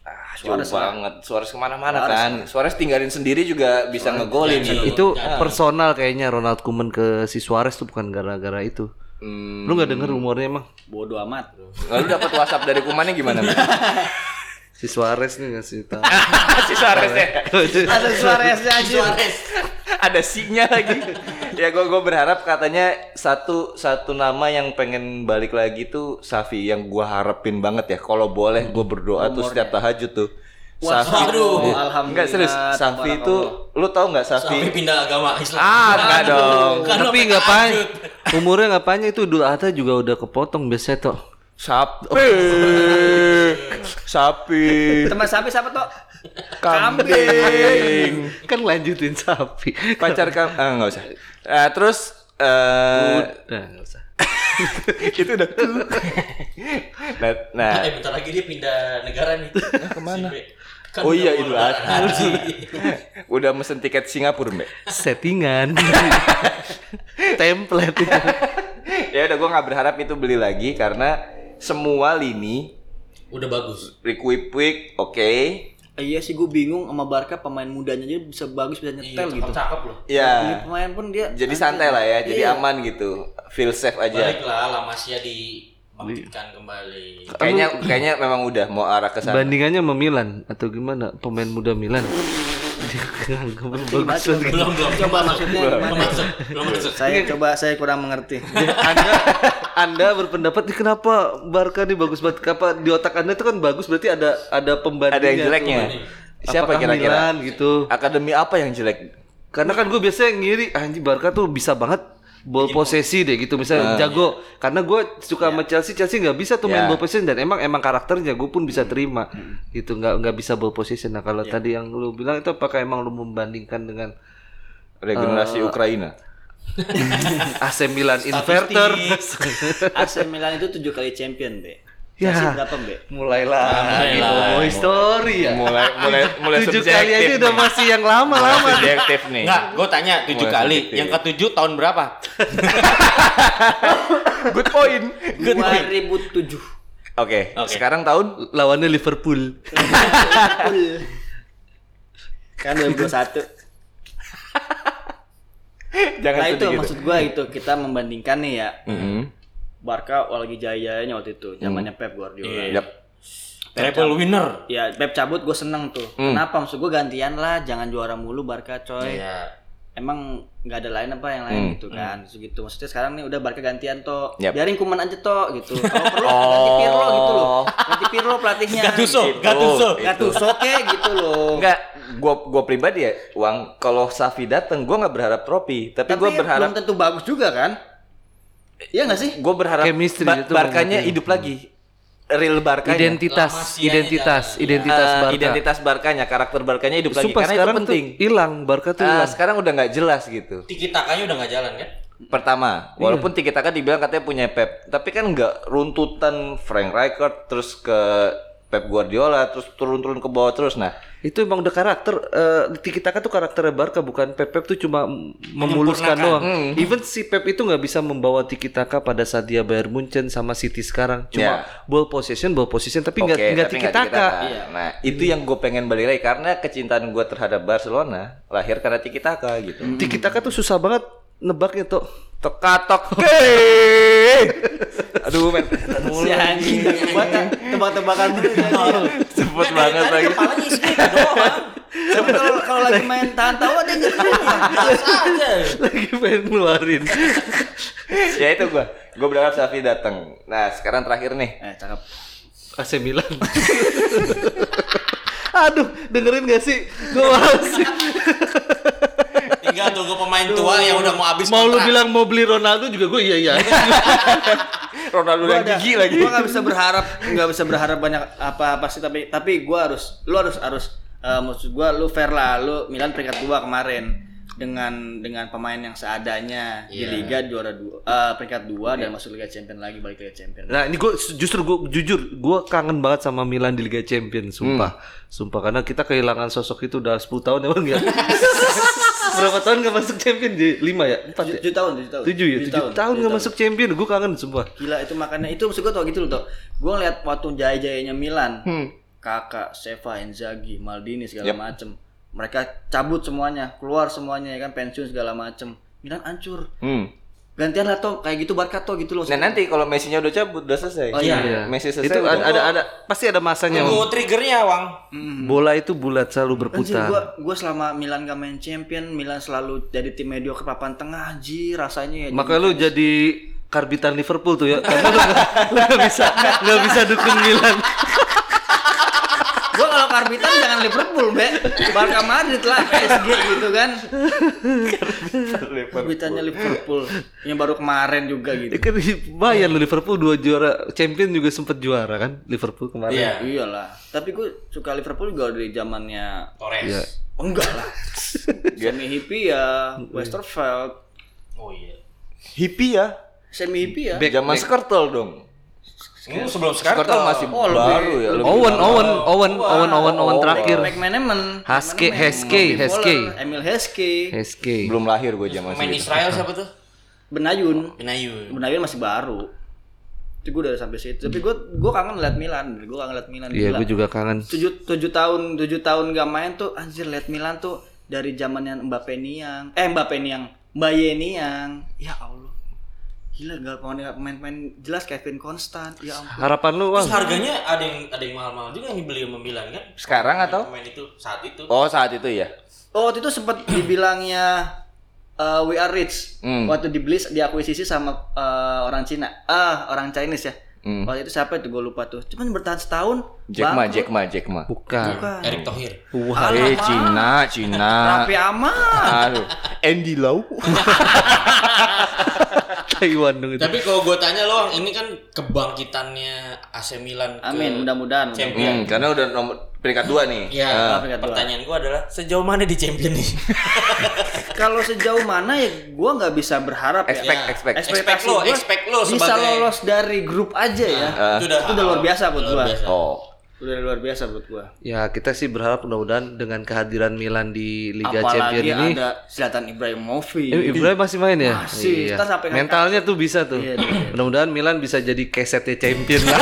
[SPEAKER 5] ah, jauh banget. Suarez kemana-mana kan. Suarez tinggalin sendiri juga bisa ngegolin.
[SPEAKER 3] itu personal kayaknya Ronald Koeman ke si Suarez tuh bukan gara-gara itu.
[SPEAKER 5] Hmm,
[SPEAKER 3] Lu nggak denger umurnya emang
[SPEAKER 4] Bodoh amat.
[SPEAKER 5] lalu dapat WhatsApp dari kumannya gimana? Mbak?
[SPEAKER 3] si Suarez nih ngasih tahu.
[SPEAKER 5] si Suarez ya.
[SPEAKER 4] Ada Suareznya aja.
[SPEAKER 5] ada sinya lagi ya gue gue berharap katanya satu satu nama yang pengen balik lagi tuh Safi yang gua harapin banget ya kalau boleh gue berdoa tuh setiap tahajud tuh
[SPEAKER 4] Wah,
[SPEAKER 5] Safi
[SPEAKER 4] aduh,
[SPEAKER 5] Iya.
[SPEAKER 4] alhamdulillah,
[SPEAKER 5] Enggak serius Safi itu lu tau nggak Safi
[SPEAKER 2] Tapi pindah agama Islam.
[SPEAKER 5] ah enggak dong
[SPEAKER 3] Tapi nggak pan, umurnya nggak panjang itu Dul Ata juga udah kepotong biasanya tuh.
[SPEAKER 5] Sapi Sapi
[SPEAKER 4] Teman sapi siapa toh?
[SPEAKER 5] Kambing
[SPEAKER 3] Kan lanjutin sapi.
[SPEAKER 5] pacar kamu ah nggak usah Eh, terus eh
[SPEAKER 3] Nah, nggak usah.
[SPEAKER 5] itu udah nah, nah
[SPEAKER 2] Eh bentar lagi dia pindah negara nih. kan Kemana?
[SPEAKER 5] Oh iya, Idul Adha. Udah mesen tiket Singapura, Mbak.
[SPEAKER 3] Settingan. Template itu.
[SPEAKER 5] ya udah gua nggak berharap itu beli lagi karena semua lini
[SPEAKER 2] Udah bagus.
[SPEAKER 5] Rikuipik, oke.
[SPEAKER 4] Eh, iya sih gue bingung sama Barca pemain mudanya aja bisa bagus bisa nyetel
[SPEAKER 2] Iya,
[SPEAKER 4] gitu.
[SPEAKER 2] gitu. cakep loh.
[SPEAKER 4] Ini
[SPEAKER 5] Ya.
[SPEAKER 4] pemain pun dia
[SPEAKER 5] Jadi
[SPEAKER 4] nanti-
[SPEAKER 5] santai lah ya, jadi
[SPEAKER 4] Iya.
[SPEAKER 5] aman gitu. Feel safe aja.
[SPEAKER 2] Baiklah, Lamasya dibangkitkan kembali.
[SPEAKER 5] Kayaknya kayaknya memang udah mau arah ke sana.
[SPEAKER 3] Bandingannya sama Milan atau gimana? Pemain muda Milan. bagus banget.
[SPEAKER 2] Belum, belum.
[SPEAKER 4] Coba maksudnya
[SPEAKER 2] Belum
[SPEAKER 4] gimana?
[SPEAKER 2] masuk, belum masuk.
[SPEAKER 4] Saya coba saya kurang mengerti.
[SPEAKER 3] Anda Anda berpendapat "Ih, kenapa Barca nih bagus banget? Apa di otak Anda itu kan bagus berarti ada ada pembandingnya.
[SPEAKER 5] Ada yang
[SPEAKER 3] tuh.
[SPEAKER 5] jeleknya. Siapa
[SPEAKER 3] Apakah Milan
[SPEAKER 5] kira-kira?
[SPEAKER 3] gitu?
[SPEAKER 5] Akademi apa yang jelek?
[SPEAKER 3] Karena kan gue biasanya ngiri anjing Barca tuh bisa banget ball posesi deh gitu misalnya jago karena gue suka sama Chelsea Chelsea nggak bisa tuh main
[SPEAKER 5] Nah. Iya.
[SPEAKER 3] ball possession dan emang emang karakternya gue pun bisa terima gitu nggak nggak bisa ball possession nah
[SPEAKER 5] Iya.
[SPEAKER 3] kalau tadi yang lu bilang itu apakah emang lu membandingkan dengan
[SPEAKER 5] Regenerasi Ukraina.
[SPEAKER 3] AC Milan inverter
[SPEAKER 4] AC Milan itu 7 kali champion, Be.
[SPEAKER 3] Ya.
[SPEAKER 4] Masih berapa, Be?
[SPEAKER 3] mulailah gitu boy story ya
[SPEAKER 5] Mulai mulai mulai
[SPEAKER 3] tujuh
[SPEAKER 5] subjektif
[SPEAKER 3] kali aja
[SPEAKER 5] nih.
[SPEAKER 3] udah masih yang lama-lama
[SPEAKER 5] subjektif nih.
[SPEAKER 2] Enggak, gue tanya tujuh
[SPEAKER 5] Mulai
[SPEAKER 2] kali.
[SPEAKER 5] sedikit.
[SPEAKER 2] Yang ketujuh tahun berapa?
[SPEAKER 5] Good point. Good point.
[SPEAKER 4] 2007.
[SPEAKER 5] Oke,
[SPEAKER 2] Oke.
[SPEAKER 5] sekarang tahun
[SPEAKER 3] Lawannya Liverpool.
[SPEAKER 4] kan 2021.
[SPEAKER 5] jangan
[SPEAKER 4] Nah itu
[SPEAKER 5] sedih gitu. Mm-hmm.
[SPEAKER 4] maksud gua itu kita membandingkan nih ya.
[SPEAKER 5] Mm-mm.
[SPEAKER 4] Barca wah lagi jaya-jayanya waktu itu, zamannya
[SPEAKER 5] Hmm.
[SPEAKER 4] Pep Guardiola.
[SPEAKER 5] Yap.
[SPEAKER 2] Triple winner.
[SPEAKER 4] Ya Pep cabut gue seneng tuh.
[SPEAKER 5] Hmm.
[SPEAKER 4] Kenapa maksud gue gantian lah, jangan juara mulu Barca coy.
[SPEAKER 2] Iya.
[SPEAKER 4] Emang nggak ada lain apa yang lain gitu kan, Terus gitu. Maksudnya sekarang nih udah Barca gantian toh,
[SPEAKER 5] Hmm. Yap.
[SPEAKER 4] biarin kuman aja toh gitu. Kalau perlu ganti Pirlo gitu loh,
[SPEAKER 5] Oh.
[SPEAKER 4] ganti Pirlo pelatihnya.
[SPEAKER 2] Gattuso,
[SPEAKER 5] Itu,
[SPEAKER 2] Gattuso.
[SPEAKER 5] itu.
[SPEAKER 4] Gattuso kek gitu loh.
[SPEAKER 5] Enggak, gua gua pribadi ya, uang kalau Safi dateng gua nggak berharap trofi, tapi, gua berharap
[SPEAKER 4] belum tentu bagus juga kan? Iya nggak sih?
[SPEAKER 5] gua berharap
[SPEAKER 3] Chemistry
[SPEAKER 5] Ba-
[SPEAKER 3] itu
[SPEAKER 5] Barkanya
[SPEAKER 3] banget.
[SPEAKER 5] hidup lagi. Real Barkanya.
[SPEAKER 3] Identitas,
[SPEAKER 2] Lama sianya
[SPEAKER 3] identitas,
[SPEAKER 2] jangan.
[SPEAKER 3] identitas
[SPEAKER 5] Eh,
[SPEAKER 3] Barca.
[SPEAKER 5] identitas Barkanya, karakter Barkanya hidup lagi
[SPEAKER 3] Sumpah
[SPEAKER 5] karena itu
[SPEAKER 3] sekarang tuh
[SPEAKER 5] penting.
[SPEAKER 3] hilang Barca tuh
[SPEAKER 5] Eh,
[SPEAKER 3] hilang.
[SPEAKER 5] sekarang udah nggak jelas gitu.
[SPEAKER 2] Tiki takanya udah nggak jalan kan?
[SPEAKER 5] Pertama, walaupun
[SPEAKER 3] Iya.
[SPEAKER 5] Tiki Taka dibilang katanya punya Pep, tapi kan nggak runtutan Frank Rijkaard terus ke Pep Guardiola terus turun-turun ke bawah terus. Nah,
[SPEAKER 3] itu emang udah karakter eh, Tiki Taka tuh karakternya Barca bukan Pep Pep tuh cuma m- memuluskan doang.
[SPEAKER 5] Hmm.
[SPEAKER 3] Even si Pep itu nggak bisa membawa Tiki Taka pada saat dia Bayern Munchen sama City sekarang. Cuma ball possession, ball possession tapi nggak
[SPEAKER 5] Ya. Oke,
[SPEAKER 3] nggak
[SPEAKER 5] tapi
[SPEAKER 3] Tiki
[SPEAKER 5] nggak
[SPEAKER 3] Taka.
[SPEAKER 5] tiki-taka. Nah, itu yang gue pengen balik lagi karena kecintaan gue terhadap Barcelona lahir karena tiki taka gitu.
[SPEAKER 3] Tiki Taka kan tuh susah banget nebaknya tuh.
[SPEAKER 5] Tekatok. Aduh, men.
[SPEAKER 4] Si anjing tebak-tebakan tebak-tebakan mulu.
[SPEAKER 5] Cepet banget
[SPEAKER 2] Tadi
[SPEAKER 5] lagi.
[SPEAKER 2] kepalanya isi itu doang.
[SPEAKER 4] Tapi kalau kalau lagi main tahan tawa dia nyetir.
[SPEAKER 2] Biasa aja.
[SPEAKER 3] Lagi pengen ngeluarin.
[SPEAKER 5] ya itu gue. Gue berharap Safi datang. Nah, sekarang terakhir nih.
[SPEAKER 4] Eh, cakep.
[SPEAKER 3] AC Milan. Aduh, dengerin gak sih? Gue males sih.
[SPEAKER 2] Tinggal tunggu pemain tua yang udah mau habis
[SPEAKER 3] Mau lu
[SPEAKER 2] kontrak.
[SPEAKER 3] bilang mau beli Ronaldo juga gue iya iya.
[SPEAKER 5] Ronaldo
[SPEAKER 4] Gua
[SPEAKER 5] yang
[SPEAKER 4] ada-
[SPEAKER 5] gigi lagi.
[SPEAKER 4] Gua nggak bisa berharap, nggak bisa berharap banyak apa-apa sih tapi tapi gua harus lu harus harus eh, maksud gua lu fair lah lu Milan peringkat dua kemarin dengan dengan pemain yang seadanya di liga juara dua eh, peringkat dua dan masuk liga champion lagi balik ke liga champion.
[SPEAKER 3] Nah ini gue justru gue jujur gue kangen banget sama Milan di Liga Champions sumpah sumpah karena kita kehilangan sosok itu udah 10 tahun emang ya berapa tahun gak masuk champion Ji? 5 ya 4 ya
[SPEAKER 4] Tujuh tahun, tujuh tahun.
[SPEAKER 3] 7 ya 7 tahun, gak
[SPEAKER 4] tujuh
[SPEAKER 3] masuk champion gue kangen sumpah
[SPEAKER 4] Gila itu makanya itu maksud gua tau gitu loh tau. Gua ngeliat waktu jaya-jayanya Milan, kakak, Seva, Inzaghi, Maldini segala macem. Mereka cabut semuanya, keluar semuanya ya kan pensiun segala macem. Milan hancur.
[SPEAKER 5] Hmm.
[SPEAKER 4] Gantian lah Tom, kayak gitu Barca Tom gitu loh.
[SPEAKER 5] Nah, nanti kalau Messi-nya udah cabut, udah selesai.
[SPEAKER 4] Oh, iya.
[SPEAKER 5] Messi selesai.
[SPEAKER 3] itu ada,
[SPEAKER 5] udah.
[SPEAKER 3] ada ada pasti ada masanya
[SPEAKER 2] Tunggu
[SPEAKER 3] Om.
[SPEAKER 2] triggernya, Wang.
[SPEAKER 3] bola itu bulat selalu
[SPEAKER 4] Anjir,
[SPEAKER 3] berputar
[SPEAKER 4] gua, gua selama Milan gak main champion, Milan selalu jadi tim mediocre papan tengah, ji rasanya ya.
[SPEAKER 3] makanya lu jadi karbitan Liverpool tuh ya karena lu gak, lu gak bisa gak bisa dukung Milan
[SPEAKER 4] gua kalau karbitan jangan Liverpool, Be. Barca Madrid lah, PSG gitu kan. Karbitannya Liverpool. Yang baru kemarin juga gitu.
[SPEAKER 3] Ya kan bayar lu Liverpool dua juara champion juga sempet juara kan Liverpool kemarin
[SPEAKER 2] Iya.
[SPEAKER 4] Iyalah, tapi gue suka Liverpool juga dari zamannya Oh,
[SPEAKER 2] Torres.
[SPEAKER 4] enggak lah. Semi hippie ya,
[SPEAKER 3] Iya.
[SPEAKER 4] Westerveld,
[SPEAKER 2] Oh iya.
[SPEAKER 5] hippie ya.
[SPEAKER 4] semi hippie ya.
[SPEAKER 5] Zaman Skrtel dong.
[SPEAKER 2] Ini sebelum sekarang.
[SPEAKER 5] Skrtel masih baru ya. lebih
[SPEAKER 3] Owen,
[SPEAKER 5] baru.
[SPEAKER 3] Owen, Owen, Owen, Owen, Owen terakhir.
[SPEAKER 4] Back management.
[SPEAKER 3] Haske, Haske, Haske.
[SPEAKER 4] Emil Haske,
[SPEAKER 3] SK.
[SPEAKER 5] Belum lahir gue zaman
[SPEAKER 2] Main
[SPEAKER 5] segitu.
[SPEAKER 2] Israel siapa tuh?
[SPEAKER 4] Benayun.
[SPEAKER 2] Benayu.
[SPEAKER 4] Benayun masih baru. Itu gue udah sampai situ. Tapi gue gue kangen liat Milan, gue kangen liat Milan.
[SPEAKER 3] Iya,
[SPEAKER 4] gila.
[SPEAKER 3] gue juga kangen.
[SPEAKER 4] tujuh tujuh tahun tujuh tahun gak main tuh anjir liat Milan tuh dari zamannya Mbappe Niang eh Mbappe Niang Mbaye Niang ya Allah gila gak pemain pemain jelas Kevin Konstant ya ampun
[SPEAKER 3] Harapan lu, Wang.
[SPEAKER 2] Terus harganya ada yang ada yang mahal-mahal juga yang dibeli sama Milan kan?
[SPEAKER 5] Sekarang atau?
[SPEAKER 2] Pemain itu saat itu.
[SPEAKER 5] Oh, saat itu ya.
[SPEAKER 4] oh waktu itu sempat dibilangnya eh, we are rich
[SPEAKER 5] Hmm.
[SPEAKER 4] waktu dibeli diakuisisi sama eh, orang Cina ah orang Chinese ya
[SPEAKER 5] Hmm.
[SPEAKER 4] waktu itu siapa itu gue lupa tuh cuman bertahan setahun
[SPEAKER 5] Jack Ma,
[SPEAKER 4] bangkrut.
[SPEAKER 5] Jack Ma, Jack Ma.
[SPEAKER 3] Bukan.
[SPEAKER 2] Erick Thohir.
[SPEAKER 5] Wah, eh, Cina, Cina.
[SPEAKER 4] Raffi Ahmad
[SPEAKER 5] Aduh, Andy Lau.
[SPEAKER 3] Taiwan dong itu.
[SPEAKER 2] Tapi kalau gue tanya lo, Wang, ini kan kebangkitannya AC Milan ke
[SPEAKER 4] amin mudah-mudahan
[SPEAKER 2] Champion.
[SPEAKER 5] Hmm, karena udah nomor peringkat dua nih.
[SPEAKER 2] Iya,
[SPEAKER 4] peringkat dua.
[SPEAKER 2] pertanyaan gue adalah sejauh mana di champion nih?
[SPEAKER 4] kalau sejauh mana ya gue nggak bisa berharap ya
[SPEAKER 5] Expect,
[SPEAKER 2] Ya.
[SPEAKER 5] expect.
[SPEAKER 2] Expect lo,
[SPEAKER 4] gua
[SPEAKER 2] expect lo
[SPEAKER 4] bisa
[SPEAKER 2] sebagai-
[SPEAKER 4] lolos dari grup aja ya.
[SPEAKER 2] itu udah
[SPEAKER 4] itu udah luar biasa buat
[SPEAKER 2] Luar
[SPEAKER 4] gua.
[SPEAKER 2] biasa.
[SPEAKER 5] Iya. Oh.
[SPEAKER 4] Udah luar biasa buat gua.
[SPEAKER 3] Ya kita sih berharap mudah-mudahan dengan kehadiran Milan di Liga
[SPEAKER 4] Apalagi
[SPEAKER 3] Champions ini
[SPEAKER 4] ada Zlatan Ibrahimovic.
[SPEAKER 3] Eh, Ibrahim masih main ya?
[SPEAKER 4] Iya, Masih, kita sampai ngangkat.
[SPEAKER 3] Mentalnya tuh bisa tuh.
[SPEAKER 4] Iya, iya, iya.
[SPEAKER 3] Mudah-mudahan Milan bisa jadi kesetnya champion lah.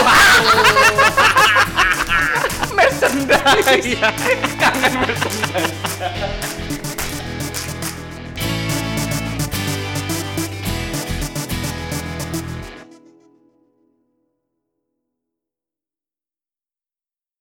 [SPEAKER 5] merchandise kangen merchandise